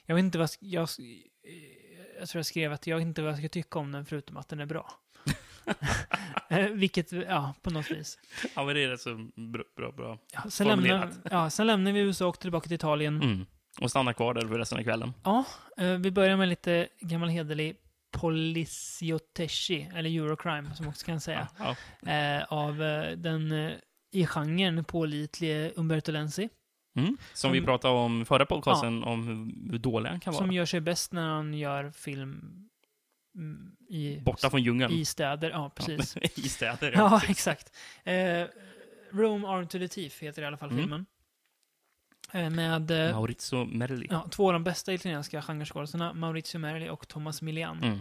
Speaker 4: jag vet inte vad sk- jag... s- eh, Jag tror jag skrev att jag vet inte vad jag ska tycka om den förutom att den är
Speaker 5: [laughs]
Speaker 4: bra. Eh, Vilket, ja, på något vis.
Speaker 5: ja, men det är rätt så bra. bra, bra.
Speaker 4: Ja, sen, lämnar,
Speaker 5: Formulerat.
Speaker 4: ja, sen lämnar vi USA och åker tillbaka till Italien.
Speaker 5: Mm. Och stanna kvar där för resten av kvällen.
Speaker 4: Ja, eh, vi börjar med lite gammal hederlig Poliziotteschi, eller Eurocrime som man också kan säga,
Speaker 5: [laughs] Ja.
Speaker 4: eh, av eh, den eh, i genren pålitlige Umberto Lenzi.
Speaker 5: Mm. Som vi
Speaker 4: Som-
Speaker 5: pratade om förra podcasten, om hur- hur dålig han kan
Speaker 4: Som
Speaker 5: vara.
Speaker 4: gör sig bäst när han gör film mm, i,
Speaker 5: Borta från djungeln.
Speaker 4: i städer. Ja, precis.
Speaker 5: [laughs] I städer.
Speaker 4: Ja, exakt. Eh, Rome Armed to the Thief heter i alla fall
Speaker 5: Mm.
Speaker 4: filmen. Eh, med eh,
Speaker 5: Maurizio Merli.
Speaker 4: ja, två av de bästa italienska genreskådisarna, Maurizio Merli och Thomas Milian.
Speaker 5: Mm.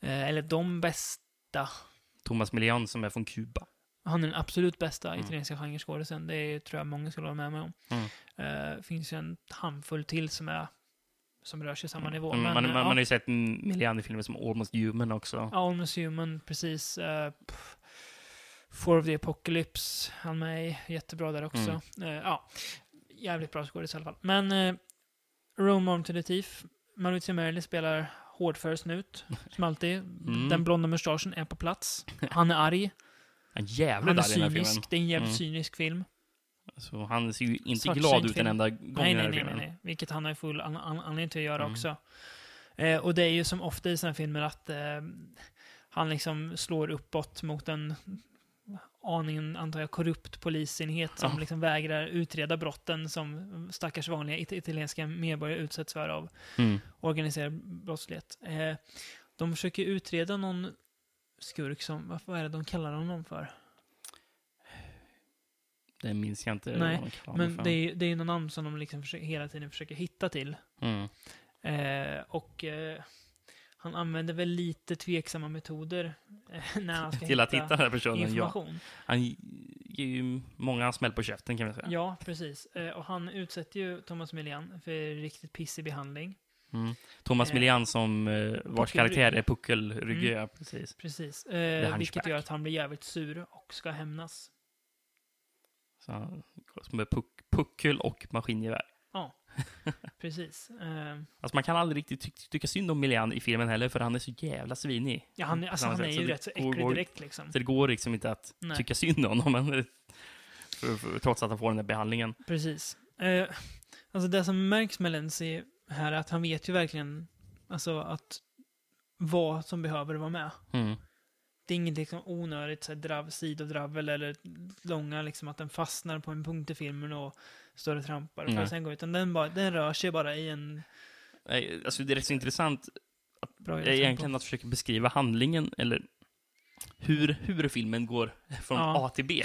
Speaker 4: Eh, eller de bästa.
Speaker 5: Thomas Milian som är från Kuba.
Speaker 4: Han är den absolut bästa
Speaker 5: Mm.
Speaker 4: italienska genreskådisen. Det är, tror jag många skulle hålla med mig om.
Speaker 5: Mm.
Speaker 4: Eh, finns ju en handfull till som är som rör sig i samma nivå.
Speaker 5: Mm, man, man,
Speaker 4: eh,
Speaker 5: man
Speaker 4: ja.
Speaker 5: har ju sett mm, Milian i filmer som Almost Human också.
Speaker 4: Ja, Almost Human, precis. Uh, Four of the Apocalypse, han med i. Jättebra där också.
Speaker 5: Mm.
Speaker 4: Eh, ja, jävligt bra skådis i alla fall. Men eh, Rome Arm to the Thief, Maurizio Merli spelar hårdför snut, som alltid.
Speaker 5: Mm.
Speaker 4: Den blonda mustaschen är på
Speaker 5: [laughs]
Speaker 4: plats. Han är arg,
Speaker 5: Han är jävligt
Speaker 4: han är
Speaker 5: arg i den här filmen.
Speaker 4: cynisk. Det är en jävligt
Speaker 5: Mm.
Speaker 4: cynisk film.
Speaker 5: Så han ser ju inte
Speaker 4: Svartsynt
Speaker 5: glad ut en
Speaker 4: film.
Speaker 5: enda gång i
Speaker 4: Nej,
Speaker 5: den
Speaker 4: nej,
Speaker 5: här
Speaker 4: nej,
Speaker 5: filmen.
Speaker 4: nej, nej. Vilket han har ju full an- an- anledning till att göra
Speaker 5: Mm.
Speaker 4: också. Eh, och det är ju som ofta i sådana filmer att eh, han liksom slår uppåt mot en aningen, antar jag, korrupt polisenhet som
Speaker 5: Ja.
Speaker 4: liksom vägrar utreda brotten som stackars vanliga it- italienska medborgare utsätts för av
Speaker 5: Mm.
Speaker 4: organiserad brottslighet. Eh, de försöker utreda någon skurk som, vad- vad är det de kallar honom för?
Speaker 5: Det minns jag inte.
Speaker 4: Nej,
Speaker 5: vad de kallar honom
Speaker 4: Men
Speaker 5: för.
Speaker 4: det är, det är någon namn som de liksom försöker, hela tiden försöker hitta till.
Speaker 5: Mm.
Speaker 4: Eh, och eh, han använder väl lite tveksamma metoder eh, när han ska
Speaker 5: Till att hitta den här personen, ja.
Speaker 4: information.
Speaker 5: Han ger ju många smäll på käften kan man säga.
Speaker 4: Ja, precis. Eh, och han utsätter ju Thomas Milian för riktigt pissig behandling.
Speaker 5: Mm. Thomas
Speaker 4: Eh,
Speaker 5: Milian som eh, vars karaktär är puckelryggig,
Speaker 4: Mm.
Speaker 5: ja, precis.
Speaker 4: Precis.
Speaker 5: är
Speaker 4: Eh,
Speaker 5: hans
Speaker 4: vilket
Speaker 5: back.
Speaker 4: gör att han blir jävligt sur och ska hämnas.
Speaker 5: Så han som är puck, puckel och maskingevär. [laughs]
Speaker 4: Ja, precis. Eh,
Speaker 5: Alltså man kan aldrig riktigt ty tycka synd om Milian i filmen heller, för han är så jävla svinig.
Speaker 4: ja, han, är- alltså,
Speaker 5: På samma
Speaker 4: han är
Speaker 5: sätt,
Speaker 4: ju
Speaker 5: det
Speaker 4: rätt så
Speaker 5: går-
Speaker 4: äcklig
Speaker 5: går-
Speaker 4: direkt liksom.
Speaker 5: Så det går liksom inte att
Speaker 4: Nej.
Speaker 5: tycka synd om honom, men, för, för, trots att han får den där behandlingen.
Speaker 4: Precis. Eh, alltså det som märks med Lenzi här är att han vet ju verkligen alltså, att vad som behöver vara med.
Speaker 5: Mm.
Speaker 4: Det är inget liksom onödigt så här, drav, sidodravel eller långa, liksom att den fastnar på en punkt i filmen och står och trampar för
Speaker 5: Nej.
Speaker 4: att sen gå ut. Utan den, bara, den rör sig bara i en
Speaker 5: Nej, Alltså det är rätt så intressant
Speaker 4: bra
Speaker 5: eh, egentligen att försöka beskriva handlingen, eller hur, hur filmen går från
Speaker 4: Ja.
Speaker 5: A till B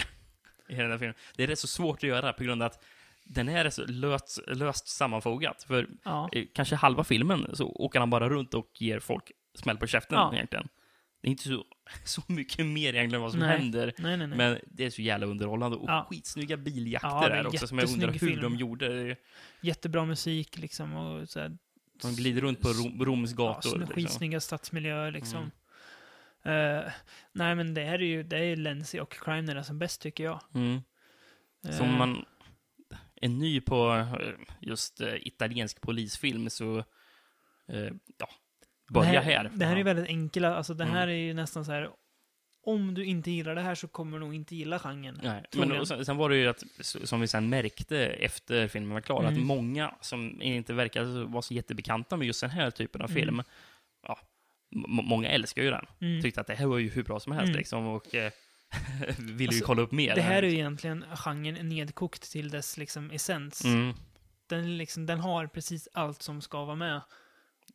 Speaker 5: i den här filmen. Det är rätt så svårt att göra på grund av att den här är så löst, löst sammanfogat. För
Speaker 4: Ja,
Speaker 5: eh, kanske halva filmen så åker han bara runt och ger folk smäll på käften
Speaker 4: Ja.
Speaker 5: egentligen. Det är inte så, [laughs] så mycket mer egentligen vad som
Speaker 4: Nej.
Speaker 5: händer.
Speaker 4: nej, nej, nej.
Speaker 5: Men det är så jävla underhållande och
Speaker 4: Ja.
Speaker 5: skitsnygga biljakter
Speaker 4: Ja, det är
Speaker 5: där också som jag
Speaker 4: jättesnygg
Speaker 5: undrar hur
Speaker 4: film.
Speaker 5: de gjorde. Det är ju-
Speaker 4: Jättebra musik liksom och så här,
Speaker 5: De glider runt på Rom, Roms
Speaker 4: ja,
Speaker 5: gator.
Speaker 4: sn-
Speaker 5: liksom. Mm.
Speaker 4: skitsnygga stadsmiljöer liksom. Eh, nej, men det här är ju, det är ju Lenzi och Crime när det är som bäst tycker jag.
Speaker 5: mm.
Speaker 4: Eh,
Speaker 5: Som man är ny på eh, just eh, italiensk polisfilm så eh, ja, börja
Speaker 4: det
Speaker 5: här.
Speaker 4: här, Det här är väldigt enkla, alltså det här
Speaker 5: Mm.
Speaker 4: är ju nästan så här, om du inte gillar det här så kommer du nog inte gilla genren.
Speaker 5: Nej, men
Speaker 4: troligen.
Speaker 5: och sen, sen var det ju att, s- som vi sen märkte efter filmen var klar,
Speaker 4: Mm.
Speaker 5: att många som inte verkar så- vara så jättebekanta med just den här typen av
Speaker 4: Mm.
Speaker 5: film, ja, m- många älskar ju den.
Speaker 4: Mm.
Speaker 5: Tyckte att det här var ju hur bra som helst
Speaker 4: Mm.
Speaker 5: liksom och eh, [laughs] ville ju
Speaker 4: Alltså,
Speaker 5: kolla upp mer.
Speaker 4: Det här är ju egentligen genren nedkokt till dess liksom essens.
Speaker 5: mm.
Speaker 4: Den, liksom, den har precis allt som ska vara med.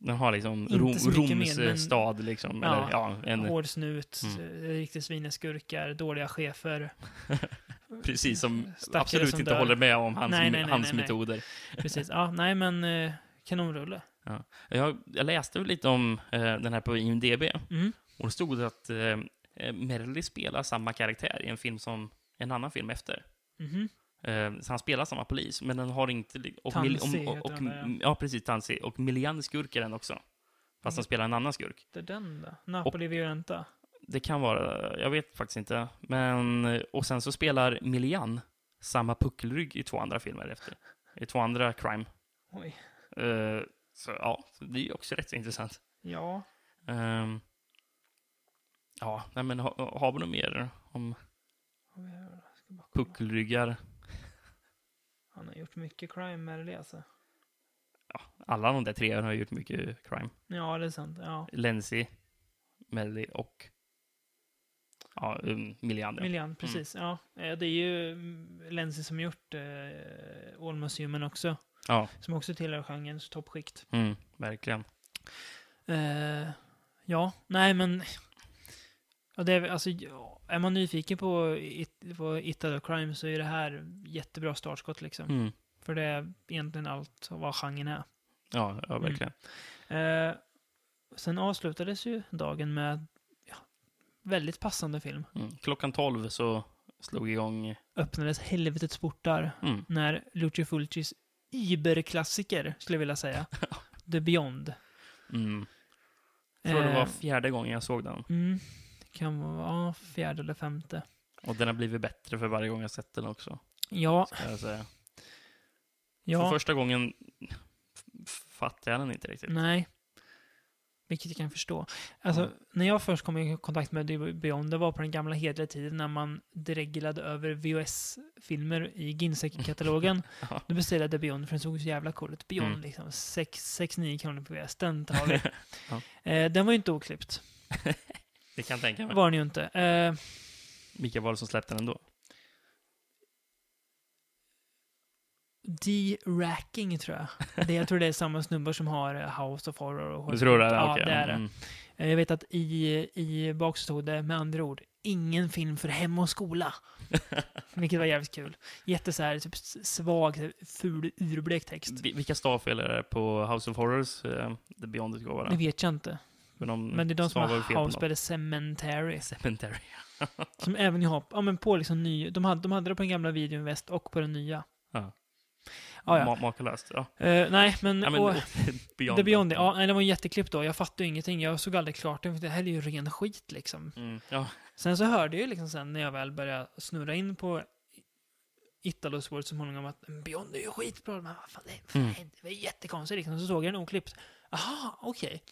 Speaker 5: Den har liksom
Speaker 4: Inte
Speaker 5: Rom,
Speaker 4: så mycket
Speaker 5: Roms
Speaker 4: mer, men-
Speaker 5: eh, stad liksom.
Speaker 4: Ja,
Speaker 5: eller, ja en,
Speaker 4: Hård snut,
Speaker 5: Mm.
Speaker 4: eh, riktigt sviniga skurkar, dåliga chefer.
Speaker 5: precis som
Speaker 4: stackare
Speaker 5: absolut
Speaker 4: som
Speaker 5: inte
Speaker 4: dör.
Speaker 5: håller med om hans,
Speaker 4: Nej, nej, nej,
Speaker 5: hans
Speaker 4: nej, nej.
Speaker 5: metoder.
Speaker 4: Precis. Ja, nej men eh, kanonrulle.
Speaker 5: Ja. Jag, jag läste lite om eh, den här på IMDB
Speaker 4: Mm.
Speaker 5: och då stod det att eh, eh, Merrily spelar samma karaktär i en film som en annan film efter.
Speaker 4: Mhm.
Speaker 5: Eh, så han spelar samma polis, men den har inte... li- Och,
Speaker 4: Tansy
Speaker 5: mil-
Speaker 4: heter
Speaker 5: och, och,
Speaker 4: den där, ja.
Speaker 5: ja. precis. Tansy. Och Milian skurk är den också. Fast
Speaker 4: Mm.
Speaker 5: han spelar en annan skurk.
Speaker 4: Det är den då. Napoli Violenta.
Speaker 5: Det kan vara... Jag vet faktiskt inte. Men... eh, Och sen så spelar Milian samma puckelrygg i två andra filmer efter. I två andra crime.
Speaker 4: Oj.
Speaker 5: Eh, så ja, så det är ju också rätt så intressant.
Speaker 4: Ja.
Speaker 5: Ehm, ja, nej, men ha, har vi något mer om puckelryggar?
Speaker 4: Han har gjort mycket crime med det alltså.
Speaker 5: Alla de där tre har gjort mycket crime.
Speaker 4: Ja, det är sant. Ja.
Speaker 5: Lenzi, Melly och ja, um, Millian. ja.
Speaker 4: Miljan, precis. Ja, eh, det är ju mm, Lenzi som gjort eh, Almost Human också.
Speaker 5: Ja,
Speaker 4: Som också tillhör genrens toppskikt.
Speaker 5: mm, verkligen.
Speaker 4: Eh, ja, nej men... Ja, det är, väl- alltså, ja, är man nyfiken på, it, på Italo Crime så är det här jättebra startskott liksom.
Speaker 5: Mm.
Speaker 4: För det är egentligen allt vad genren är.
Speaker 5: Ja, ja, verkligen.
Speaker 4: Eh, sen avslutades ju dagen med ja, väldigt passande film.
Speaker 5: Mm. Klockan 12 så slog igång...
Speaker 4: Öppnades helvetets portar
Speaker 5: Mm.
Speaker 4: när Lucio Fulcis überklassiker, skulle jag vilja
Speaker 5: [laughs]
Speaker 4: säga, The Beyond.
Speaker 5: Mm. Jag tror det
Speaker 4: Eh,
Speaker 5: var fjärde gången jag såg den.
Speaker 4: mm, det kan vara ja, fjärde eller femte.
Speaker 5: Och den har blivit bättre för varje gång jag sett den också.
Speaker 4: Ja,
Speaker 5: Ska jag säga. För
Speaker 4: ja,
Speaker 5: första gången f- fattade jag den inte riktigt.
Speaker 4: nej. Vilket jag kan förstå. Alltså, när jag först kom i kontakt med The Beyond, det var på den gamla hedliga tiden när man dreglade över VHS-filmer i Ginsek-katalogen.
Speaker 5: [laughs] Ja.
Speaker 4: Då beställde jag The Beyond för den såg så jävla cool ut. Beyond
Speaker 5: Mm.
Speaker 4: liksom, 6-9 kronor på VHS, den tar vi.
Speaker 5: [laughs] Ja.
Speaker 4: eh, den var ju inte oklippt.
Speaker 5: Det kan jag tänka mig.
Speaker 4: var den ju inte. Eh,
Speaker 5: Vilka var det som släppte den då?
Speaker 4: D-Racking tror jag. Det, jag tror det är samma snubbar som har eh, House of Horror och
Speaker 5: Du tror det?
Speaker 4: Ja,
Speaker 5: Okej,
Speaker 4: det är det.
Speaker 5: mm.
Speaker 4: Eh, Jag vet att i, i bak så stod det med andra ord, ingen film för hem och
Speaker 5: [laughs]
Speaker 4: skola. Vilket var jävligt kul. Jätte så här, typ s- svag, så här, ful, urblek text.
Speaker 5: Vi- Vilka stavfel är det på House of Horrors, eh, The Beyond-utgåva? då?
Speaker 4: Det vet jag inte.
Speaker 5: För de
Speaker 4: Men det är de som
Speaker 5: stavar ju fel på
Speaker 4: har
Speaker 5: något.
Speaker 4: House by the Cemetery.
Speaker 5: Cemetery.
Speaker 4: Som även har, ja men på liksom ny, de hade, de hade det på den gamla videon väst och på den nya.
Speaker 5: Ja.
Speaker 4: Ja, ja.
Speaker 5: Ma- makalöst. Ja.
Speaker 4: Eh, nej, men...
Speaker 5: Ja, men, [laughs]
Speaker 4: och,
Speaker 5: Beyond.
Speaker 4: The Beyond, ja, nej, den var en jätteklipp då. Jag fattade ju ingenting. Jag såg aldrig klart den, för det här är ju ren skit liksom.
Speaker 5: Mm, ja.
Speaker 4: Sen så hörde jag ju liksom sen när jag väl började snurra in på Italos World så småningom att Beyond är ju skitbra. Men vad fan, det, vad fan
Speaker 5: Mm.
Speaker 4: hände? det var jättekonstigt liksom. Så såg jag den oklippt. Aha, okej.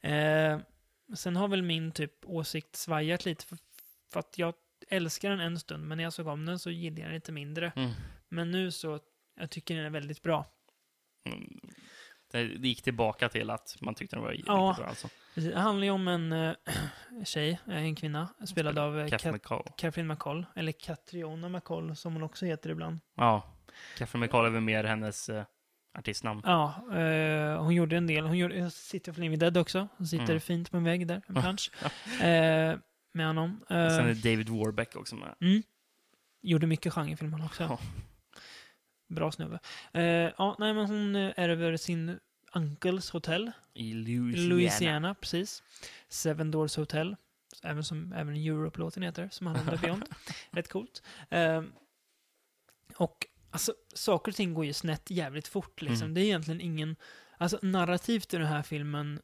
Speaker 4: Eh, sen har väl min typ åsikt svajat lite för, för att jag älskar den en stund, men när jag såg om den så gillade jag den lite mindre.
Speaker 5: Mm.
Speaker 4: Men nu så, jag tycker den är väldigt bra.
Speaker 5: Mm. Det det gick tillbaka till att man tyckte den var riktigt
Speaker 4: Ja.
Speaker 5: bra. Alltså.
Speaker 4: Precis, Det handlar ju om en äh, [clears throat] tjej, eh, en kvinna, spelad av eh,
Speaker 5: Catherine
Speaker 4: Kat-
Speaker 5: McCall.
Speaker 4: Catherine McCall, eller Catriona McCall som hon också heter ibland.
Speaker 5: Ja. Catherine McCall är väl mer hennes eh, artistnamn.
Speaker 4: Ja, eh, hon gjorde en del. Hon gjorde, jag sitter för Living Dead också. Hon sitter
Speaker 5: Mm.
Speaker 4: fint på en vägg där, en plansch. eh, med honom.
Speaker 5: Och Sen
Speaker 4: Eh,
Speaker 5: är David Warbeck också med.
Speaker 4: mm, gjorde mycket genrefilmer också.
Speaker 5: Ja.
Speaker 4: Bra snubbe. Eh, ja, nej men hon eh, ärver sin uncles hotell.
Speaker 5: I Louisiana.
Speaker 4: Louisiana, precis. Seven Doors Hotel, även som även Europe-låten heter, som handlar om The
Speaker 5: [laughs]
Speaker 4: Beyond. Rätt coolt. Ehm, och alltså, saker och ting går ju snett jävligt fort liksom.
Speaker 5: Mm.
Speaker 4: Det är egentligen ingen, alltså narrativt i den här filmen,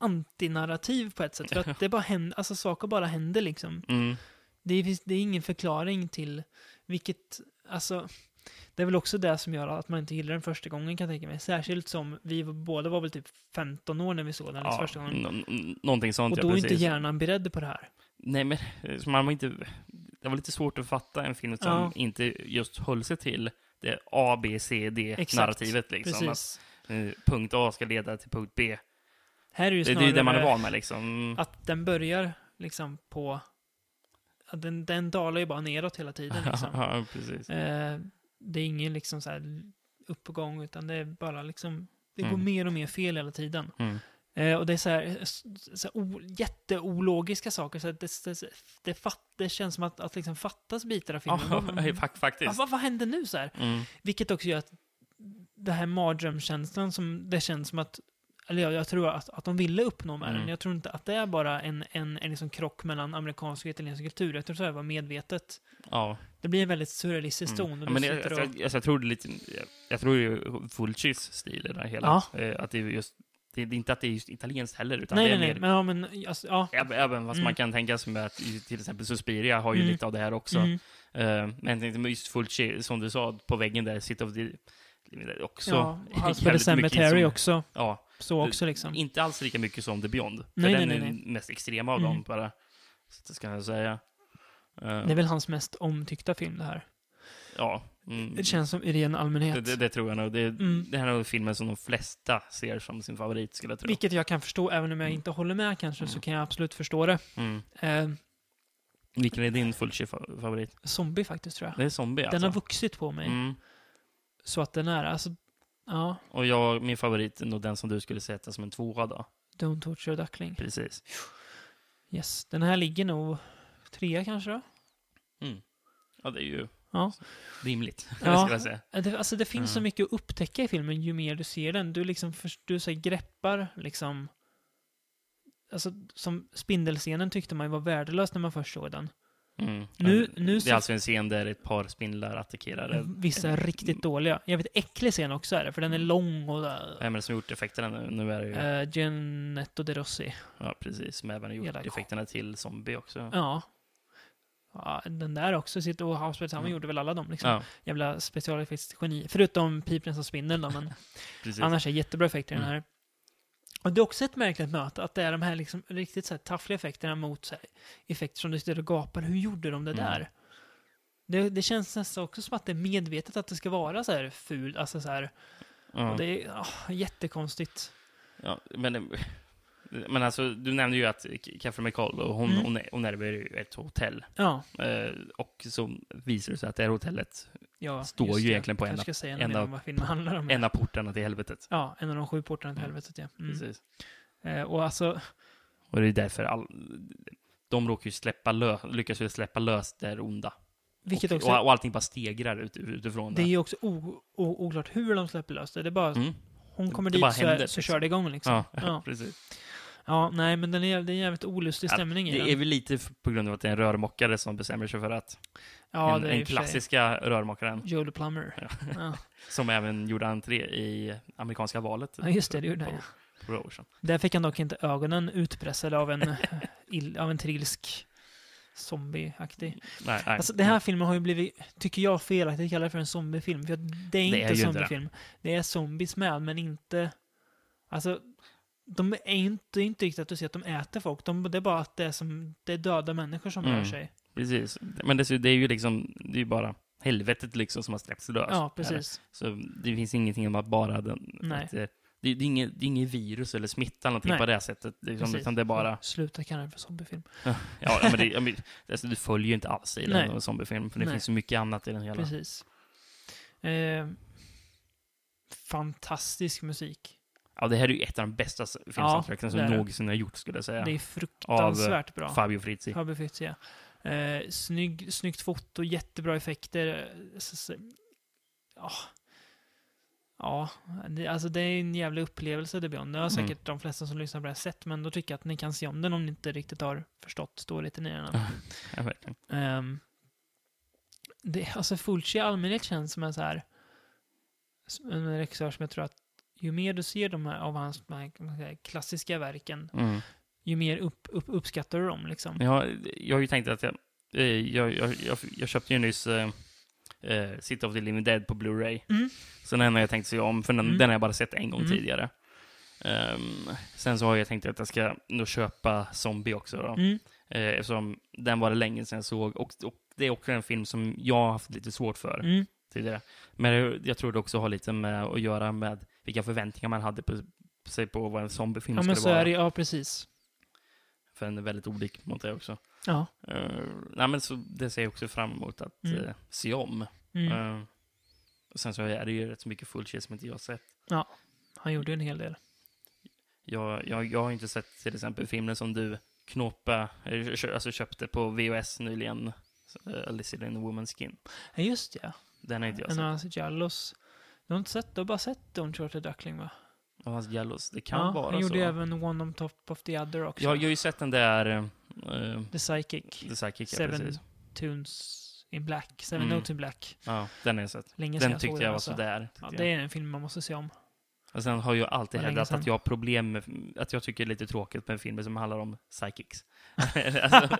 Speaker 4: antinarrativ på ett sätt. För
Speaker 5: [laughs]
Speaker 4: att det bara händer, alltså saker bara händer liksom.
Speaker 5: Mm.
Speaker 4: Det är, det är ingen förklaring till vilket, alltså, det är väl också det som gör att man inte gillar den första gången kan jag tänka mig. Särskilt som vi båda var väl typ 15 år när vi såg den liksom,
Speaker 5: Ja,
Speaker 4: första gången.
Speaker 5: n- n- någonting sånt,
Speaker 4: Och
Speaker 5: ja,
Speaker 4: då är
Speaker 5: precis.
Speaker 4: inte hjärnan beredd på det här.
Speaker 5: Nej, men eh, så man var inte... Det var lite svårt att fatta en film som
Speaker 4: Ja.
Speaker 5: inte just höll sig till det A, B, C,
Speaker 4: Exakt.
Speaker 5: D-narrativet. Liksom. Att,
Speaker 4: Precis.
Speaker 5: eh, punkt A ska leda till punkt B.
Speaker 4: Här är det ju
Speaker 5: Det är
Speaker 4: snarare
Speaker 5: ju det man är van med liksom.
Speaker 4: att den börjar liksom på... Att den, den dalar ju bara neråt hela
Speaker 5: [laughs]
Speaker 4: tiden liksom.
Speaker 5: [laughs] Ja, precis.
Speaker 4: Eh, det är ingen liksom så här uppgång, utan det är bara liksom... Det går
Speaker 5: Mm.
Speaker 4: mer och mer fel hela tiden.
Speaker 5: Mm.
Speaker 4: Eh, och det är så här, s- så här o, jätteologiska saker. Så här, det, det, det, fatt, det känns som att, att liksom fattas bitar av
Speaker 5: [laughs] [laughs] Ja,
Speaker 4: filmen. Vad-
Speaker 5: fak- faktiskt.
Speaker 4: vad, vad händer nu så här?
Speaker 5: Mm.
Speaker 4: Vilket också gör att det här mardrömskänslan som det känns som att, eller jag, jag tror att, att de ville uppnå med
Speaker 5: Mm.
Speaker 4: den. Jag tror inte att det är bara en, en, en liksom krock mellan amerikansk och italiensk kultur. Jag tror att det här var medvetet.
Speaker 5: Ja.
Speaker 4: Det blir en väldigt surrealistisk ton.
Speaker 5: Mm. Ja,
Speaker 4: och du
Speaker 5: men jag,
Speaker 4: sitter
Speaker 5: jag,
Speaker 4: och-
Speaker 5: jag, jag tror det är lite, jag, jag tror det är Fulcis stil i det här hela. Eh, Att det är just, det, det är inte att det är just italienskt heller, utan
Speaker 4: nej,
Speaker 5: det
Speaker 4: nej,
Speaker 5: är
Speaker 4: nej. Men, ja, men, alltså, ja.
Speaker 5: Även, även fast man
Speaker 4: Mm.
Speaker 5: kan tänka sig med att i- till exempel Suspiria har ju
Speaker 4: Mm.
Speaker 5: lite av det här också.
Speaker 4: Mm.
Speaker 5: Eh, Men jag tänkte med just Fulci, som du sa, på väggen där, Sit of the... Också [laughs]
Speaker 4: ja, House by the
Speaker 5: jävligt mycket
Speaker 4: Cemetery
Speaker 5: som-
Speaker 4: också.
Speaker 5: Ja,
Speaker 4: Så också liksom.
Speaker 5: inte alls lika mycket som The Beyond. För
Speaker 4: Nej,
Speaker 5: den
Speaker 4: nej,
Speaker 5: är
Speaker 4: nej,
Speaker 5: den mest extrema av dem
Speaker 4: Mm.
Speaker 5: bara. Så det ska jag säga. Eh,
Speaker 4: Det är väl hans mest omtyckta film det här.
Speaker 5: Ja. Mm.
Speaker 4: Det känns som i ren
Speaker 5: Det,
Speaker 4: allmänhet.
Speaker 5: det, det tror jag nog. Det,
Speaker 4: Mm.
Speaker 5: det här är nog filmen som de flesta ser som sin favorit, skulle jag tro.
Speaker 4: Vilket jag kan förstå, även om jag inte håller med kanske, så kan jag absolut förstå det.
Speaker 5: Mm.
Speaker 4: Eh,
Speaker 5: Vilken är din Fulci-favorit?
Speaker 4: zombie faktiskt, tror jag.
Speaker 5: Det är Zombie,
Speaker 4: Den
Speaker 5: alltså.
Speaker 4: har vuxit på mig.
Speaker 5: mm.
Speaker 4: Så att den är, alltså, ja,
Speaker 5: Och jag, min favorit är nog den som du skulle sätta som en tvåa då.
Speaker 4: Don't Torture Duckling.
Speaker 5: Precis.
Speaker 4: Yes, den här ligger nog trea kanske då?
Speaker 5: Ja, det är ju
Speaker 4: Ja.
Speaker 5: rimligt, [laughs]
Speaker 4: Ja.
Speaker 5: skulle jag säga.
Speaker 4: Eh, Det, alltså det finns så
Speaker 5: Mm.
Speaker 4: mycket att upptäcka i filmen ju mer du ser den. Du liksom, först- du så här, greppar liksom, alltså som spindelscenen tyckte man ju var värdelös när man först såg den.
Speaker 5: Mm.
Speaker 4: Nu-
Speaker 5: Men
Speaker 4: nu Mm.
Speaker 5: det är
Speaker 4: så-
Speaker 5: alltså en scen där ett par spindlar attackerar en-
Speaker 4: Vissa är
Speaker 5: Mm.
Speaker 4: riktigt dåliga. Jag vet, äcklig scen också är det, för den är lång och där.
Speaker 5: Vem är det som gjort effekterna nu? Nu är det ju...
Speaker 4: Uh, Genetto de Rossi.
Speaker 5: Ja, precis. Som även har gjort
Speaker 4: Hela-
Speaker 5: effekterna till Zombie också.
Speaker 4: Ja. ja. Den där också, sitt och House by the Summer
Speaker 5: Mm.
Speaker 4: gjorde väl alla dem liksom.
Speaker 5: Ja,
Speaker 4: jävla specialeffektsgeni. Förutom pipen som spindeln då, men
Speaker 5: precis. Mm.
Speaker 4: annars är det jättebra effekter i den här. Och det är också ett märkligt möte, att det är de här liksom, riktigt så här taffliga effekterna mot så här, effekter som du sitter och gapar. Hur gjorde de det
Speaker 5: Mm.
Speaker 4: där? Det, det känns nästan också som att det är medvetet att det ska vara så här ful, alltså så här,
Speaker 5: Ja.
Speaker 4: och det är ah, jättekonstigt.
Speaker 5: Ja, men, men alltså, du nämnde ju att Catherine McCall, och hon,
Speaker 4: Mm.
Speaker 5: hon, är- hon ärver ju ett hotell.
Speaker 4: Ja,
Speaker 5: Eh, och så visar det sig att det här hotellet,
Speaker 4: ja
Speaker 5: Står
Speaker 4: just
Speaker 5: ju
Speaker 4: det.
Speaker 5: egentligen på
Speaker 4: Kanske
Speaker 5: ena-
Speaker 4: ska säga
Speaker 5: en
Speaker 4: en
Speaker 5: av-
Speaker 4: av vad filmen handlar om.
Speaker 5: en av portarna till helvetet.
Speaker 4: Ja, en av de sju portarna till
Speaker 5: Mm.
Speaker 4: helvetet, ja. Mm.
Speaker 5: Precis.
Speaker 4: Eh, och alltså,
Speaker 5: Och det är därför all, de råkar ju släppa lö, lyckas ju släppa lös det här onda.
Speaker 4: vilket
Speaker 5: och,
Speaker 4: också...
Speaker 5: och, och allting bara stegrar ut, utifrån
Speaker 4: det
Speaker 5: det.
Speaker 4: är ju också o, o, oklart hur de släpper lös det. Det är bara
Speaker 5: Mm.
Speaker 4: Hon kommer
Speaker 5: Det bara
Speaker 4: dit så,
Speaker 5: händer,
Speaker 4: så
Speaker 5: liksom.
Speaker 4: kör det igång liksom.
Speaker 5: Ja,
Speaker 4: Ja, ja.
Speaker 5: precis.
Speaker 4: nej, men den är, det är en jävligt olustig
Speaker 5: Ja,
Speaker 4: stämning i
Speaker 5: Det är
Speaker 4: den.
Speaker 5: väl lite f- på grund av att det är en rörmokare som bestämmer sig för att
Speaker 4: Ja,
Speaker 5: en,
Speaker 4: det är i
Speaker 5: den
Speaker 4: och för sig
Speaker 5: klassiska rörmokaren,
Speaker 4: Joe the Plumber. Ja.
Speaker 5: som även gjorde entré i amerikanska valet
Speaker 4: ja, just det, det
Speaker 5: [laughs]
Speaker 4: gjorde han. ja.
Speaker 5: för några år sedan.
Speaker 4: Där fick han dock inte ögonen utpressade av en, [laughs] ill, av en trilsk zombieaktig.
Speaker 5: Nej, nej.
Speaker 4: Alltså, den här filmen har ju blivit, tycker jag, felaktigt kallad för en zombiefilm. För att det är
Speaker 5: Det är
Speaker 4: inte
Speaker 5: ju inte det.
Speaker 4: zombiefilm. Det är zombies med, men inte... Alltså, de är inte, det är inte riktigt att du ser att de äter folk. De, det är bara att det är, som, det är döda människor som
Speaker 5: Mm.
Speaker 4: rör sig.
Speaker 5: Precis. Men det, det är ju liksom, det är ju bara helvetet liksom som har släppts lös.
Speaker 4: Ja, precis.
Speaker 5: Så det finns ingenting om att bara den...
Speaker 4: Nej.
Speaker 5: Att, eh, det, det, är inget, det är inget virus eller smitta eller någonting
Speaker 4: Nej.
Speaker 5: på det här sättet. Liksom,
Speaker 4: Precis.
Speaker 5: utan det är bara...
Speaker 4: Sluta kalla den för zombiefilm.
Speaker 5: Ja, men det, ja, men, alltså, du följer ju inte alls i den
Speaker 4: Nej.
Speaker 5: och zombiefilm, för det
Speaker 4: Nej.
Speaker 5: finns så mycket annat i den hela.
Speaker 4: Precis. Eh, fantastisk musik.
Speaker 5: Ja, det här är ju ett av de bästa s- filmsoundtracken
Speaker 4: det
Speaker 5: som
Speaker 4: är det.
Speaker 5: någonsin har gjorts, skulle jag säga. eh,
Speaker 4: Det är fruktansvärt bra.
Speaker 5: Fabio Frizzi.
Speaker 4: Fabio Fizzi, ja. Eh, snygg, snyggt foto, jättebra effekter. eh, s- s- Ja. Ja, det, alltså det är en jävla upplevelse det Beyond. Det har
Speaker 5: Mm.
Speaker 4: säkert de flesta som lyssnar på det här sett, men då tycker jag att ni kan se om den om ni inte riktigt har förstått storheten i den. än.
Speaker 5: Ja, verkligen.
Speaker 4: Ehm, det, alltså Fulci i allmänhet känns som en så här som en regissör som jag tror att ju mer du ser de här, av hans de här, kan man säga, klassiska verken,
Speaker 5: Mm.
Speaker 4: ju mer upp, upp, uppskattar du dem liksom.
Speaker 5: Jag, jag har ju tänkt att jag... eh, Jag, jag, jag, jag köpte ju nyss eh, eh, City of the Living Dead på Blu-ray.
Speaker 4: Mm.
Speaker 5: Så den har jag tänkt se om, för den,
Speaker 4: Mm.
Speaker 5: den har jag bara sett en gång
Speaker 4: Mm.
Speaker 5: tidigare. Ehm, sen så har jag tänkt att jag ska nog köpa Zombie också då.
Speaker 4: Mm.
Speaker 5: Eh, eftersom den var det länge sedan jag såg. Och, och det är också en film som jag har haft lite svårt för
Speaker 4: Mm.
Speaker 5: tidigare. Men jag, jag tror det också har lite med att göra med vilka förväntningar man hade på, sig på vad en zombiefilm
Speaker 4: Ja, men
Speaker 5: skulle
Speaker 4: så
Speaker 5: vara.
Speaker 4: är det Ja, precis.
Speaker 5: För den är väldigt olik mot det också.
Speaker 4: Ja.
Speaker 5: Eh, nej, men så det ser jag också fram emot att
Speaker 4: Mm.
Speaker 5: eh, se om.
Speaker 4: Mm.
Speaker 5: Eh, och sen så är det ju rätt så mycket full shit som inte jag har sett.
Speaker 4: ja. Han gjorde ju en hel del.
Speaker 5: Jag, jag, jag har inte sett till exempel filmen som du knåpa, eh, kö- alltså köpte på VHS nyligen. eh, Alice in the Woman's Skin.
Speaker 4: Ja, just det, ja.
Speaker 5: Den har inte jag
Speaker 4: En av
Speaker 5: sett.
Speaker 4: hans Jallos. Du har inte sett, du har bara sett Don't Short the Duckling va?
Speaker 5: Och hans Gallows. Det kan
Speaker 4: ja,
Speaker 5: vara
Speaker 4: han
Speaker 5: så.
Speaker 4: gjorde även One on Top of the Other också.
Speaker 5: jag, har- jag har ju sett den där eh,
Speaker 4: The Psychic.
Speaker 5: The Psychic, ja,
Speaker 4: Seven
Speaker 5: precis.
Speaker 4: Tunes in Black. Seven
Speaker 5: Mm.
Speaker 4: Notes in Black.
Speaker 5: Ja, den har jag sett.
Speaker 4: Länge sedan
Speaker 5: Den tyckte
Speaker 4: såg
Speaker 5: jag var
Speaker 4: alltså.
Speaker 5: sådär.
Speaker 4: Ja,
Speaker 5: tyckte
Speaker 4: det
Speaker 5: jag.
Speaker 4: är en film man måste se om.
Speaker 5: Och sen har jag alltid
Speaker 4: Var länge
Speaker 5: hävdat
Speaker 4: sedan.
Speaker 5: att jag har problem med, att jag tycker det är lite tråkigt med filmer som handlar om
Speaker 4: [laughs]
Speaker 5: psychics. alltså,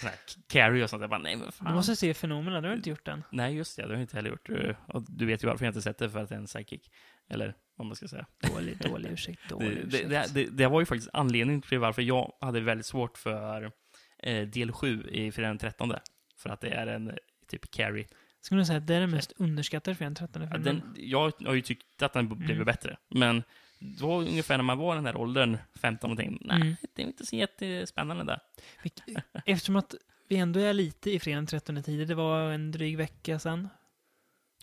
Speaker 5: sån här Carrie och sånt. Jag bara, nej men
Speaker 4: Du
Speaker 5: fan.
Speaker 4: måste se Fenomena, du har inte gjort den.
Speaker 5: Nej, just det. Det har jag inte heller gjort. Eh, Och du vet ju varför jag inte sett det, för att det är en psychic. Eller vad man ska säga.
Speaker 4: Dålig, [laughs] dålig ursäkt, dålig
Speaker 5: Det, det,
Speaker 4: ursäkt.
Speaker 5: det, det, det var ju faktiskt anledningen till varför jag hade väldigt svårt för eh, del 7 i Fredag den 13. För att det är en eh, typ Carrie.
Speaker 4: Skulle du säga att det är den mest underskattade filmen, 13 filmen?
Speaker 5: Den, jag har ju tyckt att den blev
Speaker 4: Mm.
Speaker 5: bättre, men då ungefär när man var i den här åldern, 15 någonting, nej,
Speaker 4: Mm.
Speaker 5: det är inte så jättespännande där.
Speaker 4: Vilk- Eftersom att vi ändå är lite i fredagen 13 tider, det var en dryg vecka sedan.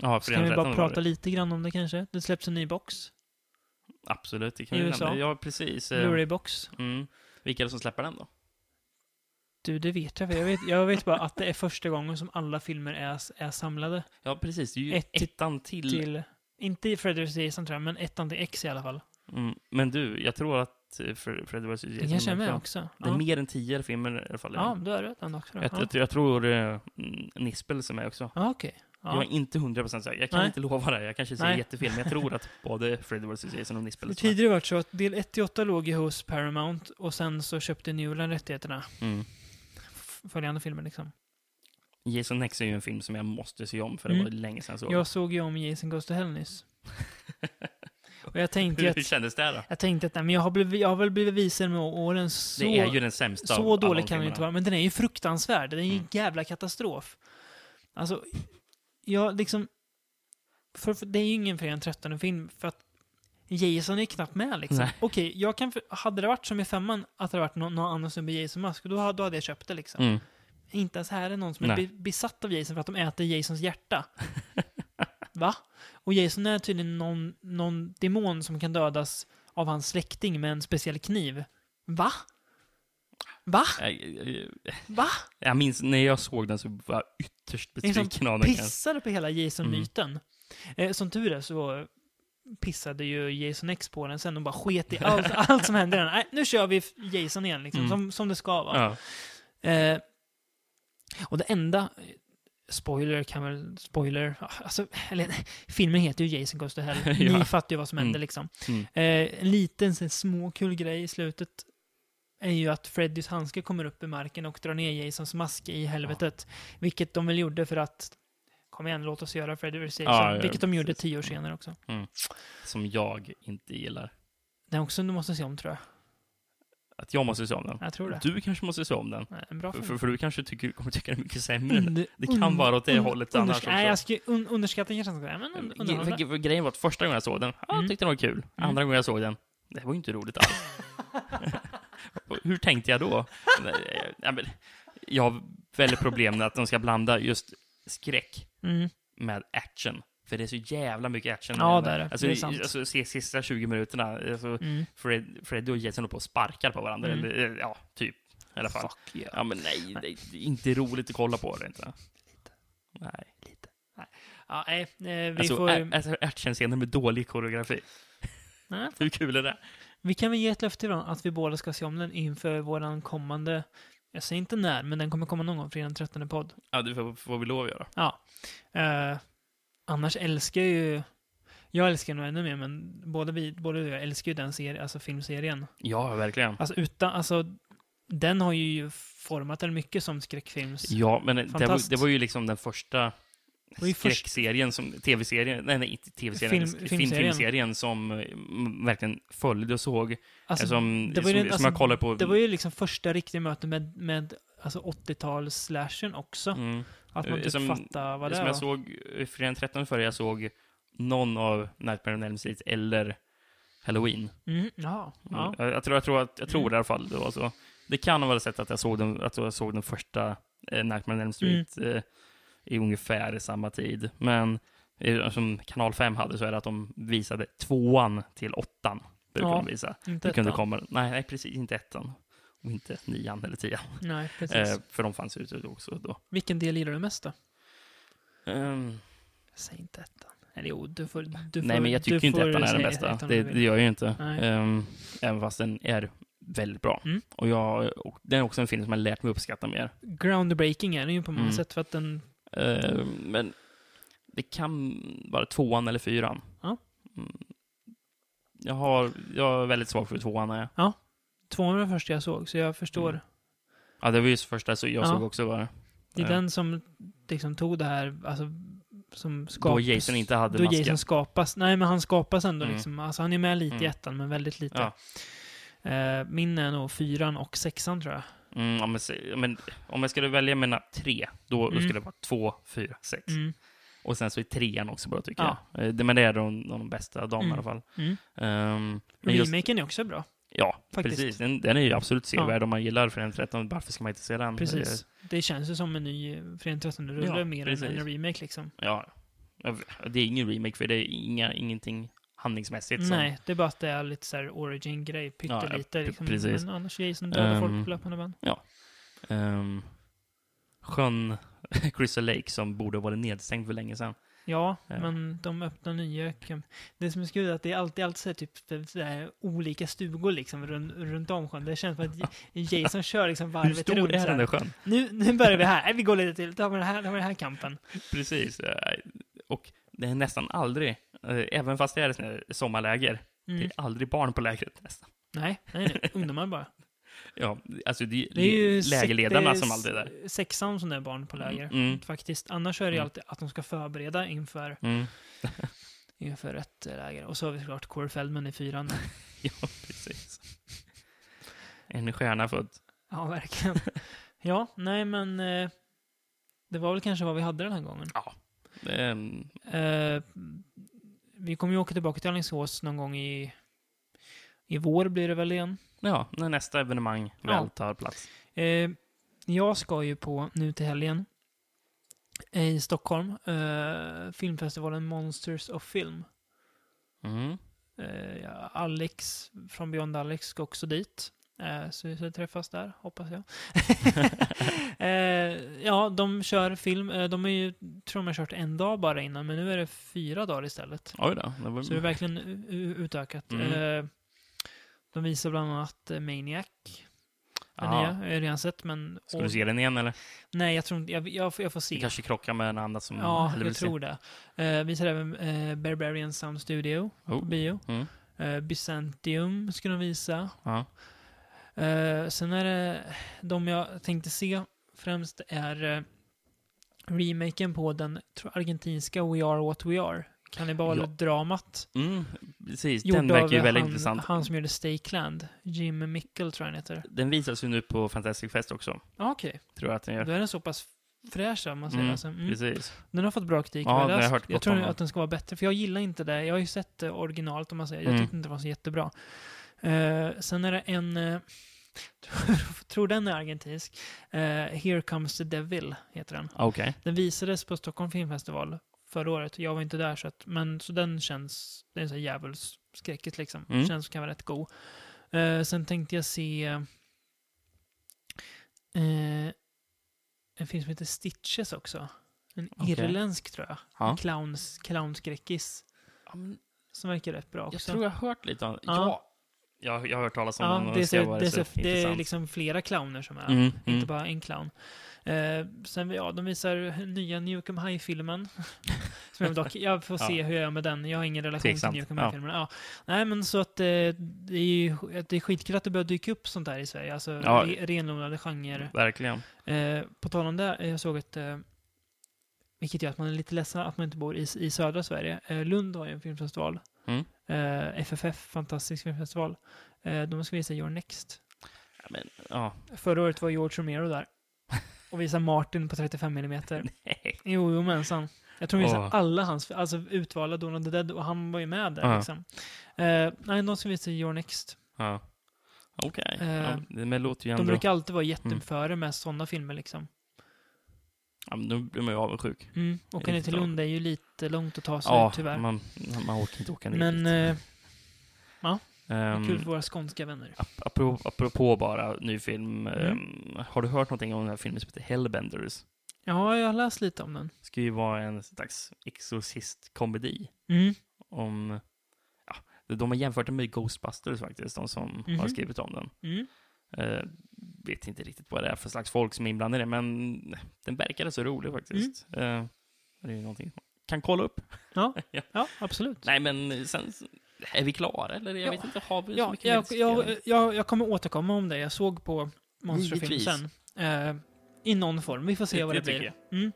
Speaker 5: Ja,
Speaker 4: Så kan vi bara prata lite grann om det kanske. Det släpps en ny box.
Speaker 5: Absolut, det
Speaker 4: i
Speaker 5: kan vi
Speaker 4: USA.
Speaker 5: nämna. Ja, precis. eh,
Speaker 4: Blu-ray-box.
Speaker 5: Mm. Vilka är det som släpper den då?
Speaker 4: Du, det vet jag. Jag vet, jag vet bara att det är första gången som alla filmer är, är samlade.
Speaker 5: Ja, precis. Det är ju
Speaker 4: Ett till-
Speaker 5: ettan till.
Speaker 4: Till, inte i Fredrik Jason tror jag, men ettan till X i alla fall.
Speaker 5: Mm. Men du, jag tror att eh, Fre- Fred vs.
Speaker 4: Den
Speaker 5: Jason...
Speaker 4: kanske är med
Speaker 5: ja.
Speaker 4: också.
Speaker 5: Det är
Speaker 4: Ja.
Speaker 5: mer än tio filmer i alla fall.
Speaker 4: Ja, du har rätt den också. Då.
Speaker 5: jag,
Speaker 4: Ja,
Speaker 5: jag, jag tror eh, mm, Nispel som är också.
Speaker 4: ja okej.
Speaker 5: Jag
Speaker 4: Ja.
Speaker 5: är inte 100% säker. Jag kan
Speaker 4: Nej.
Speaker 5: inte lova det. Jag kanske säger
Speaker 4: Nej.
Speaker 5: jättefel, men jag tror
Speaker 4: [laughs]
Speaker 5: att både Fred vs. Jason och Nispel
Speaker 4: Det
Speaker 5: är med.
Speaker 4: tidigare varit så att del 1 till 8 låg ju hos Paramount och sen så köpte Newland rättigheterna.
Speaker 5: Mm.
Speaker 4: F- Följande filmer liksom.
Speaker 5: Jason X är ju en film som jag måste se om för det
Speaker 4: Mm.
Speaker 5: var länge sedan så.
Speaker 4: Jag såg ju om Jason Goes to Hell
Speaker 5: [laughs]
Speaker 4: nyss. och jag tänkte ju
Speaker 5: Hur
Speaker 4: att,
Speaker 5: kändes det då?
Speaker 4: jag tänkte att nej, men jag, har blivit, jag har väl blivit visare med åren så...
Speaker 5: det är ju den sämsta av
Speaker 4: Så
Speaker 5: alla
Speaker 4: dålig
Speaker 5: de
Speaker 4: kan den ju
Speaker 5: filmerna.
Speaker 4: inte vara, men den är ju fruktansvärd. Den är ju en
Speaker 5: Mm.
Speaker 4: jävla katastrof. Alltså, jag liksom... För, för, det är ju ingen Fredag den 13 film, för att Jason är knappt med liksom.
Speaker 5: Nej.
Speaker 4: Okej, jag kan... För, hade det varit som i femman, att det hade varit någon, någon annan som är Jason Mask, då, ha- då hade jag köpt det liksom.
Speaker 5: Mm.
Speaker 4: Inte ens här är någon som är
Speaker 5: Nej.
Speaker 4: be- besatt av Jason för att de äter Jasons
Speaker 5: [laughs]
Speaker 4: hjärta. Va? Och Jason är tydligen någon, någon demon som kan dödas av hans släkting med en speciell kniv. Va? Va?
Speaker 5: Jag, jag,
Speaker 4: Va?
Speaker 5: jag minns när jag såg den så var jag ytterst
Speaker 4: Liksom
Speaker 5: besviken av den. kan jag säga.
Speaker 4: pissade på hela Jason-myten.
Speaker 5: Mm.
Speaker 4: Eh, som tur är så pissade ju Jason X på den sen och bara
Speaker 5: [laughs]
Speaker 4: sket i allt, allt som hände i den. Nej, nu kör vi Jason igen, liksom,
Speaker 5: Mm.
Speaker 4: som, som det ska vara.
Speaker 5: Ja.
Speaker 4: Eh, och det enda, spoiler kan väl, spoiler, ja, alltså, eller, [laughs] filmen heter ju Jason Goes to Hell.
Speaker 5: [laughs] Ja.
Speaker 4: Ni fattar ju vad som händer
Speaker 5: Mm.
Speaker 4: liksom.
Speaker 5: Mm.
Speaker 4: Eh, en liten sån, småkul grej i slutet är ju att Freddys handske kommer upp i marken och drar ner Jasons mask i helvetet. Vilket de väl gjorde för att, kom igen, låt oss göra Freddy vs. Jason.
Speaker 5: Ja, ja,
Speaker 4: vilket de gjorde
Speaker 5: precis.
Speaker 4: tio år senare också.
Speaker 5: Som jag inte gillar.
Speaker 4: Den också du måste se om tror jag.
Speaker 5: Att jag måste se om den.
Speaker 4: Jag tror det.
Speaker 5: Du kanske måste se om den.
Speaker 4: Nej, En bra
Speaker 5: För,
Speaker 4: film.
Speaker 5: för, för du kanske tycker, kommer tycka den är mycket sämre. än den.
Speaker 4: Und-
Speaker 5: det kan
Speaker 4: und-
Speaker 5: vara åt det
Speaker 4: und-
Speaker 5: hållet
Speaker 4: undersk-
Speaker 5: annars också.
Speaker 4: Nej, jag skulle un- underskatta kanske inte. Men un-
Speaker 5: Ge-
Speaker 4: underhålla.
Speaker 5: för, för grejen var att första gången jag såg den, ja,
Speaker 4: Mm.
Speaker 5: jag tyckte den var kul. Andra gången jag såg den, det här var ju inte roligt alls. [laughs] Hur tänkte jag då? Nej, jag- men Jag har väldigt problem med att de ska blanda just skräck
Speaker 4: Mm.
Speaker 5: med action. För det är så jävla mycket action.
Speaker 4: Ja, det är det.
Speaker 5: Alltså,
Speaker 4: Det är sant.
Speaker 5: Alltså, se sista 20 minuterna, alltså,
Speaker 4: Mm.
Speaker 5: Fred, Freddy och Jason håller på och sparkar på varandra.
Speaker 4: Mm.
Speaker 5: Eller, eh, ja, typ. I alla fall.
Speaker 4: Fuck yeah.
Speaker 5: Ja, men nej, det är inte roligt att kolla på det. Inte. Nej.
Speaker 4: Ja, nej, eh, vi
Speaker 5: Alltså,
Speaker 4: får...
Speaker 5: ä- alltså actionscener med dålig koreografi.
Speaker 4: nej.
Speaker 5: [laughs] Hur kul är det?
Speaker 4: Vi kan väl ge ett löfte idag att vi båda ska se om den inför våran kommande... Jag säger inte när, men den kommer komma någon gång, fredag den 13 podd.
Speaker 5: Ja, det får, får vi lov att göra.
Speaker 4: Ja. Eh, annars älskar jag ju... Jag älskar nog ännu mer, men både, vi, både du och jag älskar ju den serien, alltså filmserien.
Speaker 5: Ja, verkligen.
Speaker 4: Alltså utan, alltså... Den har ju format den mycket som skräckfilms...
Speaker 5: Ja, men det var,
Speaker 4: Fantast.
Speaker 5: det var ju liksom den första
Speaker 4: var ju först-
Speaker 5: skräckserien som, tv-serien, nej, nej inte tv-serien,
Speaker 4: Film-
Speaker 5: film,
Speaker 4: filmserien.
Speaker 5: filmserien som eh, m- verkligen följde och såg, eh,
Speaker 4: Alltså,
Speaker 5: som,
Speaker 4: det var
Speaker 5: som,
Speaker 4: ju den-
Speaker 5: som
Speaker 4: alltså,
Speaker 5: jag kollade på.
Speaker 4: Det var ju liksom första riktiga mötet med, med alltså 80-tals-slashern också.
Speaker 5: mm,
Speaker 4: Att man typ
Speaker 5: Som-
Speaker 4: fattar vad det
Speaker 5: som
Speaker 4: var.
Speaker 5: jag såg, eh, fredagen 13 förra jag såg någon av Nightmare on Elm Street eller Halloween.
Speaker 4: Mm, ja, ja.
Speaker 5: Jag, jag tror, jag tror, att, jag tror i alla fall det var så. Det kan ha varit sett att jag såg den, att jag såg den första eh, Nightmare on Elm Street
Speaker 4: Mm.
Speaker 5: eh, i ungefär samma tid. Men eh, som Kanal 5 hade så är det att de visade tvåan till åttan. Brukar
Speaker 4: Ja,
Speaker 5: de visa.
Speaker 4: Inte
Speaker 5: Det kunde
Speaker 4: ettan.
Speaker 5: komma, nej, nej, precis, inte ettan. Och inte nian eller tian.
Speaker 4: Nej, precis.
Speaker 5: Eh, för de fanns ute också då.
Speaker 4: Vilken del gillar du mest då?
Speaker 5: Ehm,
Speaker 4: Säg inte ettan. Eller jo, du får... Du får
Speaker 5: nej, men jag
Speaker 4: du
Speaker 5: tycker inte
Speaker 4: får
Speaker 5: ettan är den
Speaker 4: säga
Speaker 5: bästa.
Speaker 4: ettan
Speaker 5: Det,
Speaker 4: om du
Speaker 5: det
Speaker 4: vill.
Speaker 5: gör jag ju inte.
Speaker 4: Nej.
Speaker 5: Ehm, även fast den är väldigt bra.
Speaker 4: Mm.
Speaker 5: Och, jag, och den är också en film som jag har lärt mig uppskatta mer.
Speaker 4: Groundbreaking är den ju på många
Speaker 5: Mm.
Speaker 4: sätt för att den...
Speaker 5: Eh, men det kan vara tvåan eller fyran.
Speaker 4: Ja.
Speaker 5: Mm. Jag, har, jag är väldigt svag för tvåan. Är jag.
Speaker 4: Tvåan var den första jag såg, så jag förstår.
Speaker 5: Mm. Ja, det var ju första så jag
Speaker 4: Ja.
Speaker 5: såg också. Var det.
Speaker 4: Det är
Speaker 5: Ja.
Speaker 4: den som liksom tog det här, alltså, som skapas...
Speaker 5: Då Jason inte hade
Speaker 4: Då
Speaker 5: masken.
Speaker 4: Jason skapas. Nej, men han skapas ändå
Speaker 5: Mm.
Speaker 4: liksom. Alltså, han är med lite i
Speaker 5: Mm.
Speaker 4: ettan, men väldigt lite.
Speaker 5: Ja.
Speaker 4: Eh, min är nog fyran och sexan, tror jag.
Speaker 5: Mm, ja, men, se- men, om jag skulle välja mina tre, då, då
Speaker 4: Mm.
Speaker 5: skulle det vara två, fyra, sex.
Speaker 4: Mm. Och
Speaker 5: Och sen så är trean också bra tycker
Speaker 4: Ja.
Speaker 5: jag. Eh, det- Men det är de, de bästa, de i
Speaker 4: Mm.
Speaker 5: alla fall.
Speaker 4: Mm.
Speaker 5: Ehm, men just,
Speaker 4: Remaken är också bra.
Speaker 5: ja,
Speaker 4: Faktiskt.
Speaker 5: precis. Den, den är ju absolut
Speaker 4: Ja.
Speaker 5: sevärd om man gillar Förenade 13. Varför ska man inte se den? Eh,
Speaker 4: Precis. Det känns ju som en ny eh, Förenta Nationerna-rulle
Speaker 5: Ja,
Speaker 4: mer
Speaker 5: precis.
Speaker 4: än en remake liksom.
Speaker 5: Ja, det är ingen remake för det är inga, ingenting handlingsmässigt. som-
Speaker 4: Nej, det är bara att det är lite såhär origin-grej, pyttelite.
Speaker 5: ja,
Speaker 4: liksom.
Speaker 5: precis.
Speaker 4: Men annars Jason dödar
Speaker 5: Ehm,
Speaker 4: folk på löpande band.
Speaker 5: Ehm, sjön [laughs] Crystal Lake som borde ha varit nedstängd för länge sedan.
Speaker 4: Ja,
Speaker 5: ja.
Speaker 4: men de öppnar nya kan... Det som är så kul är att det är alltid, alltid så här, typ, så här, olika stugor liksom runt, runt om sjön. Det känns som
Speaker 5: [laughs]
Speaker 4: att Jason kör liksom
Speaker 5: Hur
Speaker 4: varvet runt.
Speaker 5: stor är
Speaker 4: så
Speaker 5: den
Speaker 4: här.
Speaker 5: där sjön?
Speaker 4: Nu, nu börjar vi här. Nej, vi går lite till. Då har vi den här, då har vi den här kampen.
Speaker 5: Precis. eh, Och det är nästan aldrig, eh, även fast det är sån här sommarläger, det
Speaker 4: Mm.
Speaker 5: är aldrig barn på lägret nästan.
Speaker 4: Nej, nej, nej. Ungdomar bara.
Speaker 5: Ja, alltså det är,
Speaker 4: Det är ju
Speaker 5: lägerledarna
Speaker 4: sex-
Speaker 5: som alltid är där.
Speaker 4: Sexan som det är barn på läger.
Speaker 5: Mm, mm.
Speaker 4: Faktiskt. Annars är det ju
Speaker 5: Mm.
Speaker 4: alltid att de ska förbereda inför,
Speaker 5: Mm, [laughs]
Speaker 4: inför ett eh, läger. Och så har vi såklart Corey Feldman i
Speaker 5: [laughs]
Speaker 4: fyran.
Speaker 5: ja, precis. En stjärna född.
Speaker 4: Ja, verkligen. Ja, nej men eh, det var väl kanske vad vi hade den här gången.
Speaker 5: Ehm,
Speaker 4: Eh, vi kommer ju åka tillbaka till Alingsås någon gång i, i vår blir det väl igen.
Speaker 5: ja, när nästa evenemang
Speaker 4: Ja.
Speaker 5: väl tar plats.
Speaker 4: Eh, jag ska ju på nu till helgen i Stockholm, eh, filmfestivalen Monsters of Film.
Speaker 5: Mm.
Speaker 4: Eh, ja, Alex från Beyond Alex ska också dit. Eh, så vi ska träffas där, hoppas
Speaker 5: [laughs]
Speaker 4: jag. eh, ja, de kör film. Eh, de är ju, tror de har kört en dag bara innan, men nu är det fyra dagar istället.
Speaker 5: Oj då. Det var...
Speaker 4: Så det är verkligen u- u- utökat.
Speaker 5: Mm.
Speaker 4: Eh, de visar bland annat eh, Maniac. Den
Speaker 5: Ja.
Speaker 4: nya, jag har jag redan sett, men...
Speaker 5: Ska
Speaker 4: och-
Speaker 5: du se den igen eller?
Speaker 4: Nej, jag tror inte... Jag, jag, får- jag får
Speaker 5: Det
Speaker 4: se.
Speaker 5: kanske krockar med en annan som...
Speaker 4: ja,
Speaker 5: eller vill
Speaker 4: jag
Speaker 5: se.
Speaker 4: tror det. Eh, visar även eh, Barbarian Sound Studio
Speaker 5: Oh.
Speaker 4: på bio.
Speaker 5: Mm.
Speaker 4: Eh, Byzantium ska de visa.
Speaker 5: Ja.
Speaker 4: Eh, sen är det de jag tänkte se främst är eh, remaken på den tror, jag, argentinska We Are What We Are. Kannibaldramat.
Speaker 5: Mm, precis.
Speaker 4: Gjord
Speaker 5: den verkar ju
Speaker 4: av
Speaker 5: väldigt
Speaker 4: han,
Speaker 5: intressant.
Speaker 4: han som gjorde Stakeland. Jim Mickle tror jag han heter.
Speaker 5: Den visas ju nu på Fantastic Fest också,
Speaker 4: Ja, okej.
Speaker 5: tror jag att den gör.
Speaker 4: Då är den så pass fräsch om man säger.
Speaker 5: Mm,
Speaker 4: Alltså, mm.
Speaker 5: Precis.
Speaker 4: Den har fått bra kritik.
Speaker 5: Ja,
Speaker 4: har
Speaker 5: den har jag
Speaker 4: läst.
Speaker 5: hört
Speaker 4: jag
Speaker 5: gott
Speaker 4: tror
Speaker 5: om den.
Speaker 4: att den ska vara bättre, för jag gillar inte det. Jag har ju sett det originalt om man säger. Jag
Speaker 5: Mm.
Speaker 4: tyckte inte det var så jättebra. Eh, sen är det en, eh, [laughs] tror- tror den är argentinsk, Eh, Here comes the devil heter den.
Speaker 5: Ah, Okej.
Speaker 4: Den visades på Stockholm filmfestival förra året. Jag var inte där, så, att, men, så den känns... Det är en sån här djävulsskräckis liksom.
Speaker 5: Mm.
Speaker 4: Känns som kan vara rätt god. Eh, sen tänkte jag se... eh, en film som heter Stitches också. En
Speaker 5: Okej.
Speaker 4: irländsk tror jag.
Speaker 5: Ja.
Speaker 4: En clowns, clownskräckis.
Speaker 5: Ja, men
Speaker 4: Som verkar rätt bra
Speaker 5: Jag
Speaker 4: också.
Speaker 5: tror jag har hört lite om
Speaker 4: Ja.
Speaker 5: Ja. Jag, jag har hört talas om den
Speaker 4: ja,
Speaker 5: och
Speaker 4: det, är
Speaker 5: ska
Speaker 4: så,
Speaker 5: vara
Speaker 4: det, är
Speaker 5: så
Speaker 4: så, det är
Speaker 5: intressant.
Speaker 4: liksom flera clowner som är.
Speaker 5: Mm,
Speaker 4: Inte
Speaker 5: mm.
Speaker 4: bara en clown. Eh, sen, ja, de visar nya Newcomb
Speaker 5: [laughs]
Speaker 4: High-filmen. som jag, dock, jag får se
Speaker 5: Ja.
Speaker 4: hur jag gör med den. Jag har ingen relation
Speaker 5: Tveksamt,
Speaker 4: till Newcomb
Speaker 5: ja.
Speaker 4: High-filmen. Ja. Nej, men så att eh, det är ju att det är skitkul att det börjar dyka upp sånt där i Sverige. Alltså
Speaker 5: Ja.
Speaker 4: re, renodlade genrer.
Speaker 5: Verkligen.
Speaker 4: Eh, på tal om det, eh, jag såg ett eh, vilket gör att man är lite ledsen att man inte bor i, i södra Sverige. Eh, Lund har ju en filmfestival.
Speaker 5: Mm.
Speaker 4: Eh, FFF, fantastisk filmfestival. Eh, de ska visa Your Next.
Speaker 5: Ja, men, ja.
Speaker 4: Förra året
Speaker 5: [laughs]
Speaker 4: var George Romero där. Och visade Martin på 35 mm. Jo, jo, mensan. Jag tror minst att
Speaker 5: Åh.
Speaker 4: alla hans, alltså utvalda Donald the Dead, och han var ju med där
Speaker 5: Ja.
Speaker 4: liksom. Eh, nej, de som visar Your Next.
Speaker 5: Ja. Okej.
Speaker 4: Eh,
Speaker 5: Ja, det- men det låter ju
Speaker 4: De
Speaker 5: ändå...
Speaker 4: brukar alltid vara
Speaker 5: Mm.
Speaker 4: jätteföre med sådana filmer liksom.
Speaker 5: Ja, men då blir man ju avundsjuk.
Speaker 4: Mm. Åka ner till
Speaker 5: Jättebra.
Speaker 4: Lund är ju lite långt att ta sig
Speaker 5: Ja,
Speaker 4: Alltså, tyvärr.
Speaker 5: man, man orkar inte åka ner
Speaker 4: Men
Speaker 5: dit.
Speaker 4: eh,
Speaker 5: Ehm,
Speaker 4: kul för våra skånska vänner.
Speaker 5: ap- apropå, apropå bara ny film.
Speaker 4: Mm.
Speaker 5: ehm, har du hört någonting om den här filmen som heter Hellbenders?
Speaker 4: Ja, jag har läst lite om den.
Speaker 5: Det ska ju vara en slags exorcist-komedi.
Speaker 4: Mm.
Speaker 5: Om... Ja, de har jämfört den med Ghostbusters faktiskt, de som har
Speaker 4: Mhm.
Speaker 5: skrivit om den.
Speaker 4: Mm.
Speaker 5: Eh, vet inte riktigt vad det är för slags folk som är inblandade i det, men den verkade så rolig faktiskt.
Speaker 4: Mm.
Speaker 5: Eh, det är ju någonting man kan kolla upp.
Speaker 4: Ja.
Speaker 5: Ja.
Speaker 4: ja, absolut.
Speaker 5: Nej, men sen... Är vi klara, eller? Jag
Speaker 4: Ja.
Speaker 5: vet inte, har vi så
Speaker 4: Ja,
Speaker 5: mycket
Speaker 4: jag,
Speaker 5: mer
Speaker 4: jag,
Speaker 5: diskussion?
Speaker 4: jag, jag kommer återkomma om det. Jag såg på monsterfilm
Speaker 5: Givetvis.
Speaker 4: sen. Eh, I någon form. Vi får se
Speaker 5: Det-
Speaker 4: vad det,
Speaker 5: det tycker
Speaker 4: blir. Mm.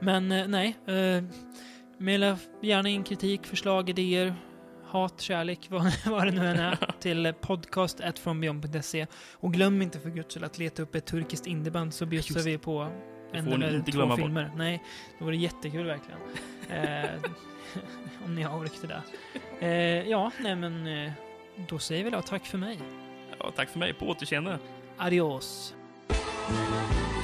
Speaker 4: Men eh, nej. Eh, Mejla gärna in kritik, förslag, idéer, hat, kärlek, [laughs] vad, vad det nu än
Speaker 5: [laughs]
Speaker 4: är, till eh, podcast.frombeyond.se. Och glöm inte för guds skull att leta upp ett turkiskt indieband så bjussar
Speaker 5: Just det.
Speaker 4: vi på
Speaker 5: Det
Speaker 4: en
Speaker 5: får ni
Speaker 4: eller
Speaker 5: inte
Speaker 4: två
Speaker 5: glömma bort.
Speaker 4: filmer. Nej, det vore jättekul verkligen.
Speaker 5: [laughs]
Speaker 4: Eh, [laughs] om ni har ork till det. Eh, ja, nej men eh, då säger väl jag tack för mig.
Speaker 5: Ja, tack för mig, på återseende.
Speaker 4: Adios.
Speaker 6: Thank